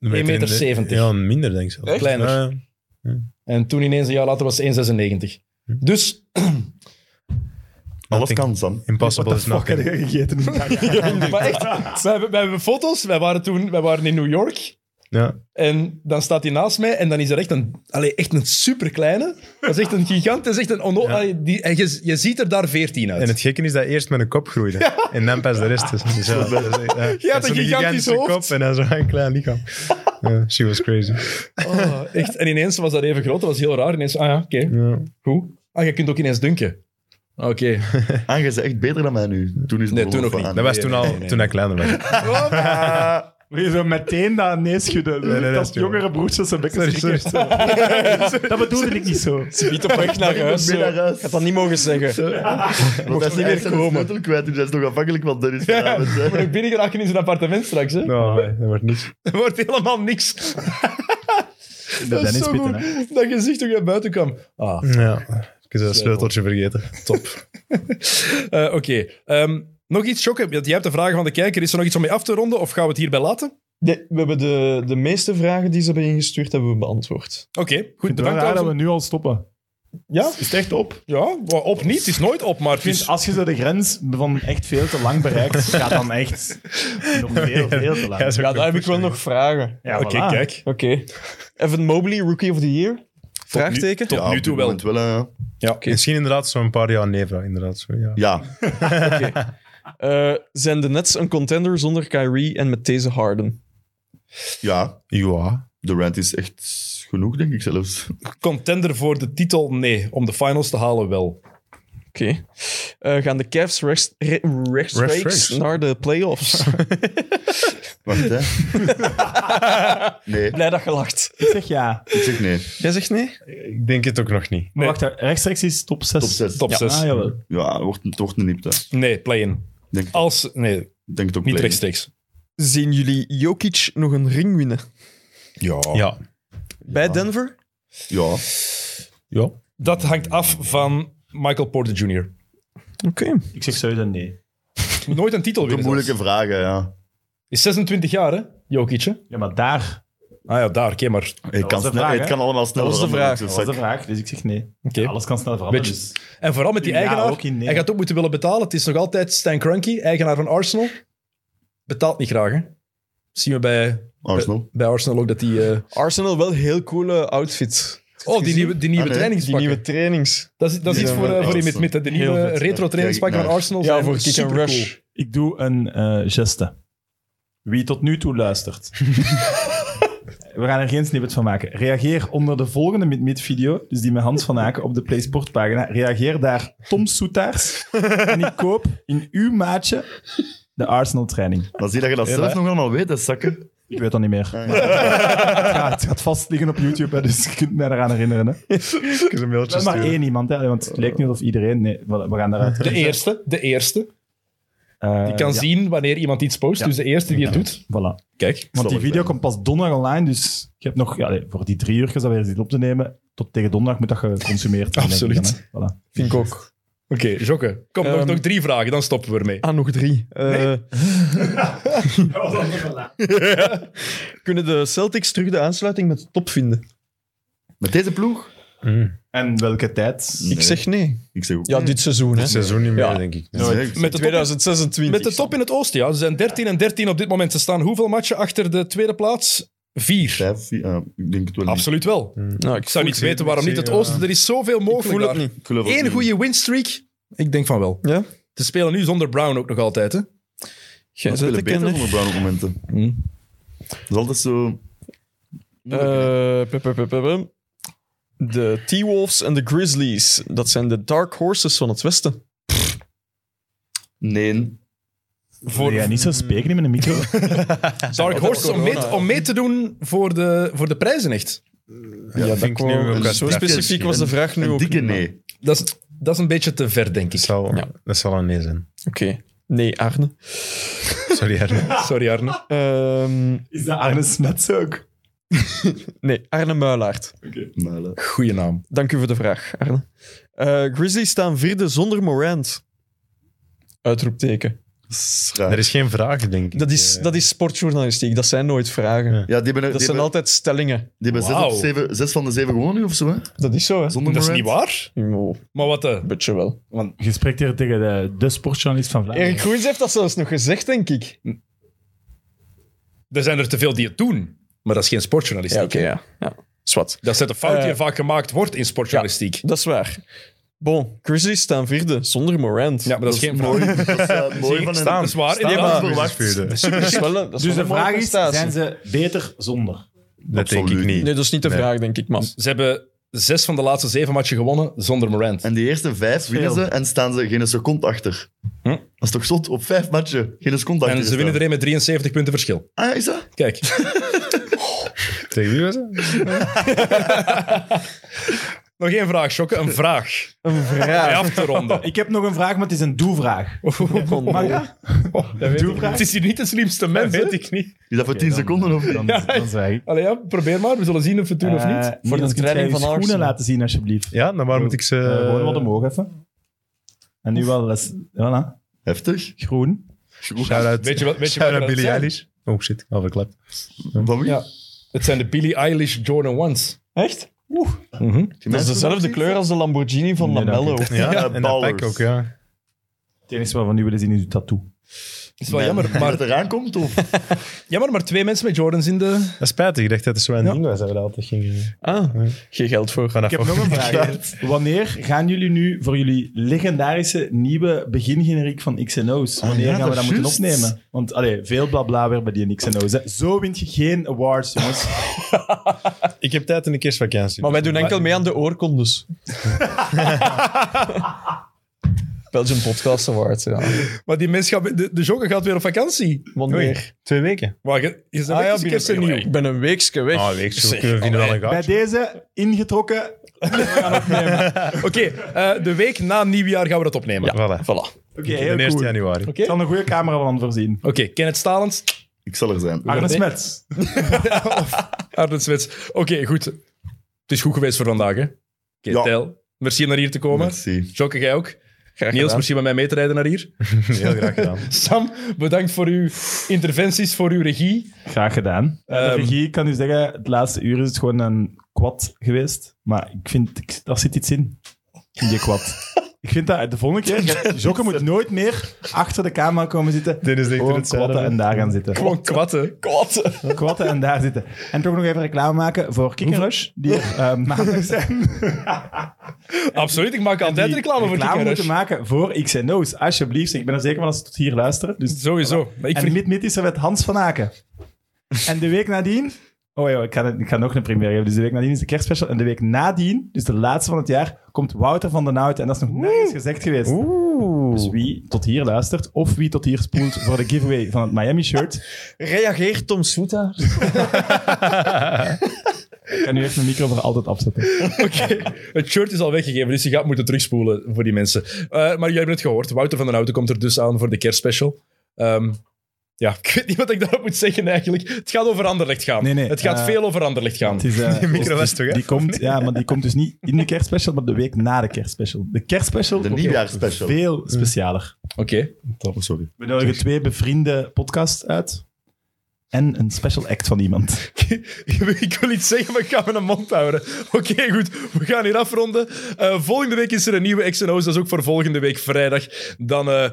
Een in 1,70. de- Ja, minder, denk ik zelfs. Echt? Kleiner. Ja, ja. en toen ineens een jaar later was hij 1,96. Dus Alles Nothing. kan, Sam. Impossible is Fuck, heb nothing. je gegeten? maar echt, wij hebben, wij hebben foto's. Wij waren toen wij waren in New York. Ja. En dan staat hij naast mij en dan is er echt een, allee, echt een superkleine. Dat is echt een gigant. Dat is echt een ono- allee, die, en je, je ziet er daar 14 uit. En het gekke is dat hij eerst met een kop groeide. En dan pas de rest. Dus, dus ja, dat is echt, ja. een Met zo'n gigantisch gigantische hoofd. kop en dan zo'n klein lichaam. Ja, she was crazy. Oh, echt. En ineens was dat even groot. Dat was heel raar. Ineens, ah ja, oké, Ja. goed. Ah, je kunt ook ineens dunken. Oké. Ah, jij bent echt beter dan mij nu. Toen is het Nee, er toen nog van niet. aan. Dat was Nee, toen nee, al, nee, nee. toen hij kleiner was. Wil je zo meteen dat nee schudden? nee, nee, dat is sorry. jongere broertjes zijn bekken Sorry, schrikken. Dat bedoelde ik niet zo. Niet op weg naar huis. ben naar Ik huis. had dat niet mogen zeggen. Want hij is niet echt meer zijn komen. sleutel kwijt. Dus hij is nog afhankelijk van Dennis vanavond. hè. Maar ik binnen geraken in zijn appartement straks. Hè? Nou, nee, dat wordt niks. Er wordt helemaal niks. Dat is is zo pitten, goed. hè. Dat gezicht toen je buiten kwam. Ah. Ja. Ik heb dat sleuteltje vergeten. Top. Eh, Oké. Ehm, nog iets shocken. Jij hebt de vragen van de kijker. Is er nog iets om mee af te ronden of gaan we het hierbij laten? Nee, we hebben de, de meeste vragen die ze hebben ingestuurd, hebben we beantwoord. Oké, goed. Ik vind het wel Bedankt. raar dat we Alvin. nu al stoppen. Ja? Is het echt op? Ja, wa- op niet. Het is nooit op, maar het Ik is- Dus- vind, als je zo de grens van echt veel te lang bereikt, gaat dan echt nog veel, veel te lang. Ja, daar heb ik wel nog vragen. Ja, Oké, voilà. kijk. Oké. Evan Mobley, Rookie of the Year? Vraagteken? Tot Ja, nu op toe dit wel. moment wel. eh, Misschien inderdaad zo'n paar jaar nee vraag, Inderdaad, zo, ja. Ja, Eh, zijn de Nets een contender zonder Kyrie en met deze Harden? ja. Ja. De rant is echt genoeg, denk ik zelfs. Contender voor de titel? Nee. Om de finals te halen wel. Oké. Eh, gaan de Cavs rechts- re- rechtstreeks Rechtstreeks. naar de playoffs? Wacht, hè. Nee, Blij dat gelacht. Ik zeg ja. ik zeg nee. Jij zegt nee? Ik denk het ook nog niet. Maar wacht, rechtstreeks is top 6. Top 6. Top 6. Ah, jawel. Dus Ja, het wordt, het wordt een nipte. Nee, play-in. Denk, ik Als... Nee, denk het ook niet play. rechtstreeks. Zien jullie Jokic nog een ring winnen? Oh. Ja. Bij Denver? Ja, Ja. Dat hangt af van Michael Porter Jr. Oké. Ik zeg sowieso nee. Moet nooit een titel de winnen. moeilijke zelfs. vragen, ja. Is 26 jaar, hè? Jokic, hè? Ja, maar daar Ah ja, daar. Oké, maar... Het kan, was de snel- vraag, het hè? kan allemaal snel Dat was de vraag. veranderen, dus was de ik- vraag, dus ik zeg nee. Oké. Alles kan snel veranderen. Beetje- Dus. En vooral met die Ja, eigenaar. ook in nee. Hij gaat ook moeten willen betalen. Het is nog altijd Stan Kroenke, eigenaar van Arsenal. Betaalt niet graag, hè? Zien we bij, Arsenal. bij Arsenal ook dat die... eh, Arsenal wel heel coole outfit. Oh, die nieuwe, die nieuwe Ah, nee. Die trainingspakken. nieuwe trainings. Dat is, dat is Die iets voor, zijn eh, wel voor in echt met, met de nieuwe Heel vet. retro trainingspakken Kijk van naar. Arsenal. Ja, zijn voor kick and supercool. rush. Ik doe een eh, geste. Wie tot nu toe luistert. We gaan er geen snippet van maken. Reageer onder de volgende Mid-Mid-video, dus die met Hans van Aken op de PlaySport-pagina. Reageer daar Tom Soetaars en ik koop in uw maatje de Arsenal-training. Dan zie je dat je dat zelf hè? nog allemaal weet, hè, zakken. Ik weet dat niet meer. Ah, Maar het, gaat, het gaat vast liggen op YouTube, hè, dus je kunt mij eraan herinneren. Hè. Ik heb een mailtje Wel maar eh, sturen. één iemand, hè, want het lijkt niet of iedereen... Nee, we we gaan daaruit. De eerste, de eerste. Eh, Die kan ja, zien wanneer iemand iets post. Dus de eerste die het doet. Voilà. Kijk. Want Zal die het video zijn. komt pas donderdag online, dus je hebt nog ja, nee, voor die drie uur dat we weer zitten op te nemen. Tot tegen donderdag moet dat geconsumeerd worden. denk ik Absoluut. dan, hè. Voilà. Vind ik ook. Oké, Jokke. Kom, nog, Ehm. nog drie vragen, dan stoppen we ermee. Ah, nog drie. Eh, Kunnen de Celtics terug de aansluiting met de top vinden? Met deze ploeg? Mm. En welke tijd? Nee. Ik zeg nee. Ik zeg ook Ja, nee. dit seizoen, hè. Het seizoen niet meer, Ja. denk ik. Ik zeg- ik zeg- Met de, top, 2026. met de top in het oosten, ja. Ze zijn 13 en 13 op dit moment. Ze staan hoeveel matchen achter de tweede plaats? Vier. vijf, vier, ah, ik denk het wel niet. Absoluut wel. Nou, Ik zou niet zie- weten waarom ik niet. zie, Het ja. oosten, er is zoveel ik voel mogelijk het daar. niet. Ik geloof het Eén niet. goede winstreak? Ik denk van wel. Ja? Ze spelen nu zonder Brown ook nog altijd, hè? Jij Ze bent de spelen beter kenner. onder bruine momenten. Dat is altijd zo... Eh, pup, pup, pup, pup, pup. De T-Wolves en de Grizzlies. Dat zijn de Dark Horses van het Westen. Nee. Wil jij niet zo spreken met een micro? Dark Horse om mee, om mee te doen voor de, voor de prijzen echt. Ja, dat vind ik nu ook Zo specifiek was de vraag nu Een ook dikke niet, maar- nee. Dat is, dat is een beetje te ver, denk Dat ik. zal, Ja. dat zal een nee zijn. Oké. Nee, Arne. Sorry, Arne. Sorry, Arne. Ehm, Is dat Arne Smets ook? nee, Arne Muilaert. Muilen. Goeie naam. Dank u voor de vraag, Arne. Eh, Grizzlies staan vierde zonder Morant. Uitroepteken. Schraag. Er is geen vraag, denk ik. Dat is, Eh, dat is sportjournalistiek. Dat zijn nooit vragen. Ja. Ja, die hebben, Dat die zijn hebben, altijd stellingen. die hebben zes, Wauw. of zeven, zes van de zeven gewonnen nu of zo, hè? Dat is zo, hè? Zonder Dat is Morant. niet waar. Oh, Maar wat eh, de... een beetje wel. Je spreekt hier tegen de, de sportjournalist van Vlaanderen. Erik Groens heeft dat zelfs nog gezegd, denk ik. Er zijn er te veel die het doen. Maar dat is geen sportjournalistiek. Ja, oké, ja. ja. Zwat. Dat is net een fout die Eh, vaak gemaakt wordt in sportjournalistiek. Ja, Dat is waar. Bon, Grizzlies staan vierde, zonder Morant. maar dat is geen Mooi, vraag. dat is, eh, mooi van Staan. een... Dat is waar. Ja, inderdaad. maar- maar- Verwacht. Dat dat is wel een, dat is wel Dus de een mooie vraag is, prestatie. zijn ze beter zonder? denk ik Absoluut. niet. Nee, dat is niet de Nee. vraag, denk ik, man. Ze hebben zes van de laatste zeven matchen gewonnen zonder Morant. En die eerste vijf winnen ze en staan ze geen seconde achter. Hm? Dat is toch zot? Op vijf matchen geen seconde achter. En ze winnen er een met 73 punten verschil. Ah, is dat? Kijk, Tegen wie was het? nog één vraag, Sjokke. Een vraag. Een Bij vraag. af te ronden. Ik heb nog een vraag, maar het is een doe-vraag. Mag dat? Doe-vraag? Het is hier niet de slimste mens. weet hè? ik niet. Is dat voor tien seconden of Dan, eh, Ja. dan zwijg ik. Allee, ja, probeer maar. We zullen zien of we het doen of Eh, niet. Voor de de training training van van schoenen Arsenal. laten zien, alsjeblieft. Ja, dan waar moet ik ze... Eh, gewoon wat omhoog even. En nu wel, les, voilà, Heftig. groen. Shout-out. Weet je wat- weet je Shout-out wat dat Billie zijn? Eilish. Oh shit, al verklapt. Van wie? Ja. Het zijn de Billie Eilish Jordan Ones. Echt? Die Dat is mensen dezelfde van- kleur als de Lamborghini van Nee, Lamello. dank Ja, Ah, en dat Eh, ballers. pak E ook, ja. Het enige wat we nu willen zien is uw tattoo. Het is wel jammer, Maar het maar, eraan komt, of? jammer, maar twee mensen met Jordans in de... Dat is spijtig, ik dacht dat het zo'n Ja. ding was. Dat we dat altijd gingen... Ah, geen geld voor. Vanaf Ik heb nog een vraag. Wanneer gaan jullie nu voor jullie legendarische nieuwe begingeneriek van XNO's? Wanneer Oh, ja, gaan we dat dat is moeten juist. opnemen? Want allee, veel blabla weer bij die XNO's. hè. Zo wint je geen awards, jongens. Ik heb tijd in de kerstvakantie. Maar wij doen enkel mee aan de oorkondes. Belgian Podcast Award, ja. Maar die mens gaat... De, de jogger gaat weer op vakantie. Wanneer? Twee weken. Maar je, je bent echt eens een nieuw. Ah, Ik ben een weekje weg. Ah, week, zo Zeg, kunnen we vinden wel een bij gaatje. deze ingetrokken. Oké, eh, de week na nieuwjaar gaan we dat opnemen. Voilà. Voilà. De Oké, heel 1 cool. januari. Ik zal een goede cameraman voorzien. Oké, Kenneth Stalens, Ik zal er zijn. Arne Smets. Arden Smits. Oké, goed. Het is goed geweest voor vandaag, hè? Oké, Ja. Tijl, merci om naar hier te komen. Merci. Jokke, jij ook. Graag Niels, gedaan. merci om met mij mee te rijden naar hier. Heel graag gedaan. Sam, bedankt voor uw interventies, voor uw regie. Graag gedaan. Eh, de Ehm. regie, ik kan u zeggen, het laatste uur is het gewoon een kwad geweest. Maar ik vind, ik, daar zit iets in. In die kwad. ik vind dat de volgende keer, Jokke moet nooit meer achter de camera komen zitten. Dit is echt Gewoon het zuiden. kwatten en daar gaan zitten. Gewoon kwatten. God. Kwatten en daar zitten. En toch nog even reclame maken voor Kick and Rush, die er eh, maandag zijn. Absoluut, ik maak altijd Die reclame voor reclame die moeten maken voor XNO's, alsjeblieft. Ik ben er zeker van als ze tot hier luisteren. Dus Sowieso. Maar ik en vind... mid, mid is er met Hans van Aken. En de week nadien... Oh ja, ik ga, ik ga nog een première geven. Dus de week nadien is de kerstspecial. En de week nadien, dus de laatste van het jaar, komt Wouter van den Houten. En dat is nog nergens gezegd geweest. Dus wie tot hier luistert, of wie tot hier spoelt voor de giveaway van het Miami-shirt, Reageer Tom Soeta. kan nu echt mijn micro voor altijd afzetten. Het shirt is al weggegeven, dus je gaat moeten terugspoelen voor die mensen. Eh, maar jullie hebben het gehoord. Wouter van den Houten komt er dus aan voor de kerstspecial. Ehm, ja, ik weet niet wat ik daarop moet zeggen eigenlijk. Het gaat over Anderlecht gaan. Nee, nee, het gaat eh, veel over Anderlecht gaan. Het is, eh, Die micro was toch, hè? die komt, Ja, maar die komt dus niet in de kerstspecial, maar de week na de kerstspecial. De kerstspecial De wordt nieuwjaarsspecial. veel specialer. Oké. Oh, sorry. We nodigen twee bevriende podcasts uit. En een special act van iemand. ik wil iets zeggen, maar ik ga mijn mond houden. Oké, goed. We gaan hier afronden. Eh, volgende week is er een nieuwe X&O's. Dat is ook voor volgende week vrijdag. Dan eh,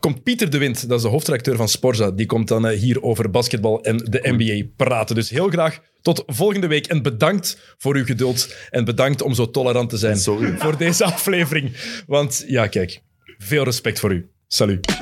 komt Pieter de Wind, dat is de hoofdredacteur van Sporza. Die komt dan eh, hier over basketbal en de NBA praten. Dus heel graag tot volgende week. En bedankt voor uw geduld. En bedankt om zo tolerant te zijn Sorry. voor deze aflevering. Want ja, kijk. Veel respect voor u. Salut.